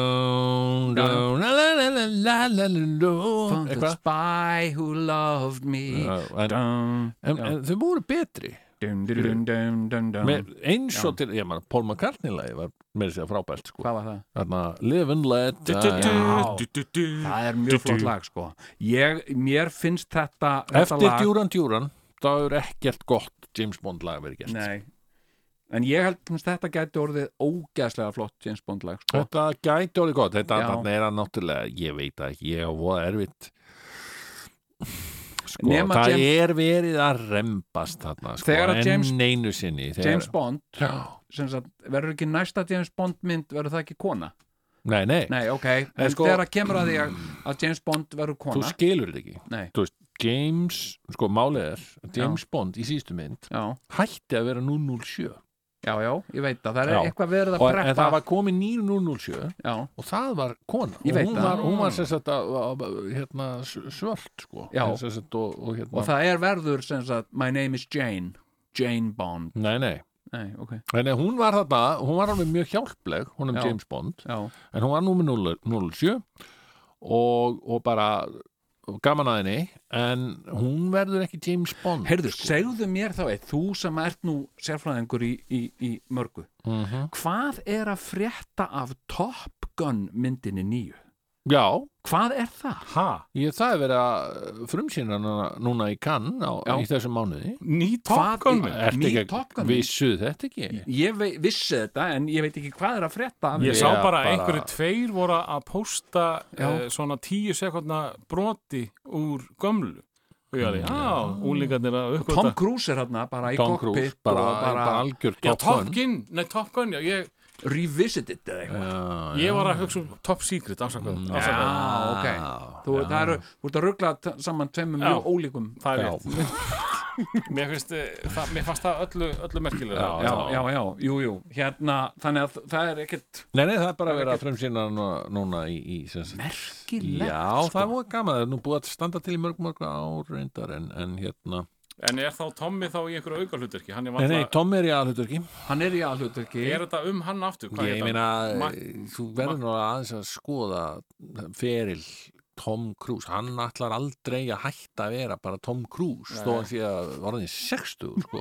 B: don't
A: Já, já.
B: La la la la la la la la
A: Found the
B: Eitthvað
A: spy who loved me.
B: Já, en-
A: Dun,
B: En,
A: Já.
B: en þau voru betri
A: dun, dun, dun, dun, dun,
B: með,
A: dun.
B: eins og til, ég meina, Paul McCartney lagi var með þess að frábært sko.
A: Hvað var það?
B: Þarna, live and let die
C: já,
A: Það er mjög flott lag, sko. Ég, mér finnst þetta, þetta
B: Eftir Duran Duran þá er ekkert gott James Bond lag verið gert
A: Nei. En ég held, finnst þetta gæti orðið ógeðslega flott James Bond lag, sko.
B: Þetta gæti orðið gott, þetta
A: Já.
B: þarna er hann náttúrulega, ég veit það ekki, ég er voða erfitt sko,
A: Nema
B: það
A: James-
B: er verið að rembast þarna sko,
A: Þegar að
B: en
A: James-
B: einu sinni þegar,
A: James Bond sem sagt, verður ekki næsta James Bond mynd verður það ekki kona?
B: nei, nei,
A: Nei, ok, en
B: sko-
A: þegar að kemur að því að, að James Bond verður
B: þú
A: kona
B: skilur þetta ekki
A: Nei,
B: þú veist, James, sko málið er að James Bond í síðustu mynd
A: já,
B: hætti að vera 007
A: já, já, ég veit að það er
B: Já.
A: eitthvað verið að
B: og, en
A: preppa
B: það var komið nýr 007
A: já,
B: og það var kona
A: Ég
B: og
A: veit
B: hún
A: það. Ah.
B: var, hún var sem sagt að, að, að- hérna, s- svört sko
A: Já.
B: En sem sagt, og, og, hérna,
A: og það er verður sem sagt, my name is Jane Jane Bond,
B: nei, nei.
A: nei, ok
B: Nei, nei, hún var þarna, hún var alveg mjög hjálpleg hún
A: Já.
B: James Bond
A: já,
B: en hún var nú með 0- 07 og, og bara gaman að henni en hún verður ekki James Bond
A: heyrðu, segðu mér þá eitt þú sem ert nú sérfræðingur í, í, í mörgu,
B: mm
A: hvað er að frétta af Top Gun myndinni nýju?
B: Já,
A: Hvað er það?
C: Ha?
B: ég, það er verið að frumsýna núna, núna í Cannes á,
A: Já.
B: í þessum mánuði
C: Ný
A: Hvað
C: Top Gun
A: í-
C: mynd?
B: Ertu
A: Ný
B: ekki að-
A: Top Gun mynd?
B: Vissuð þetta ekki?
A: Ég vei, vissi þetta en ég veit ekki hvað er að frétta af
C: Ég
A: því.
C: sá
B: Ég
C: bara
B: bara-
C: einhverju tveir voru að pósta
A: Já.
C: uh, svona tíu sekundna broti úr gömlu. Og ég
A: Mm.
C: alveg, já, úlíkarnir að
A: Tom
C: uppgöta.
A: Cruise er hérna bara í
B: Tom
A: cockpit
B: Cruise, bara, bara,
A: og
B: bara
A: bara
B: algjör
C: Já,
B: Top
C: Top
B: Gun
C: Gun, nei Top Gun, já, ég,
A: revisited eða eitthvað
B: Ah, Já, Mm,
C: ég var að hugsa um Top Secret, afsakaðu. afsakaðu.
A: Já, ok Þú, það eru, þú ert að ruggla t- saman tveimum
C: Já.
A: mjög ólíkum
C: Það er rétt. mér, finnst, eh, það, mér fannst það öllu, öllu merkilega.
A: Já, já, já, jú, jú Hérna, þannig að það er ekkert
B: Nei, nei, það er bara að vera að frumsýna núna, núna í, í sem sagt-
A: merkilegt
B: Já, það var gaman, það er nú búið að standa til í mörg mörg ár reyndar en, en hérna
C: En er þá Tommy þá í einhverju auka hlutverki? Hann er
B: Nei, nei,
C: vantla,
B: Tom er í aðhluturki
A: Hann er í aðhlutverki
C: er þetta um hann aftur? Hvað
B: Ég
C: heitir hann?
B: meina,
C: Ma-
B: þú verður nú aðeins að skoða feril Tom Cruise, hann ætlar aldrei að hætta að vera bara Tom Cruise þó að því að orðin 60 sko.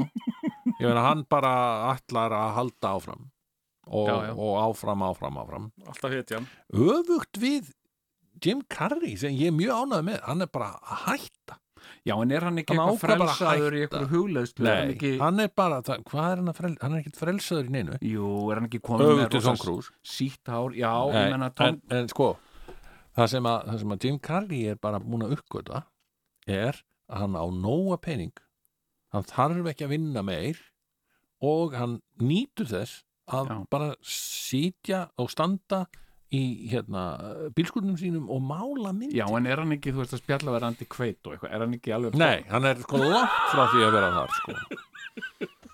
B: ég meina, hann bara ætlar að halda áfram og,
A: Já, já.
B: og áfram, áfram, áfram
C: Alltaf hetja.
B: öfugt við Jim Carrey sem ég er mjög ánægð með hann er bara að hætta
A: Já, en er hann ekki
B: Hann
A: eitthvað
B: ákvað bara að
A: frelsaður í
B: hætta.
A: eitthvað hugleðslu er hann ekki,
B: hann er bara, það, hvað er hann að frelsa hann er ekkert frelsaður í neinu
A: Jú, er hann ekki komin
B: öfugt við
A: rosa
B: Tom Cruise
A: sítt hár Já,
B: Nei,
A: ég menna Tom
B: en, en sko það sem, að, það sem að Jim Carrey er bara búin að uppgöta er að hann á nóga pening hann þarf ekki að vinna meir og hann nýtur þess að
A: Já.
B: bara sitja og standa í hérna, bílskurnum sínum og mála myndi
A: Já, en er hann ekki, þú veist að spjalla verið andi kveit og eitthvað Er hann ekki alveg
B: Nei, hann er sko langt frá því að vera þar sko.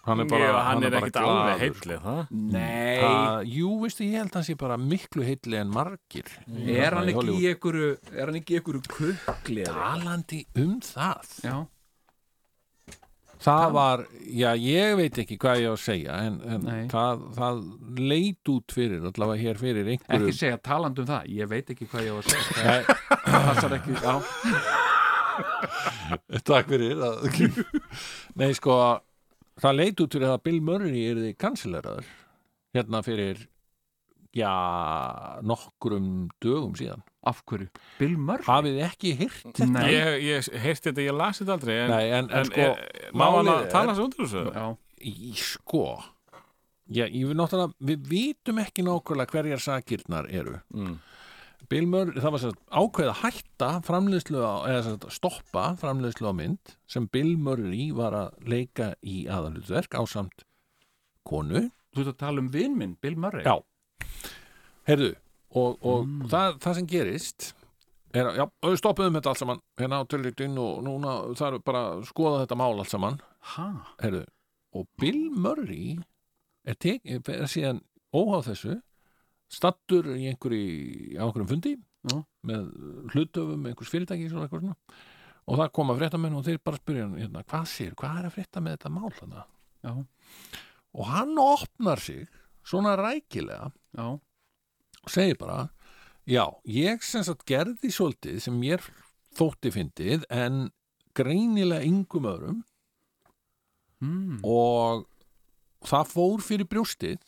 B: hann er bara,
C: Ég- hann er
B: bara
C: ekkit alveg
B: glaður, sko.
C: heillið, það?
A: Nei,
B: Það- Jú, veistu, ég held að hann sé bara miklu heilli en margir
A: Mm.
B: Hérna
A: er hann
B: Í
A: ekki
B: Hollywood.
A: í einhverju Er hann ekki í einhverju kukli eða eitthvað?
B: talandi um það
A: Já,
B: það var, já ég veit ekki hvað ég á að segja en,
A: Nei.
B: en það, það leit út fyrir allavega hér fyrir einhverju
A: ekki segja talandi um það Ég veit ekki hvað ég á að segja Það
B: Nei,
A: passar ekki, já
B: takk fyrir að, nei sko það leit út fyrir að Bill Murray er þið kansleraður hérna fyrir já nokkrum dögum síðan
A: Af hverju? Bill Murray?
B: hafið þið ekki hýrt
A: Nei,
C: Ég, ég heyrti þetta, ég las þetta aldrei. Mm. En,
B: nei en, en sko
C: eh, má hann
B: málið
C: að
B: er-
C: tala svo undir þessu?
A: já,
B: Í- sko já, ég vil náttúrulega, við vitum ekki nákvæmlega hverjar sakirnar eru
C: Mm.
B: Bill Murray, það var sem sagt ákveð að hætta framleiðslu á, eða sem sagt, stoppa framleiðslu á mynd sem Bill Murray var að leika í aðalutverk á samt konu
A: Þú ert að tala um vinn minn, Bill Murray
B: Já. Herðu, og, og það, það sem gerist er að, já, við stoppuðum þetta allt saman hérna á tölítinn og núna þarf bara að skoða þetta mál allt saman
A: Ha?
B: Herðu, og Bill Murray er, tek, er síðan óháð þessu stattur í einhverju á einhverjum fundi
A: Já.
B: með hlutöfum einhvers fyrirtæki svona eitthvað svona og það koma fréttamenn og þeir bara spyrja hann hérna, hvað sér, hvað er að frétta með þetta mál þarna
A: Já,
B: og hann opnar sig svona rækilega
A: já,
B: og segir bara já, ég sem sagt gerði svolítið sem mér þótti fyndið en greinilega yngum öðrum
A: mm,
B: og það fór fyrir brjóstið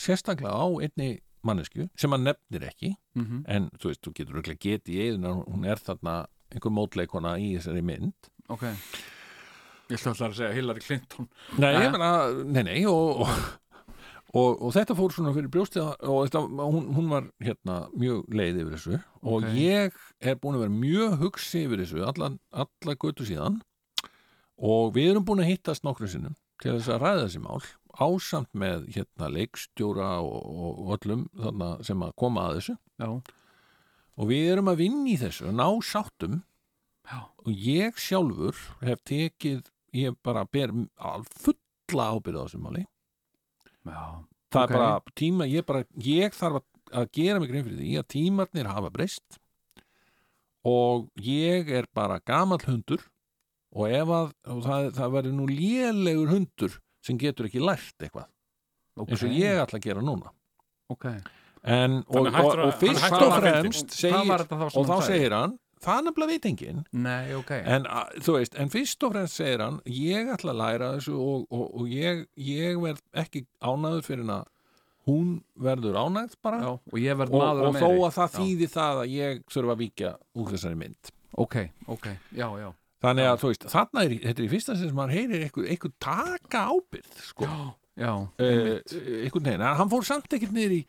B: sérstaklega á einni mannesku sem hann nefnir ekki
A: mm
B: en þú veist, þú getur örugglega getið í eðuna hún er þarna einhver mótleikona í þessari mynd
A: ok Ég ætla alltaf að segja Hillary Clinton
B: Nei,
A: Jæja.
B: ég meina, nei, nei og, og, og, og þetta fór svona fyrir brjóstið á- og þetta, hún, hún var hérna mjög leið yfir þessu og
A: Ok.
B: ég er búin að vera mjög hugsi yfir þessu alla, alla götu síðan og við erum búin að hittast nokkrum sinnum til þess að ræða þessi mál ásamt með hérna leikstjóra og, og öllum þarna sem að koma að þessu
A: já,
B: og við erum að vinna í þessu að ná sáttum
A: Já.
B: og ég sjálfur hef tekið ég bara ber al- fulla ábyrða á þessu máli
A: já,
B: það
A: Ok.
B: er bara tíma ég, bara, ég þarf að, að gera mig grein fyrir því að tímarnir hafa breyst og ég er bara gamall hundur og ef að og það, það verður nú lélegur hundur sem getur ekki lært eitthvað
A: ok
B: eins og ég ætla að gera núna
A: ok,
B: en, og,
C: Þannig
B: og,
C: hættur að-
B: og fyrst
C: hann hættur
B: og
C: að vera
B: fremst
A: hvað var
B: segir,
A: þetta þá sem
B: og þá
A: hann sagði?
B: segir hann það nefnilega veit enginn
A: nei, ok,
B: en, a- þú veist, en fyrst og fremst segir hann ég ætla að læra þessu og, og, og ég, ég verð ekki ánæður fyrir hann að hún verður ánægð bara
A: já, og ég verð
B: og,
A: maður
B: og þó að það
A: Já.
B: þýði það að ég þurfa að víkja úr þessari mynd
A: ok, ok, já, já,
B: þannig að þú veist, þarna er, í- þetta er í fyrsta sem maður heyrir eitthvað, eitthvað taka ábyrð sko,
A: já
B: Eh, eitthvað neina, hann fór samt ekkert niður í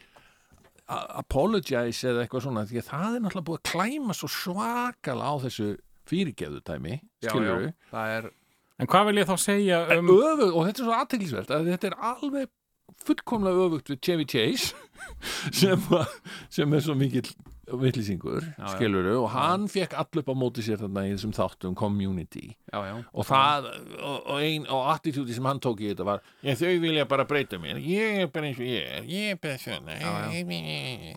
B: a- apologize eða eitthvað svona því að það er náttúrulega búið að klæma svo svakala á þessu fyrirgeðutæmi
A: Já,
B: skilur
A: já, það er
C: En hvað vil ég þá segja um
A: Mm.
B: öfugt, og þetta er svo aðteglisvert að þetta er alveg fullkomlega öfugt við Chevy Chase sem, að- sem er svo mikill villisingur,
A: já.
B: skiluru og hann fekk allu upp á móti sér þarna í þessum þáttum community
A: já, já,
B: og það, og, og ein og attitúti sem hann tók í þetta var ég þau vilja bara breyta mér, ég er bara eins og ég er ég er bara svona
A: Já,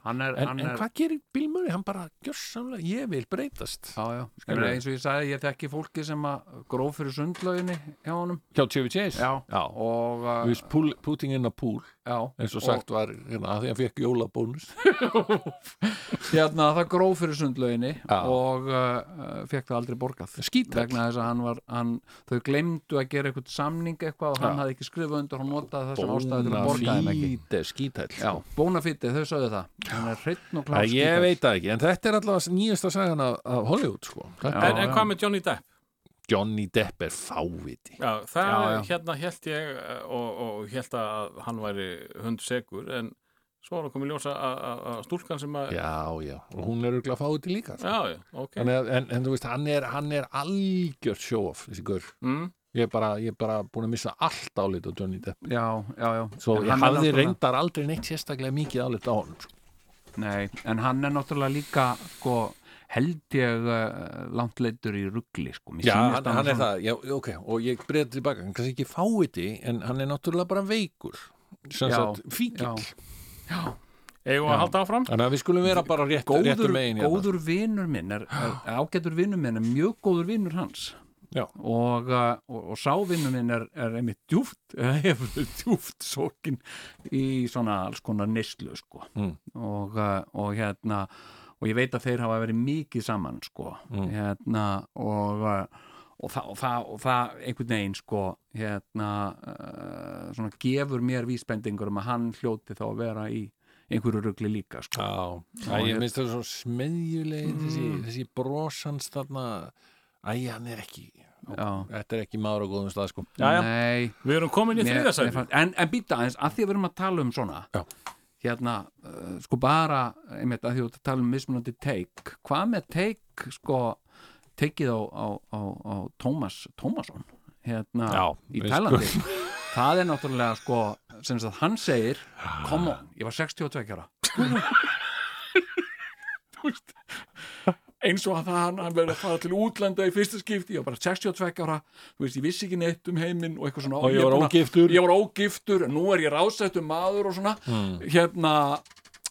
A: hann er,
B: En,
A: hann
B: en
A: er
B: hvað gerir Bill Murray? Hann bara gjörsamlega, ég vil breytast
A: Já, já,
B: Skilurðu?
A: Skilur. eins og ég sagði, ég þekki fólki sem að gróf fyrir sundlauginni hjá honum
B: hjá Chevy Chase
A: Já,
B: já.
A: og, uh,
B: Við pull, putting in a pool
A: já,
B: eins og sagt var hérna, að því að fekk jólabónus
A: hérna, það gróf fyrir sundlauginni
B: Já.
A: og uh, fekk það aldrei borgað
B: Skíthæll.
A: vegna þess að hann var hann, þau glemdu að gera eitthvað samning eitthvað og hann
B: Já.
A: hafði ekki skrifað undir hann notaði þessum ástæði til að borga þeim ekki
B: Bónafíte skítæll
A: Já, bónafíti, þau sögðu það hann er hreittn og klár
B: Ég
A: skíthæll.
B: veit það ekki, en þetta er allavega nýjasta sagan af, af Hollywood sko. Þetta
A: Já,
C: en, en
A: já.
C: hvað með Johnny Depp?
B: er- Johnny Depp er fáviti
C: Já, það
A: Já,
C: er
A: já.
C: hérna held ég eh, og, og held að hann væri hundsegur en svo var að koma í ljósa að- að að stúlkan sem að
B: Já, já, og hún er auðvitað fáviti líka sko.
C: já, já, ok
B: en, en, en þú veist, hann er, hann er algjör sjóf, þessi gaur
C: mm,
B: Ég er bara, ég er bara búin að missa allt álít á Johnny Depp
A: Já, já, já
B: Svo
A: En
B: ég
A: hann er
B: hafði
A: náttúrulega-
B: reyndar aldrei neitt sérstaklega mikið álít á honum sko.
A: Nei, en hann er náttúrulega líka sko, held ég uh, langt leittur í ruggli sko. Mér
B: Já,
A: sýnist
B: hann, hann er
A: svona-
B: það, já, ok og ég breyði tilbaka, hann kannski ekki fáviti en hann er náttúrulega bara veikur sem
A: Já,
B: sagt fíkil
A: já.
C: eigum við að halda áfram?
B: Þannig að við skulum vera bara rétt,
A: góður,
B: réttum megin hérna.
A: góður vinnur minn er, er ágætur vinnur minn er mjög góður vinnur hans
B: Já.
A: og, uh, og, og sá vinnur minn er, er einmitt djúft hefur djúft sókin í svona alls konar neslu sko.
B: Mm.
A: og, uh, og hérna og ég veit að þeir hafa verið mikið saman sko.
B: Mm.
A: hérna og uh, og það, og, það, og það einhvern veginn sko hérna uh, svona gefur mér vísbendingur um að hann hljóti þá að vera í einhverju rugli líka sko.
B: Já,
A: Já,
B: Æ, ég
A: ég- Mm.
B: minnst það svo smeðjulegir þessi, þessi brosans þarna Æ, hann er ekki
A: Já.
B: Þetta er ekki maður á góðum stað sko
C: Jæja.
A: Nei,
C: Við erum komin í
A: mér- mér
C: þriðasæti
A: fannst- en, en býta aðeins, að því að við erum að tala um svona
B: Já.
A: hérna, uh, sko bara einmitt að því að við tala um mismunandi take hvað með take, sko teikið á, á, á, á Tómas Tómasson, hérna
B: Já,
A: í
B: við
A: Tælandi það er náttúrulega sko, sem sagt hann segir come on, ég var 62 ára eins og að það hann, hann verið að fara til útlanda í fyrsta skipti, ég var bara 62 ára þú veist, ég vissi ekki neitt um heiminn og eitthvað svona
B: Og ég
A: er
B: var
A: búinn að-
B: ógiftur.
A: ég var ógiftur, en nú er ég rásættur maður og svona
B: Hmm.
A: hérna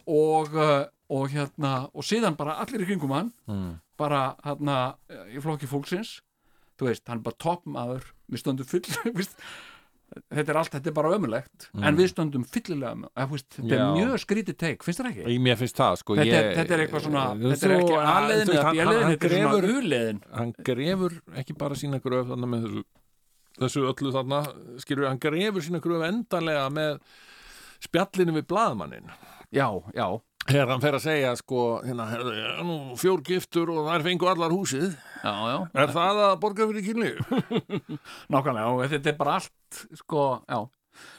A: og, uh, og hérna og síðan bara allir í kringum hann
B: Mm.
A: bara hérna í flokki fólksins þú veist, hann er bara topp maður við stöndum full við veist, þetta er allt, þetta er bara ömulegt en við stöndum fyllilega ömul- eða, þú veist, þetta er
B: Hmm. Já.
A: mjög skrítið teik, finnst þér ekki?
B: Í mér finnst það sko
A: Þetta,
B: ég,
A: er, þetta er eitthvað svona,
B: Þú
A: þetta er
B: veist,
A: ekki
B: þú-
A: aðleiðin
B: þú veist,
A: eða
B: hann- hann-
A: bjöleiðin,
B: hann
A: þetta er
B: grefur-
A: svona uleiðin
B: Hann grefur ekki bara sína gröf þarna með þessu, þessu öllu þarna skilur, hann grefur sína gröf endanlega með spjallinu við blaðmannin
A: Já, já,
B: Þegar hann fer að segja sko hérna, herðu, ég er nú, fjór giftur og þær fengu allar húsið
A: já, já
B: Er það að borga fyrir kynlíf?
A: Nákvæmlega, og þetta er bara allt sko, já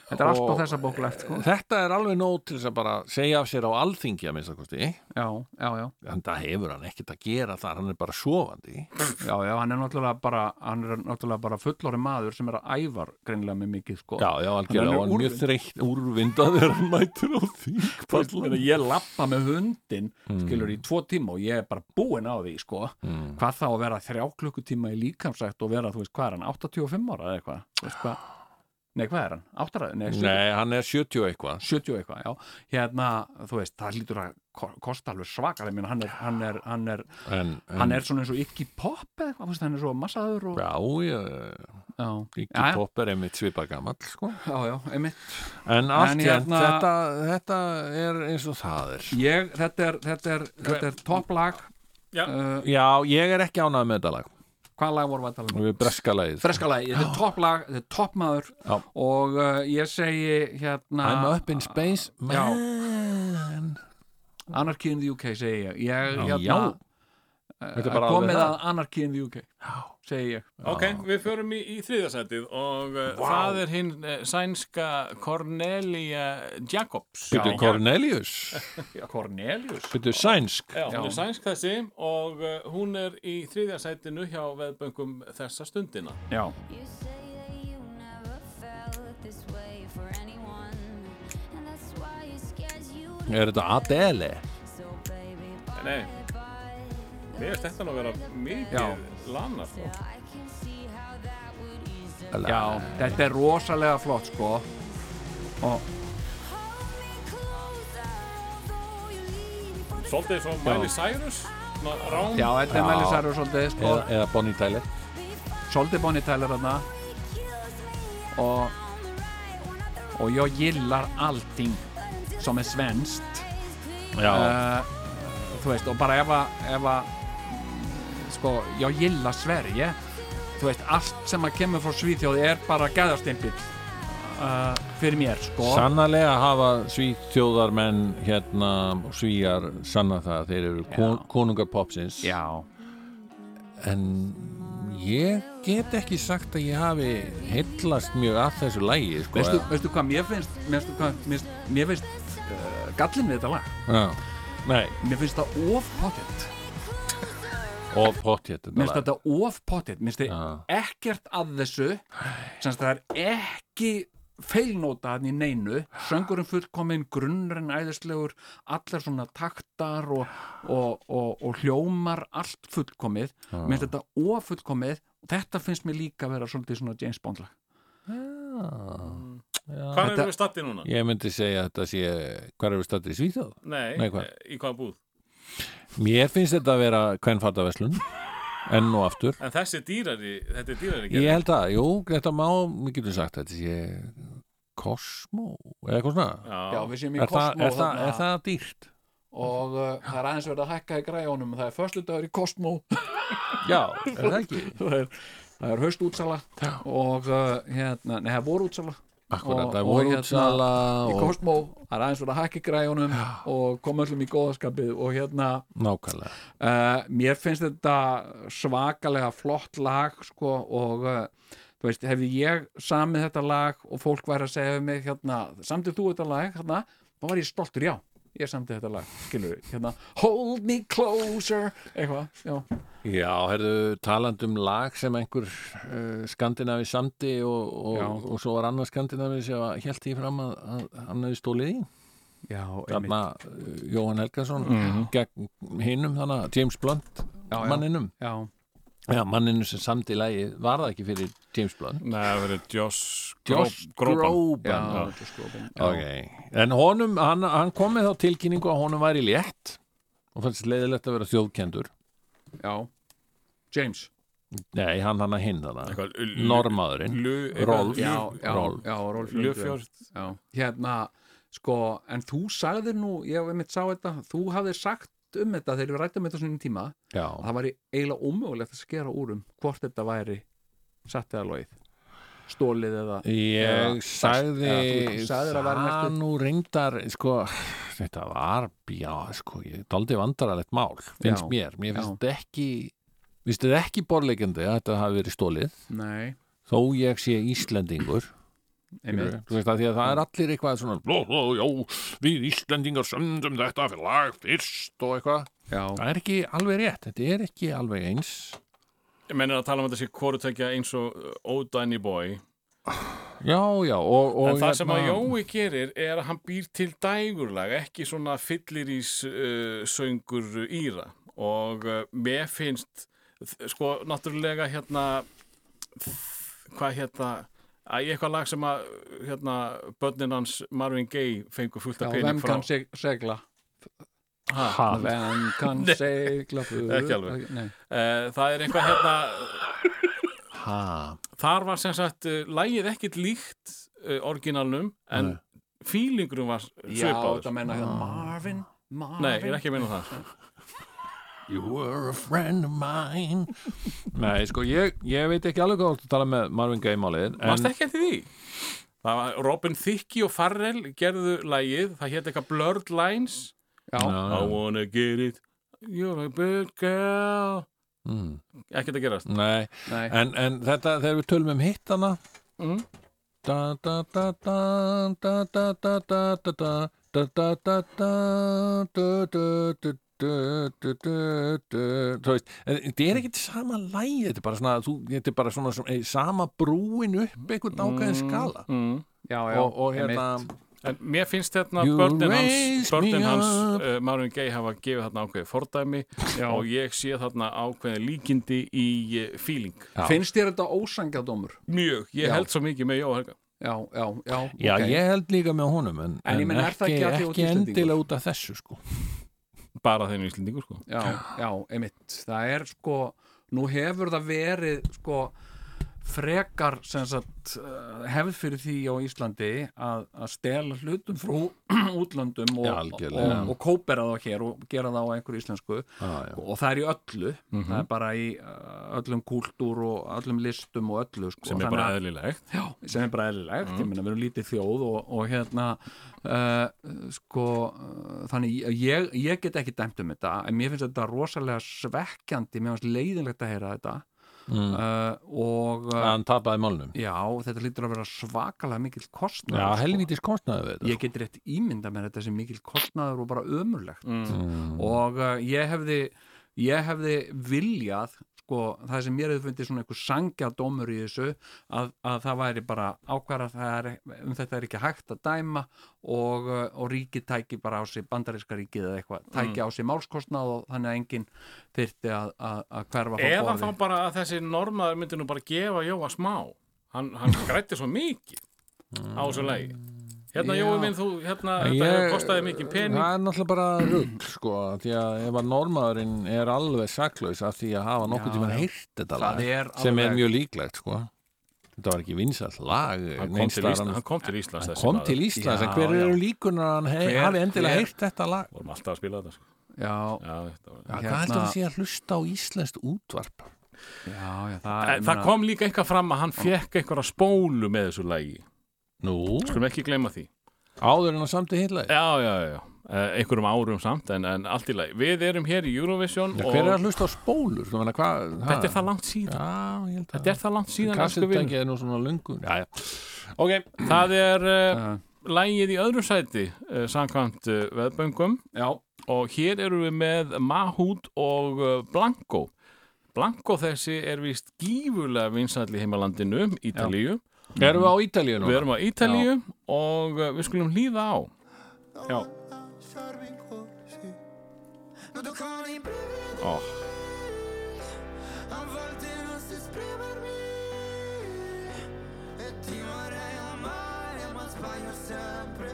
A: þetta er allt á
B: Og-
A: þessa bóklegt sko.
B: Þetta er alveg nóg til þess að bara segja af sér á alþingi að minnsta kosti
A: já, já, já,
B: en það hefur hann ekkert að gera þar hann er bara sofandi
A: já, já, hann er náttúrulega bara hann er náttúrulega bara fullori maður sem er að ævar greinlega með mikið sko.
B: Já, já, algjörlega,
A: Hann er
B: hann er mjög
A: úrvind.
B: þreytt úrvindaður hann mætir á
A: Þú veist,
B: þingpallan
A: meina, ég lappa með hundin skilur í tvo tíma og ég er bara búinn á því sko.
B: Mm.
A: hvað þá að vera þrjá klukkutíma í líkamsætt og vera, þú veist, hvað er hann 85 ára eða eitthvað Þú veist, hvað- nei, hvað er hann? 8 ára? Nei, 70,
B: Nei, hann er 70 og eitthvað
A: 70 og eitthvað, já hérna, þú veist, það lítur að ko- kosta alveg svakar, ég meina, hann er hann er, hann er,
B: en, en,
A: hann er svona eins og Iggy Pop eða eitthvað, þú veist, hann er svo massaður og,
B: Já, já,
A: já,
B: Iggy
A: Já, já.
B: Pop er einmitt svipað gamall sko.
A: já, já, einmitt
B: En allt
A: hérna-
B: hérna... þetta, þetta er eins og það er
A: ég, þetta er, þetta er, þetta er topplag
C: Já.
A: uh,
B: Já, ég er ekki ánægð með þetta lag
A: hvað lag vorum við að tala um?
B: Við breska lagið
A: freskalagi, þetta er topplag, þetta er toppmaður
B: Já.
A: og uh, ég segi hérna
B: I'm up in space,
A: Já.
B: man
A: Anarchy in the UK segi ég, ég
B: Já.
A: hérna,
B: Já. Þetta er
A: Uh,
B: bara
A: komið
B: alveg
A: að Anarchy in the UK segi ég
C: Ok, við förum í, í þriðasætið og uh, það er hinn uh, sænska Cornelia Jacobs
B: Byttu Cornelius,
A: Cornelius
B: byttu sænsk
C: Já, hún er sænsk þessi og uh, hún er í þriðasætinu hjá veðböngum þessa stundina.
A: Já,
K: You say that you never felt this way for anyone, and that's why it scares you.
B: Er þetta Adele?
K: So, baby,
C: Nei,
K: bye.
C: mér er þetta nú að vera mikið
A: Já.
C: lanar. sko.
K: I can see how that would ease up.
A: já, þetta er rosalega flott sko og
K: Hold me closer, though you leave for the
C: Svolítið svo Miley Cyrus, svona rám.
A: já, þetta er Melly Sarur svolítið sko,
B: Eða, eða Bonnie Tyler
A: svolítið Bonnie Tyler hana
K: kills me
A: og,
K: on the right when I throw
A: og ég gillar allting som er svenskt
K: eyes clean.
B: Já,
A: uh, þú veist, og bara ef að, ef að sko, já, gilla Sverige þú veist, allt sem að kemur frá Svíþjóð er bara gæðastimpill uh, fyrir mér, sko
B: sannarlega hafa svíþjóðarmenn hérna og svíjar sanna það að þeir eru kon, konungar popsins
A: já,
B: en ég get ekki sagt að ég hafi heillast mjög að þessu lægi sko.
A: veistu, veistu hvað mér finnst mér finnst, hvað, mér finnst, mér finnst uh, gallin við þetta lag,
B: Já. Nei,
A: mér finnst það of pottet
B: of hot hétt
A: mér finnst þetta of pottet, mér
B: Já.
A: finnst þið ekkert að þessu sem sagt, það er ekki feilnóta hann í neinu söngurinn fullkominn, grunnurinn æðislegur allar svona taktar og, og, og, og hljómar allt fullkomið, mér finnst þetta ofullkomið og þetta finnst mér líka að vera svolítið svona James Bond lag
C: Hvað
A: Þetta-
C: erum við stattið núna?
B: Ég myndi segja að þetta sé hvað eru stættir í Svíþjóð?
C: Nei,
B: Nei, hvað?
C: eh, í hvaða búð?
B: Mér finnst þetta að vera kvennfattaverslun enn og aftur
C: En þessi er dýrari, þetta er dýrari
B: Ég held að, jú, þetta má við getum sagt, þetta sé Cosmo, eða eitthvað svona
A: Já,
C: Já,
A: við séum í
B: er, það,
A: Cosmo
B: er, það,
A: þarna
B: er það dýrt?
A: og uh, það er aðeins verið að hækka í græjónum það er föstudagur í Cosmo
B: Já, er það ekki?
A: það er, það er haustútsala og uh, hérna, nei, það er vorútsala
B: Akkurat,
A: Og-
B: það
A: og
B: voru
A: hérna-
B: útsala
A: í
B: og
A: Cosmo, það er aðeins verið að hækka í græjunum og koma öllum í góðaskapið og hérna,
B: nákvæmlega
A: uh, mér finnst þetta svakalega flott lag sko og uh, þú veist, hefði ég samið þetta lag og fólk væri að segja við mig hérna, samtið þú þetta lag, hérna þá var ég stoltur, já, ég samtið þetta lag skilur, hérna, hold me closer eitthvað, já
B: Já, herðu, talandi um lag sem einhver uh, skandinavi samdi og,
A: Já.
B: og, og svo var annar skandinavi sem held því fram að, að hann hefði stólið í
A: já,
B: þarna uh, Jóhann Helgason gegn hinnum, þannig að James Blunt
A: Já, já.
B: manninum
A: já,
B: Já, manninu sem samdi lagið var það ekki fyrir James Blunt
C: Nei, það verður Josh,
B: Josh
C: Groban.
A: já,
B: Groban
A: þetta er sko, já.
B: Ok, en honum, hann, hann kom með þá tilkynningu að honum væri létt og fannst leiðilegt að vera þjóðkendur
A: já James
B: Nei, hann hann að hinn þarna
C: Eitthvað, l-
B: Normaðurinn,
C: Lu- eitthvað-
B: Rolf
A: já, já,
B: Rolf.
A: já, Rolf Lundgren.
C: Ljöfjörð
A: Já. hérna, sko, en þú sagðir nú, ég hef einmitt sá þetta þú hafðir sagt um þetta þegar við rættum þetta svona í tíma,
B: Já,
A: að það væri eiginlega ómögulegt að skera úr um hvort þetta væri satt eða logið stólið eða
B: Ég
A: Eða-
B: sagði
A: eða þú sagðir að væri
B: það
A: næstu-
B: nú reyndar sko, þetta var já, sko, ég daldi vandrarlegt mál finnst
A: Já,
B: mér, mér finnst þetta ekki finnst þetta ekki borleikandi að þetta hafi verið stólið
A: nei,
B: þó ég sé Íslendingur
A: einmitt.
B: Þú veist að því að það er allir eitthvað svona bló, bló, já, við Íslendingar sömdum þetta fyrir lag fyrst og eitthvað.
A: Já,
B: Það er ekki alveg rétt, þetta er ekki alveg eins.
C: Ég menn er að tala um þetta sé korutækja eins og O'Danny Boy
B: Já, já, og... og
C: En það sem að
B: hérna-
C: Jói gerir er að hann býr til dægurlag, ekki svona fyllirís uh, söngur íra og uh, mér finnst þ- sko náttúrulega hérna þ- hvað hérna að eitthvað lag sem að hérna, börnin hans Marvin Gaye fengur fullt
A: já
C: af
A: vem
C: pening frá
A: kann seg- segla
C: ha,
A: Vem kann segla fyrir-
C: Ekki alveg.
A: Nei.
C: Eh, það er eitthvað hérna þar var sem sagt uh, lægið ekkit líkt uh, orginalnum en
B: Nei.
C: fílingurum var
A: Já,
C: svipaður
A: þetta menna hérna Marvin, Marvin
C: Nei, ég er ekki að meina það
B: You were a friend of mine Nei, sko, ég, ég veit ekki alveg hvað þú ert að tala með Marvin Gaye málið
C: Varst
B: en,
C: ekki eftir því? Það var Robin Thicke og Farrell gerðu lagið, það hétt eitthvað Blurred Lines
A: Já,
B: Já,
C: I wanna get it You're a big girl
B: mm,
C: Ekkert að gerast
B: Nei,
A: nei,
B: en, en þetta, þegar við tölum um hittana
C: Mm.
B: da, da, da, da, da, da, da, da, da, da, da, da, da, da, du, du, du, du, du, du, du. Þú veist, en þetta er ekkert sama lægi þetta er bara svona, þú, þetta er bara svona, svona sama brúin upp einhvern ákveðin skala
C: mm.
A: já, já
B: og, og hérna
A: einmitt.
C: En mér finnst hérna
B: You
C: börnin hans,
B: raise
C: börnin
B: me
C: hans
B: up.
C: uh, Marvin Gaye hafa gefið þarna ákveðið fordæmi
A: Já.
C: og ég sé þarna ákveðið líkindi í uh, feeling
B: Já.
A: Finnst þér þetta ósangjadómur?
C: Mjög, ég
A: Já.
C: held svo mikið með Jó Helga
A: Já, já, já,
B: Já,
A: ok.
B: ég held líka með honum en,
A: En ég meina, er það
B: ekki,
A: ekki af því þú ert
B: ekki
A: Íslendingur?
B: endilega út af þessu sko.
C: bara þeirnum íslendingur sko
A: já, já, einmitt það er sko, nú hefur það verið sko frekar sem sagt eh, hefð fyrir því á Íslandi að, að stela hlutum frá útlöndum og,
B: Já,
A: og,
B: algjörlega.
A: og, og kópera þá hér og gera það á einhverju íslensku
B: ah,
A: og það er í öllu
B: Mhm.
A: það er bara í eh, öllum kúltúr og öllum listum og öllu sko.
C: sem er
A: Þannig
C: bara
A: að-
C: eðlilegt
A: Já, sem er bara eðlilegt, ég meina við erum lítið þjóð og, og hérna uh, sko, uh, þannig ég, ég get ekki dæmt um þetta en mér finnst þetta rosalega svekkjandi mér finnst leiðinlegt að heyra þetta
B: mm.
A: uh, og uh,
B: Hann tapaði málnum
A: já, þetta lítur að vera svakalega mikill kostnaður
B: Já,
A: sko.
B: helvítis kostnaði við þetta
A: ég get rétt ímynda mér þetta sem mikill kostnaður og bara ömurlegt
C: mm.
B: mm.
A: og uh, ég hefði ég hefði viljað sko, það sem mér hefði fundið svona einhver sangjadómur í þessu að, að það væri bara ákvarða er, um þetta er ekki hægt að dæma og, uh, og ríkið tæki bara á sig bandaríska ríkið eða eitthvað, tæki á sig málskostnað og þannig að enginn þyrfti að, að, að hverfa frá
C: eða þá
A: borði.
C: bara að þessi normaður myndi nú bara gefa Jóa smá hann, hann grætti svo mikið á þessu lagi hérna
A: Já.
C: Jói minn þú hérna,
B: Ég-
C: þetta hefur kostaði mikið pening
B: Það er náttúrulega bara rugg sko, af því að ef að normaðurinn er alveg saklaus af því að hafa
A: Já,
B: nokkuð tíma
A: já.
B: heyrt þetta
A: Það
B: lag
A: er
B: sem
A: alveg-
B: er mjög líklegt sko. Þetta var ekki vinsall lag
C: hann, kom
B: neins
C: til
B: staðar
C: Ísland,
B: annars-
C: hann kom til Íslands
B: Hann
C: þessi
B: kom
C: maður.
B: til Íslands en
A: Já,
B: hver
A: já.
B: eru líkunar að hann hei-
A: Hver-
B: hafi endilega
A: hver-
B: heyrt þetta lag
C: vorum alltaf að spila þetta sko.
A: já,
C: já, þetta var...
B: Hvað
A: Hérna-
B: heldur það sé að hlusta á íslenskt útvarp?
A: já, já, það,
C: En Eh, það kom líka eitthvað fram að hann fekk einhverja spólu með þessu lagi
B: Nú,
C: skulum ekki gleyma því
B: áður en á samti hitlaði
C: já, já, já, já. Eh, einhverjum árum samt en, en allt í lagi, við erum hér í Eurovision
B: Já,
C: og
B: hver er að hlusta á spólur? Þú meina, hvað? ha?
C: þetta er það langt síðan
B: Ah. Já, ég held að
C: þetta er það langt síðan elsku vinur.
B: Kassettækið er nú svona lungun Já, já Ok,
C: það er uh,
A: uh,
C: lægið í öðru sæti uh, samkvæmt uh, veðböngum
A: já,
C: og hér eru við með Mahút og uh, Blanco Blanco þessi er vist gífurlega vinsall í heimalandinu Ítalíu,
B: erum við á Ítalíu nú?
C: við erum á Ítalíu og uh, við skulum hlýða á já
F: Oh, Tutto con i brividi,
C: oh.
F: a volte non so esprimermi E ti vorrei amare ma sbaglio sempre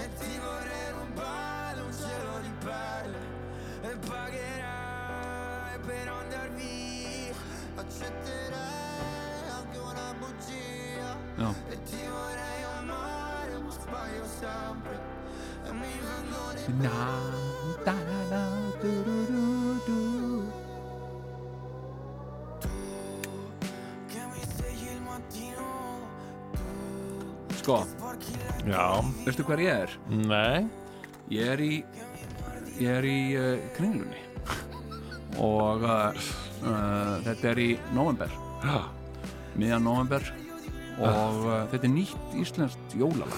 F: E ti vorrei rubare un cielo di perle E pagherai per andar via Accetterai anche una bugia
A: No.
F: E ti vorrei amare ma sbaglio sempre E mi vengono i Che mi svegli il mattino
A: sko,
B: Já
A: veistu hver ég er?
B: Nei
A: Ég er í ég er í uh, kringlunni eh, og uh, uh, þetta er í november miðjan november og uh, þetta er nýtt íslenskt jólalag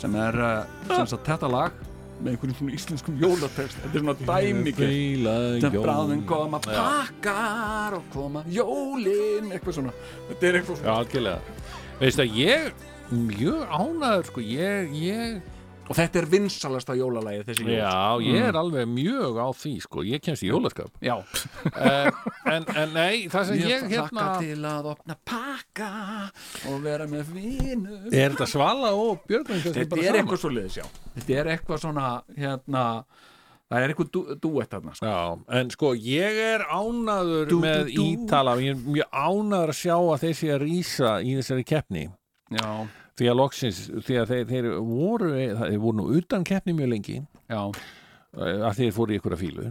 A: sem er uh, sem sagt þetta lag með einhverjum svona íslenskum jólatext þetta er svona dæmikið sem bráðum koma pakkar og koma jólin eitthvað svona þetta er eitthvað
B: Já, algjörlega Veist að ég, mjög ánæður sko, ég, ég
A: svona og þetta er vinsalasta jólalagið þessi jól
B: Já, Mm. ég er alveg mjög á því sko, ég kemst í jólaskap
A: já
B: uh, en, en nei, það sem
A: ég,
B: ég
A: hlaka
B: hérna
A: til að opna pakka og vera með vinum
B: Er þetta Svala og Björgvin
A: þetta er eitthvað svo liðis já þetta er eitthvað svona hérna það er eitthvað dú- dúett þarna sko.
B: Já, en sko ég er ánaður
A: Dú, dú,
B: með
A: dú.
B: Ítala ég er mjög ánaður að sjá að þeir sé að rýsa í þessari keppni
A: já
B: því að loksins, því að þeir, þeir voru þeir voru nú utan keppni mjög lengi
A: já
B: eh, að þeir fóru í ykkur að fílu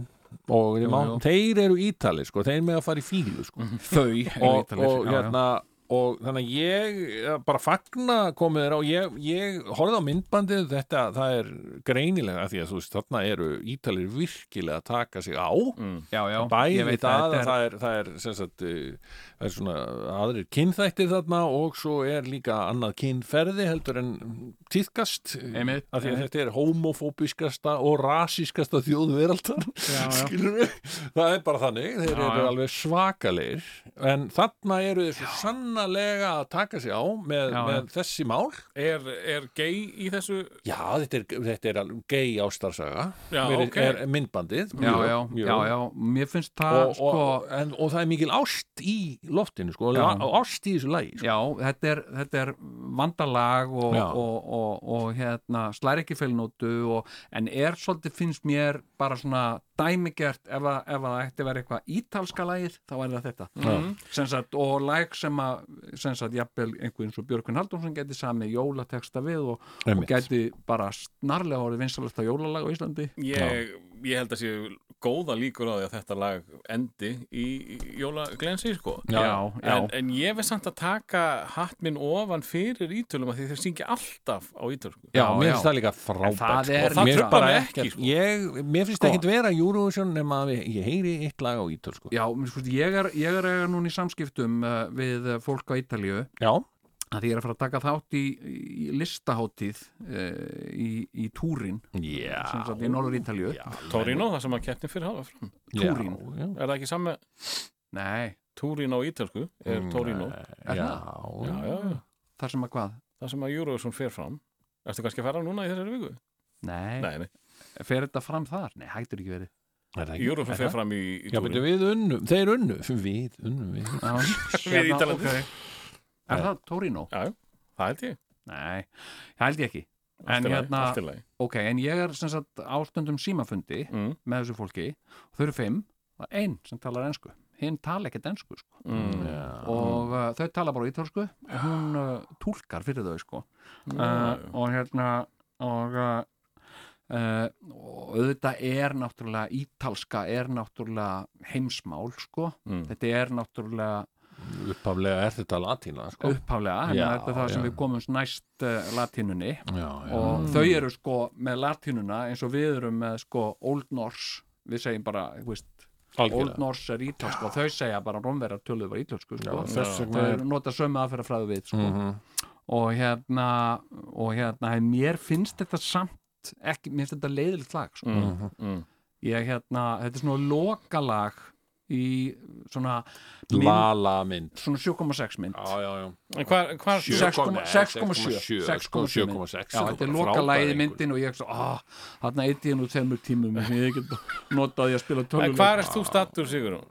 B: og jú, má,
A: jú.
B: þeir eru Ítali sko, þeir með að fara í fílu sko.
A: Mhm. þau eru
B: og,
A: ítalir,
B: og
A: já, já.
B: hérna og þannig að ég eh, bara fagna komið þér á, ég, ég horfði á myndbandið, þetta, það er greinilega af því að þú veist, þarna eru ítalir virkilega að taka sig á
A: já, já,
B: bæði
A: ég veit
B: það,
A: þetta
B: að það er, það er, sem sagt, uh, það er svona aðrir kynþættir þarna og svo er líka annað kynferði heldur en tíðkast
A: Einmitt,
B: af því að
A: einmitt.
B: þetta er homofóbiskasta og rasískasta þjóð veraldar skilur við, það er bara þannig þeir eru
A: já.
B: alveg svakalegir en þarna eru þeir svo sannarlega að taka sig á með,
A: Já,
B: með þessi mál
C: Er, er gay í þessu?
B: já, þetta er, þetta er alveg gei ástarsaga
C: Já,
B: er,
C: ok.
B: er myndbandið
A: já,
B: mjög,
A: já,
B: mjög
A: já, já, mér finnst það
B: og,
A: sko,
B: og, en, og það er mikil ást í loftinu sko,
A: Já.
B: og ást í þessu lagi sko.
A: já, þetta er, þetta er vandalag og,
B: Já.
A: og, og, og, hérna, slær ekki fylgnótu og, en er svolítið finnst mér bara svona dæmigert ef, að, ef að það ætti að vera eitthvað ítalska lagið þá er það þetta Mhm. sem sagt, og lag sem að sem sagt, jafnvel einhverjum svo Björkvin Halldómsson geti samið jólateksta við og, og
B: Einmitt.
A: geti bara snarlega orðið vinsalasta jólalag á Íslandi
C: Ég, ég held að sé góða líkur á því að þetta lag endi í jólaglensi, sko.
A: Já, já.
C: En, en ég veist samt að taka hatt minn ofan fyrir ítölum að því þeir syngja alltaf á ítölsku.
B: Já,
A: Já,
B: mér
A: já.
B: finnst það líka frábært
A: það
B: sko.
A: er
B: Og
A: líka-
B: mér finnst bara
C: truflar mig
B: ekkert-
C: ekki, sko.
B: ég, Mér finnst
A: Sko.
B: ekkert vera Eurovision nema að ég- ég heyri eitt lag á ítöl sko.
A: Já, menn sko, ég er, ég er eiga núna í samskiptum uh, við uh, fólk á Ítalíu
B: Já,
A: að því ég er að fara að taka þátt í, í listaháttíð uh, í, í Túrin sem
B: já,
A: sagt í Norður Ítalíu
C: Torino, það sem að keppni fyrir hafa fram.
A: Túrín.
B: já,
C: Er það ekki samme
A: Nei,
C: Torino á ítölsku? Er Torino?
B: Mm, já,
A: Er
B: já,
C: Já, já, já.
A: þar sem að hvað?
C: Það sem að Eurovision fer fram. Erstu kannski að fara núna í þessari viku?
A: Nei,
C: Nei, nei.
A: fer þetta fram þar? Nei, hættur ekki verið
B: Er það ekki-
C: Eurovision fer fram í, í
B: Já, betur
C: Torino.
B: við unnum, þeir unnu Við unnum við
A: Við
C: Ítalandi.
A: Er Hérna, það Torino?
C: Já, já. það held ég.
A: Nei, það held ég ekki En
C: Allt í lagi,
A: hérna-
C: Allt í lagi.
A: Ok, en ég er sem sagt ástundum símafundi
C: Mm.
A: með þessu fólki og þau eru fimm, það er einn sem talar ensku hinn tala ekkert ensku sko.
C: Mm.
A: og uh, þau tala bara ítalsku og hún uh, túlkar fyrir þau sko. uh, og hérna og uh, uh, og auðvitað er náttúrulega ítalska er náttúrulega heimsmál sko.
C: Mm.
A: þetta er náttúrulega
B: Uppaflega er þetta latína sko.
A: upphaflega já,
B: Já,
A: þetta er það sem
B: já.
A: við komumst næst uh, latínunni
B: Já, já,
A: og þau eru sko með latínuna eins og við erum með sko Old Norse við segjum bara, þú veist Old
B: algjörlega
A: Norse er ítalska og þau segja bara rómverjar töluðu var ítalsku sko.
C: þess
A: þau nota sömu aðferðafræðu við sko.
B: Mhm.
A: og hérna og hérna, en mér finnst þetta samt ekki, mér finnst þetta leiðilegt lag sko.
C: Mm. Mm.
A: ég hérna, þetta er svona lokalag í svona mynd-
B: Lala mynd
A: svona 7,6 mynd
B: Já, já, já
C: En hvað, hvað,
A: Ah, Sjö. 6,7,
B: 6,7
A: Já, þetta er lokalagið í myndin og ég er svo, ah, hann eitthvað nú tveimur tímum ég get notaði að spila
C: en
A: töluleik
C: hvað er þú stattur, Sigurún?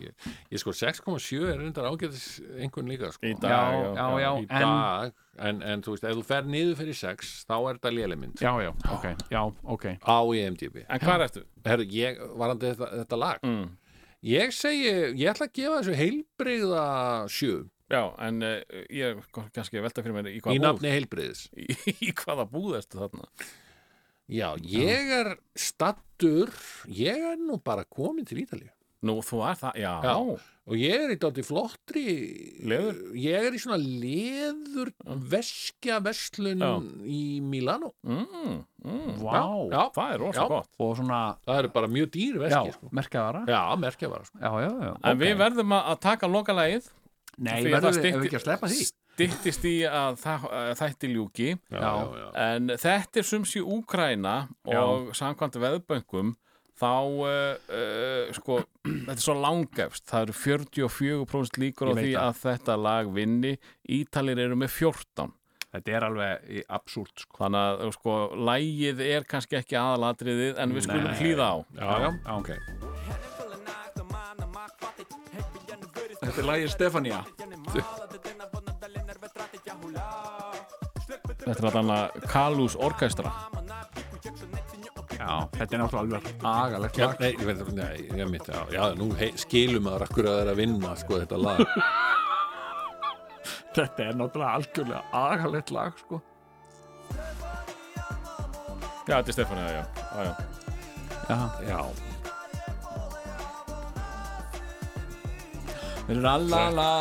B: ég, ég sko 6,7 er reyndar ágætis einhvern líka sko
C: Í dag,
A: Já,
C: já,
A: já, já,
B: í
A: en
B: dag en, en þú veist, ef þú fer niður fyrir 6 þá er þetta E léleg mynd
A: Já, já, ok, já, ok
B: á IMDb
C: En hvað ertu?
B: Herru, ég varandi þetta, þetta lag
C: Mm.
B: ég segi, ég ætla að gefa þessu heilbrigða 7
C: Já, en uh, ég kom kannski að velta fyrir mér í
B: í
C: hvaða búð
B: nafni heilbrigðis
C: Í hvaða búð ertu þarna?
B: Já, ég er stattur ég er nú bara komin til Ítalíu
C: Nú, þú er það, já,
B: Já. og ég er í dátti flottri
C: Leður?
B: ég er í svona leður veskja verslun
C: Já.
B: í Milano
C: Mm, mm,
A: Vá,
B: já,
C: Það er rosa
B: Já.
C: gott
A: og svona,
B: það eru bara mjög dýr
A: já,
B: veski sko.
A: merkjavara
B: já, merkja bara sko.
A: Já, já, já,
C: En við verðum að að taka lokalagið
A: Nei,
C: Því að
A: verðum
C: það
A: við, ef við
C: styttir-
A: ekki að sleppa því
C: dittist í að það, að þætti ljúki
G: já, já, já.
C: en þetta er sumsi Úgræna og samkvæmt veðböngum þá uh, uh, sko, þetta er svo langefst það eru 44% líkur á
A: Ég veit
C: því
A: það.
C: að þetta lag vinni Ítalir eru með 14
A: Þetta er alveg í- absúrt sko.
C: þannig að uh, sko, lægið er kannski ekki aðalatriðið en við skulum hlýða á
A: já, já, ok Þetta er lagið Stefania
C: þetta er alltaf Kalús Orkestra
A: Já, þetta er náttúrulega alveg agalegt
B: Já,
A: lag
B: nei, ég veit það, nei, ég mitt, já, já, nú hei, skilum að rakkur að það er að vinna, sko, þetta lag.
A: Ah, Þetta er náttúrulega algjörlega agalegt lag sko.
C: já, þetta er Stefán já, já, já
B: Já,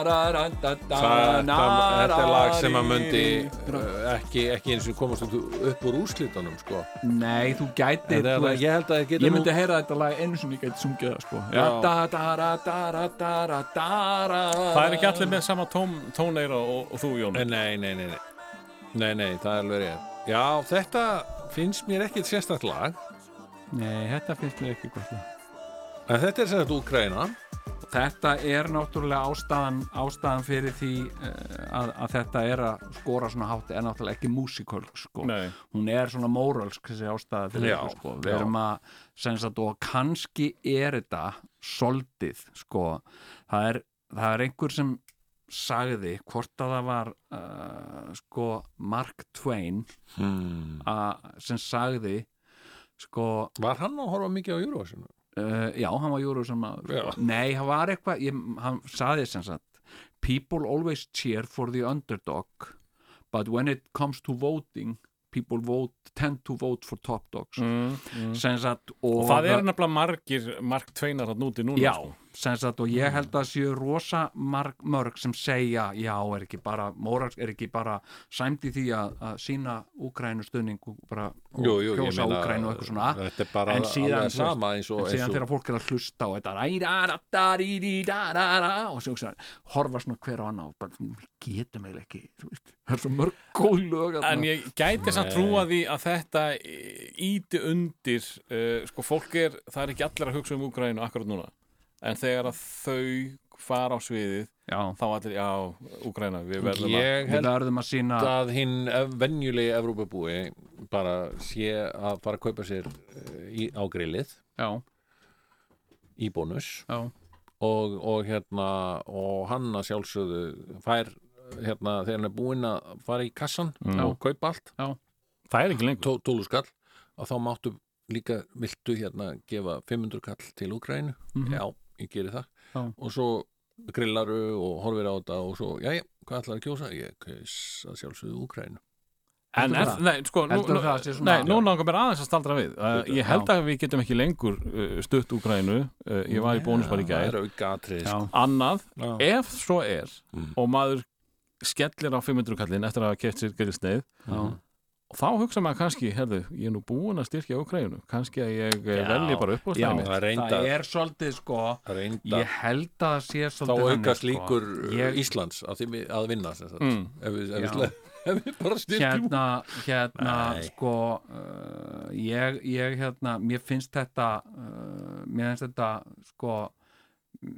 B: það, það, þetta er lag sem að myndi uh, ekki, ekki eins og komast út upp úr úrslitunum, sko.
A: Nei, þú
B: En
A: gætir
B: það er
A: þú
B: lag-
A: veist-
B: Ég held að það
A: Ég
B: getur
A: myndi heyra þetta lag einu sinni, ég gæti sungið það sko.
B: Já.
C: Það er ekki allir með sama tón, tóneira og, og þú, Jón.
B: Nei, Eh, nei, nei, nei, nei. Nei, nei, það er alveg rétt. Já, þetta finnst mér ekkit sérstætt lag,
A: Nei, þetta finnst mér ekki gott lag.
B: en þetta er sérstætt Úkraina.
A: Þetta er náttúrulega ástæðan, ástæðan fyrir því eh, að, að þetta er að skora svona hátt er náttúrulega ekki músikalsk sko.
C: Nei.
A: hún er svona móralsk þessi ástæða fyrir
B: Já,
A: þessu, sko. við erum að sem sagt, og kannski er þetta soldið sko. það, er, það er einhver sem sagði hvort að það var uh, sko Mark Twain
B: Hmm.
A: a, sem sagði sko
B: Var hann að horfa mikið á Eurovision?
A: Uh, já, hann var Eurovision maður
B: Já.
A: Nei, hann var eitthvað, ég, hann saði sem sagt People always cheer for the underdog but when it comes to voting people vote, tend to vote for top dogs
C: Mm,
A: sem sagt og,
C: Og það eru nefnilega margir, marg tveinar hann úti núna.
A: Já,
C: sko.
A: sem sagt og ég held að séu rosa marg, mörg sem segja já, er ekki bara, móralsk er ekki bara sæmdi því að, að sína Úkrænu stöðning og bara og sko, kjósa Úkrænu og eitthvað svona
B: þetta er bara
A: en síðan,
B: alveg sama eins og,
A: en
B: eins
A: síðan
B: og
A: þegar fólk er að hlusta og þetta ræ-ra-ra-ra-rí-rí-ra-ra-ra og svo hugsa, horfa svona hver á annan og bara, "Við getum eiginlega ekki þú veist, það er svo mörg góð lög þarna."
C: En ég gæti samt trúa því að þetta íti undir, uh, sko fólk er, það er ekki allir að hugsa um Úgrænu akkurat núna. En þegar að þau fara á sviðið,
A: já,
C: þá allir, já, Úgræna, við verðum að...
B: ég
A: við
B: held
A: verðum að sína
B: að hinn ev- venjulegi Evrópabúi bara sé að fara að kaupa sér eh, í, á grillið
A: já,
B: í bónus
A: já,
B: og, og hérna og hann að sjálfsögðu fær hérna þegar hann er búinn að fara í kassan og kaupa allt
C: Það er ekki lengur.
B: tó, tóluskall og þá máttu líka, viltu hérna gefa 500 kall til Úgrænu já, ég geri það
A: Mhm. Já.
B: og svo grillaru og horfir á þetta og svo, já, já, hvað ætlar að kjósa? ég kaus að sjálfsögðu Úgrænu
C: En,
A: Heldurðu
C: en
A: það?
C: nei, sko, nú,
A: Heldurðu
C: nú,
A: það sé svona-
C: nei, nú langar mér aðeins að staldra við. Uh, ég held að við getum ekki lengur uh, stutt Úgrænu. Uh, ég var í bónusbar í
B: það sko.
C: gær.
B: er auka atrið
A: já,
C: Annað,
B: Já.
C: ef svo er
B: Mm.
C: og maður skellir á 500 kallin eftir að hafa keft sér grilsneið
A: já,
C: og þá hugsa maður kannski, herðu, ég er nú búin að styrkja Ukraínu, kannski að ég já, velji bara upp á
A: já,
C: stæmi
B: Það er reyndar-
A: það er svolítið sko
B: reynda
A: ég held að það sé
B: þá
A: svolítið þannig,
B: aukast
A: sko.
B: líkur uh,
A: Ég-
B: Íslands að, því, við- að vinna sem sagt.
C: Mm.
B: ef, við, ef,
A: Já.
B: við, sle- ef við bara styrkjum
A: hérna, hérna
B: Nei.
A: sko uh, ég, ég hérna, mér finnst þetta uh, mér finnst þetta sko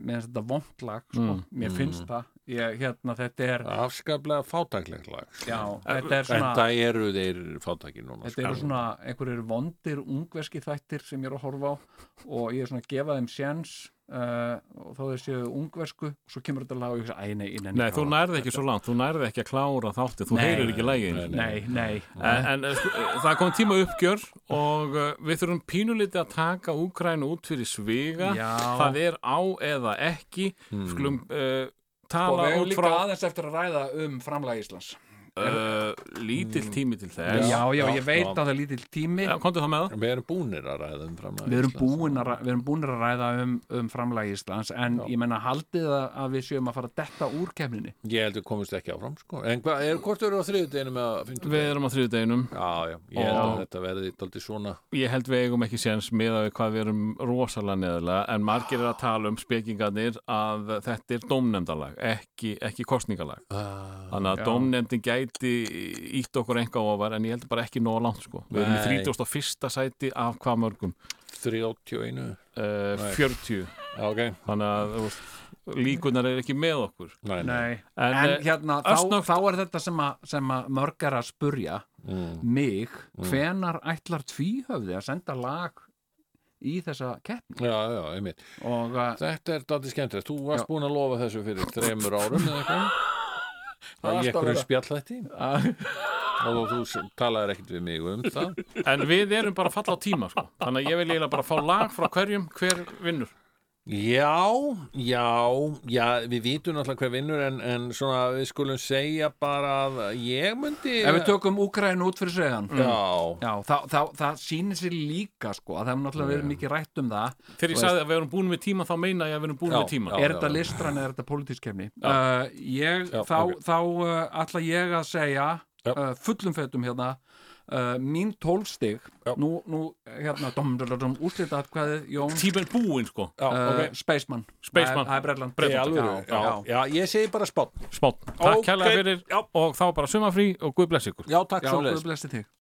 A: mér finnst þetta vondlag sko,
C: Mm.
A: mér finnst það ég, hérna, þetta er,
B: afskaplega fátæklegt lag
A: já, þetta er
B: en
A: svona
B: það eru þeir fátækir núna
A: Þetta eru
B: sko.
A: svona einhverjir vondir ungverski þættir sem ég er að horfa á og ég er svona að gefa þeim sjens uh, og þá þeir séu ungversku og svo kemur þetta lag og ég hugsa, æ, nei, ég nenni
C: Nei,
A: ekki
C: þú
A: að horfa á
C: nærði ekki svo langt, þú nærði ekki að klára þáttið, þú
A: Nei.
C: heyrir ekki lægin
A: þetta." Nei, nei,
C: En, en eh, sko, eh, það kom tíma uppgjör og eh, við þurfum pínulítið að taka Úgrænu út fyrir sviga
A: Já.
C: það er á eða
B: Mm.
C: ekki skulum uh,
A: og Sko,
C: tala
A: við hefum
C: út
A: líka
C: frá
A: aðeins eftir að ræða um framlega Íslands
C: uh, lítill tími til þess
A: já, já,
B: já,
A: ég veit
B: já.
A: að það er lítill tími
C: Já, komdu þá með það
B: Við erum búnir að ræða um framlega
A: við erum búin að, ræ- við erum búin að ræða um, um framlag Íslands en ég menna haldið að, að við séum að fara að detta úr kemninni
B: Ég held við komumst ekki áfram sko En hvað, er, hvort eru á þriðudeginu með að finnum
C: Við erum á þriðudeginum
B: Já, já, ég held
C: Og-
B: að þetta verði daldið svona
C: Ég held við eigum ekki séns með að við hvað við erum rosalega neðurlega en margir er að tala um spekingarnir að þetta er dómnefndalag ekki, ekki kostningalag
B: Ah,
C: Þannig að
A: Já.
C: dómnefndin gæti ítt okkur enga ofar en ég held bara ekki nóg langt sko. Við erum í
B: Nei.
C: 31. sæti af hvað mörgum?
B: 31
C: Uh,
B: Nei.
C: 40
B: Já, ok,
C: Þannig að þú veist, líkunar er ekki með okkur
B: nei, nei.
A: Nei.
C: En,
A: en
C: eh,
A: hérna þá,
C: örsnöggt-
A: þá er þetta sem að, sem að mörg er að spurja
B: Mm.
A: mig, hvenar ætlar tvíhöfði að senda lag í þessa keppni
B: Já, já, einmitt
A: og uh,
B: Þetta er daldið skemmtilegt, þú varst
A: Já.
B: búin að lofa þessu fyrir þremur árum eða eitthvað Það er
A: alltaf
B: eitthvað
A: verið.
B: spjallætti og þú s- talaðir ekkert við mig um það
C: En við erum bara að falla á tíma sko. Þannig að ég vil eiginlega bara fá lag frá hverjum hver vinnur
B: Já, já, já, við vitum náttúrulega hver vinnur en, en svona við skulum segja bara að ég myndi
A: ef við tökum Úkrænu út fyrir segjan
B: Já,
A: Já, þá, þá, það sýnir sér líka sko að það hefur náttúrulega verið mikið rætt um það
C: Þegar ég
A: Þú
C: sagði að við erum búin með tíma þá meina ég að við erum búin
B: Já,
C: með tíma
B: já.
A: er þetta listræn eða er þetta pólitískefni uh, ég,
B: Já,
A: þá,
B: ok.
A: þá uh, ætla ég að segja
B: Já.
A: uh, fullum fettum hérna uh, mín tólstig
B: Já.
A: nú, nú hérna dom, dom, dom, úslita atkvæðið Jón
C: Tíma er búin sko
B: já,
A: uh,
B: ok
A: Spaceman
C: Spaceman.
A: Það er Bretland
B: Eh, Í alvöru,
A: já,
B: já,
A: já.
B: já, ég segi bara spott
C: Spott, takk
B: Ok,
C: kærlega fyrir og þá bara sumafrí og guð bless ykkur
B: Já, takk
A: Já,
B: svo leis
A: Guð blessi þig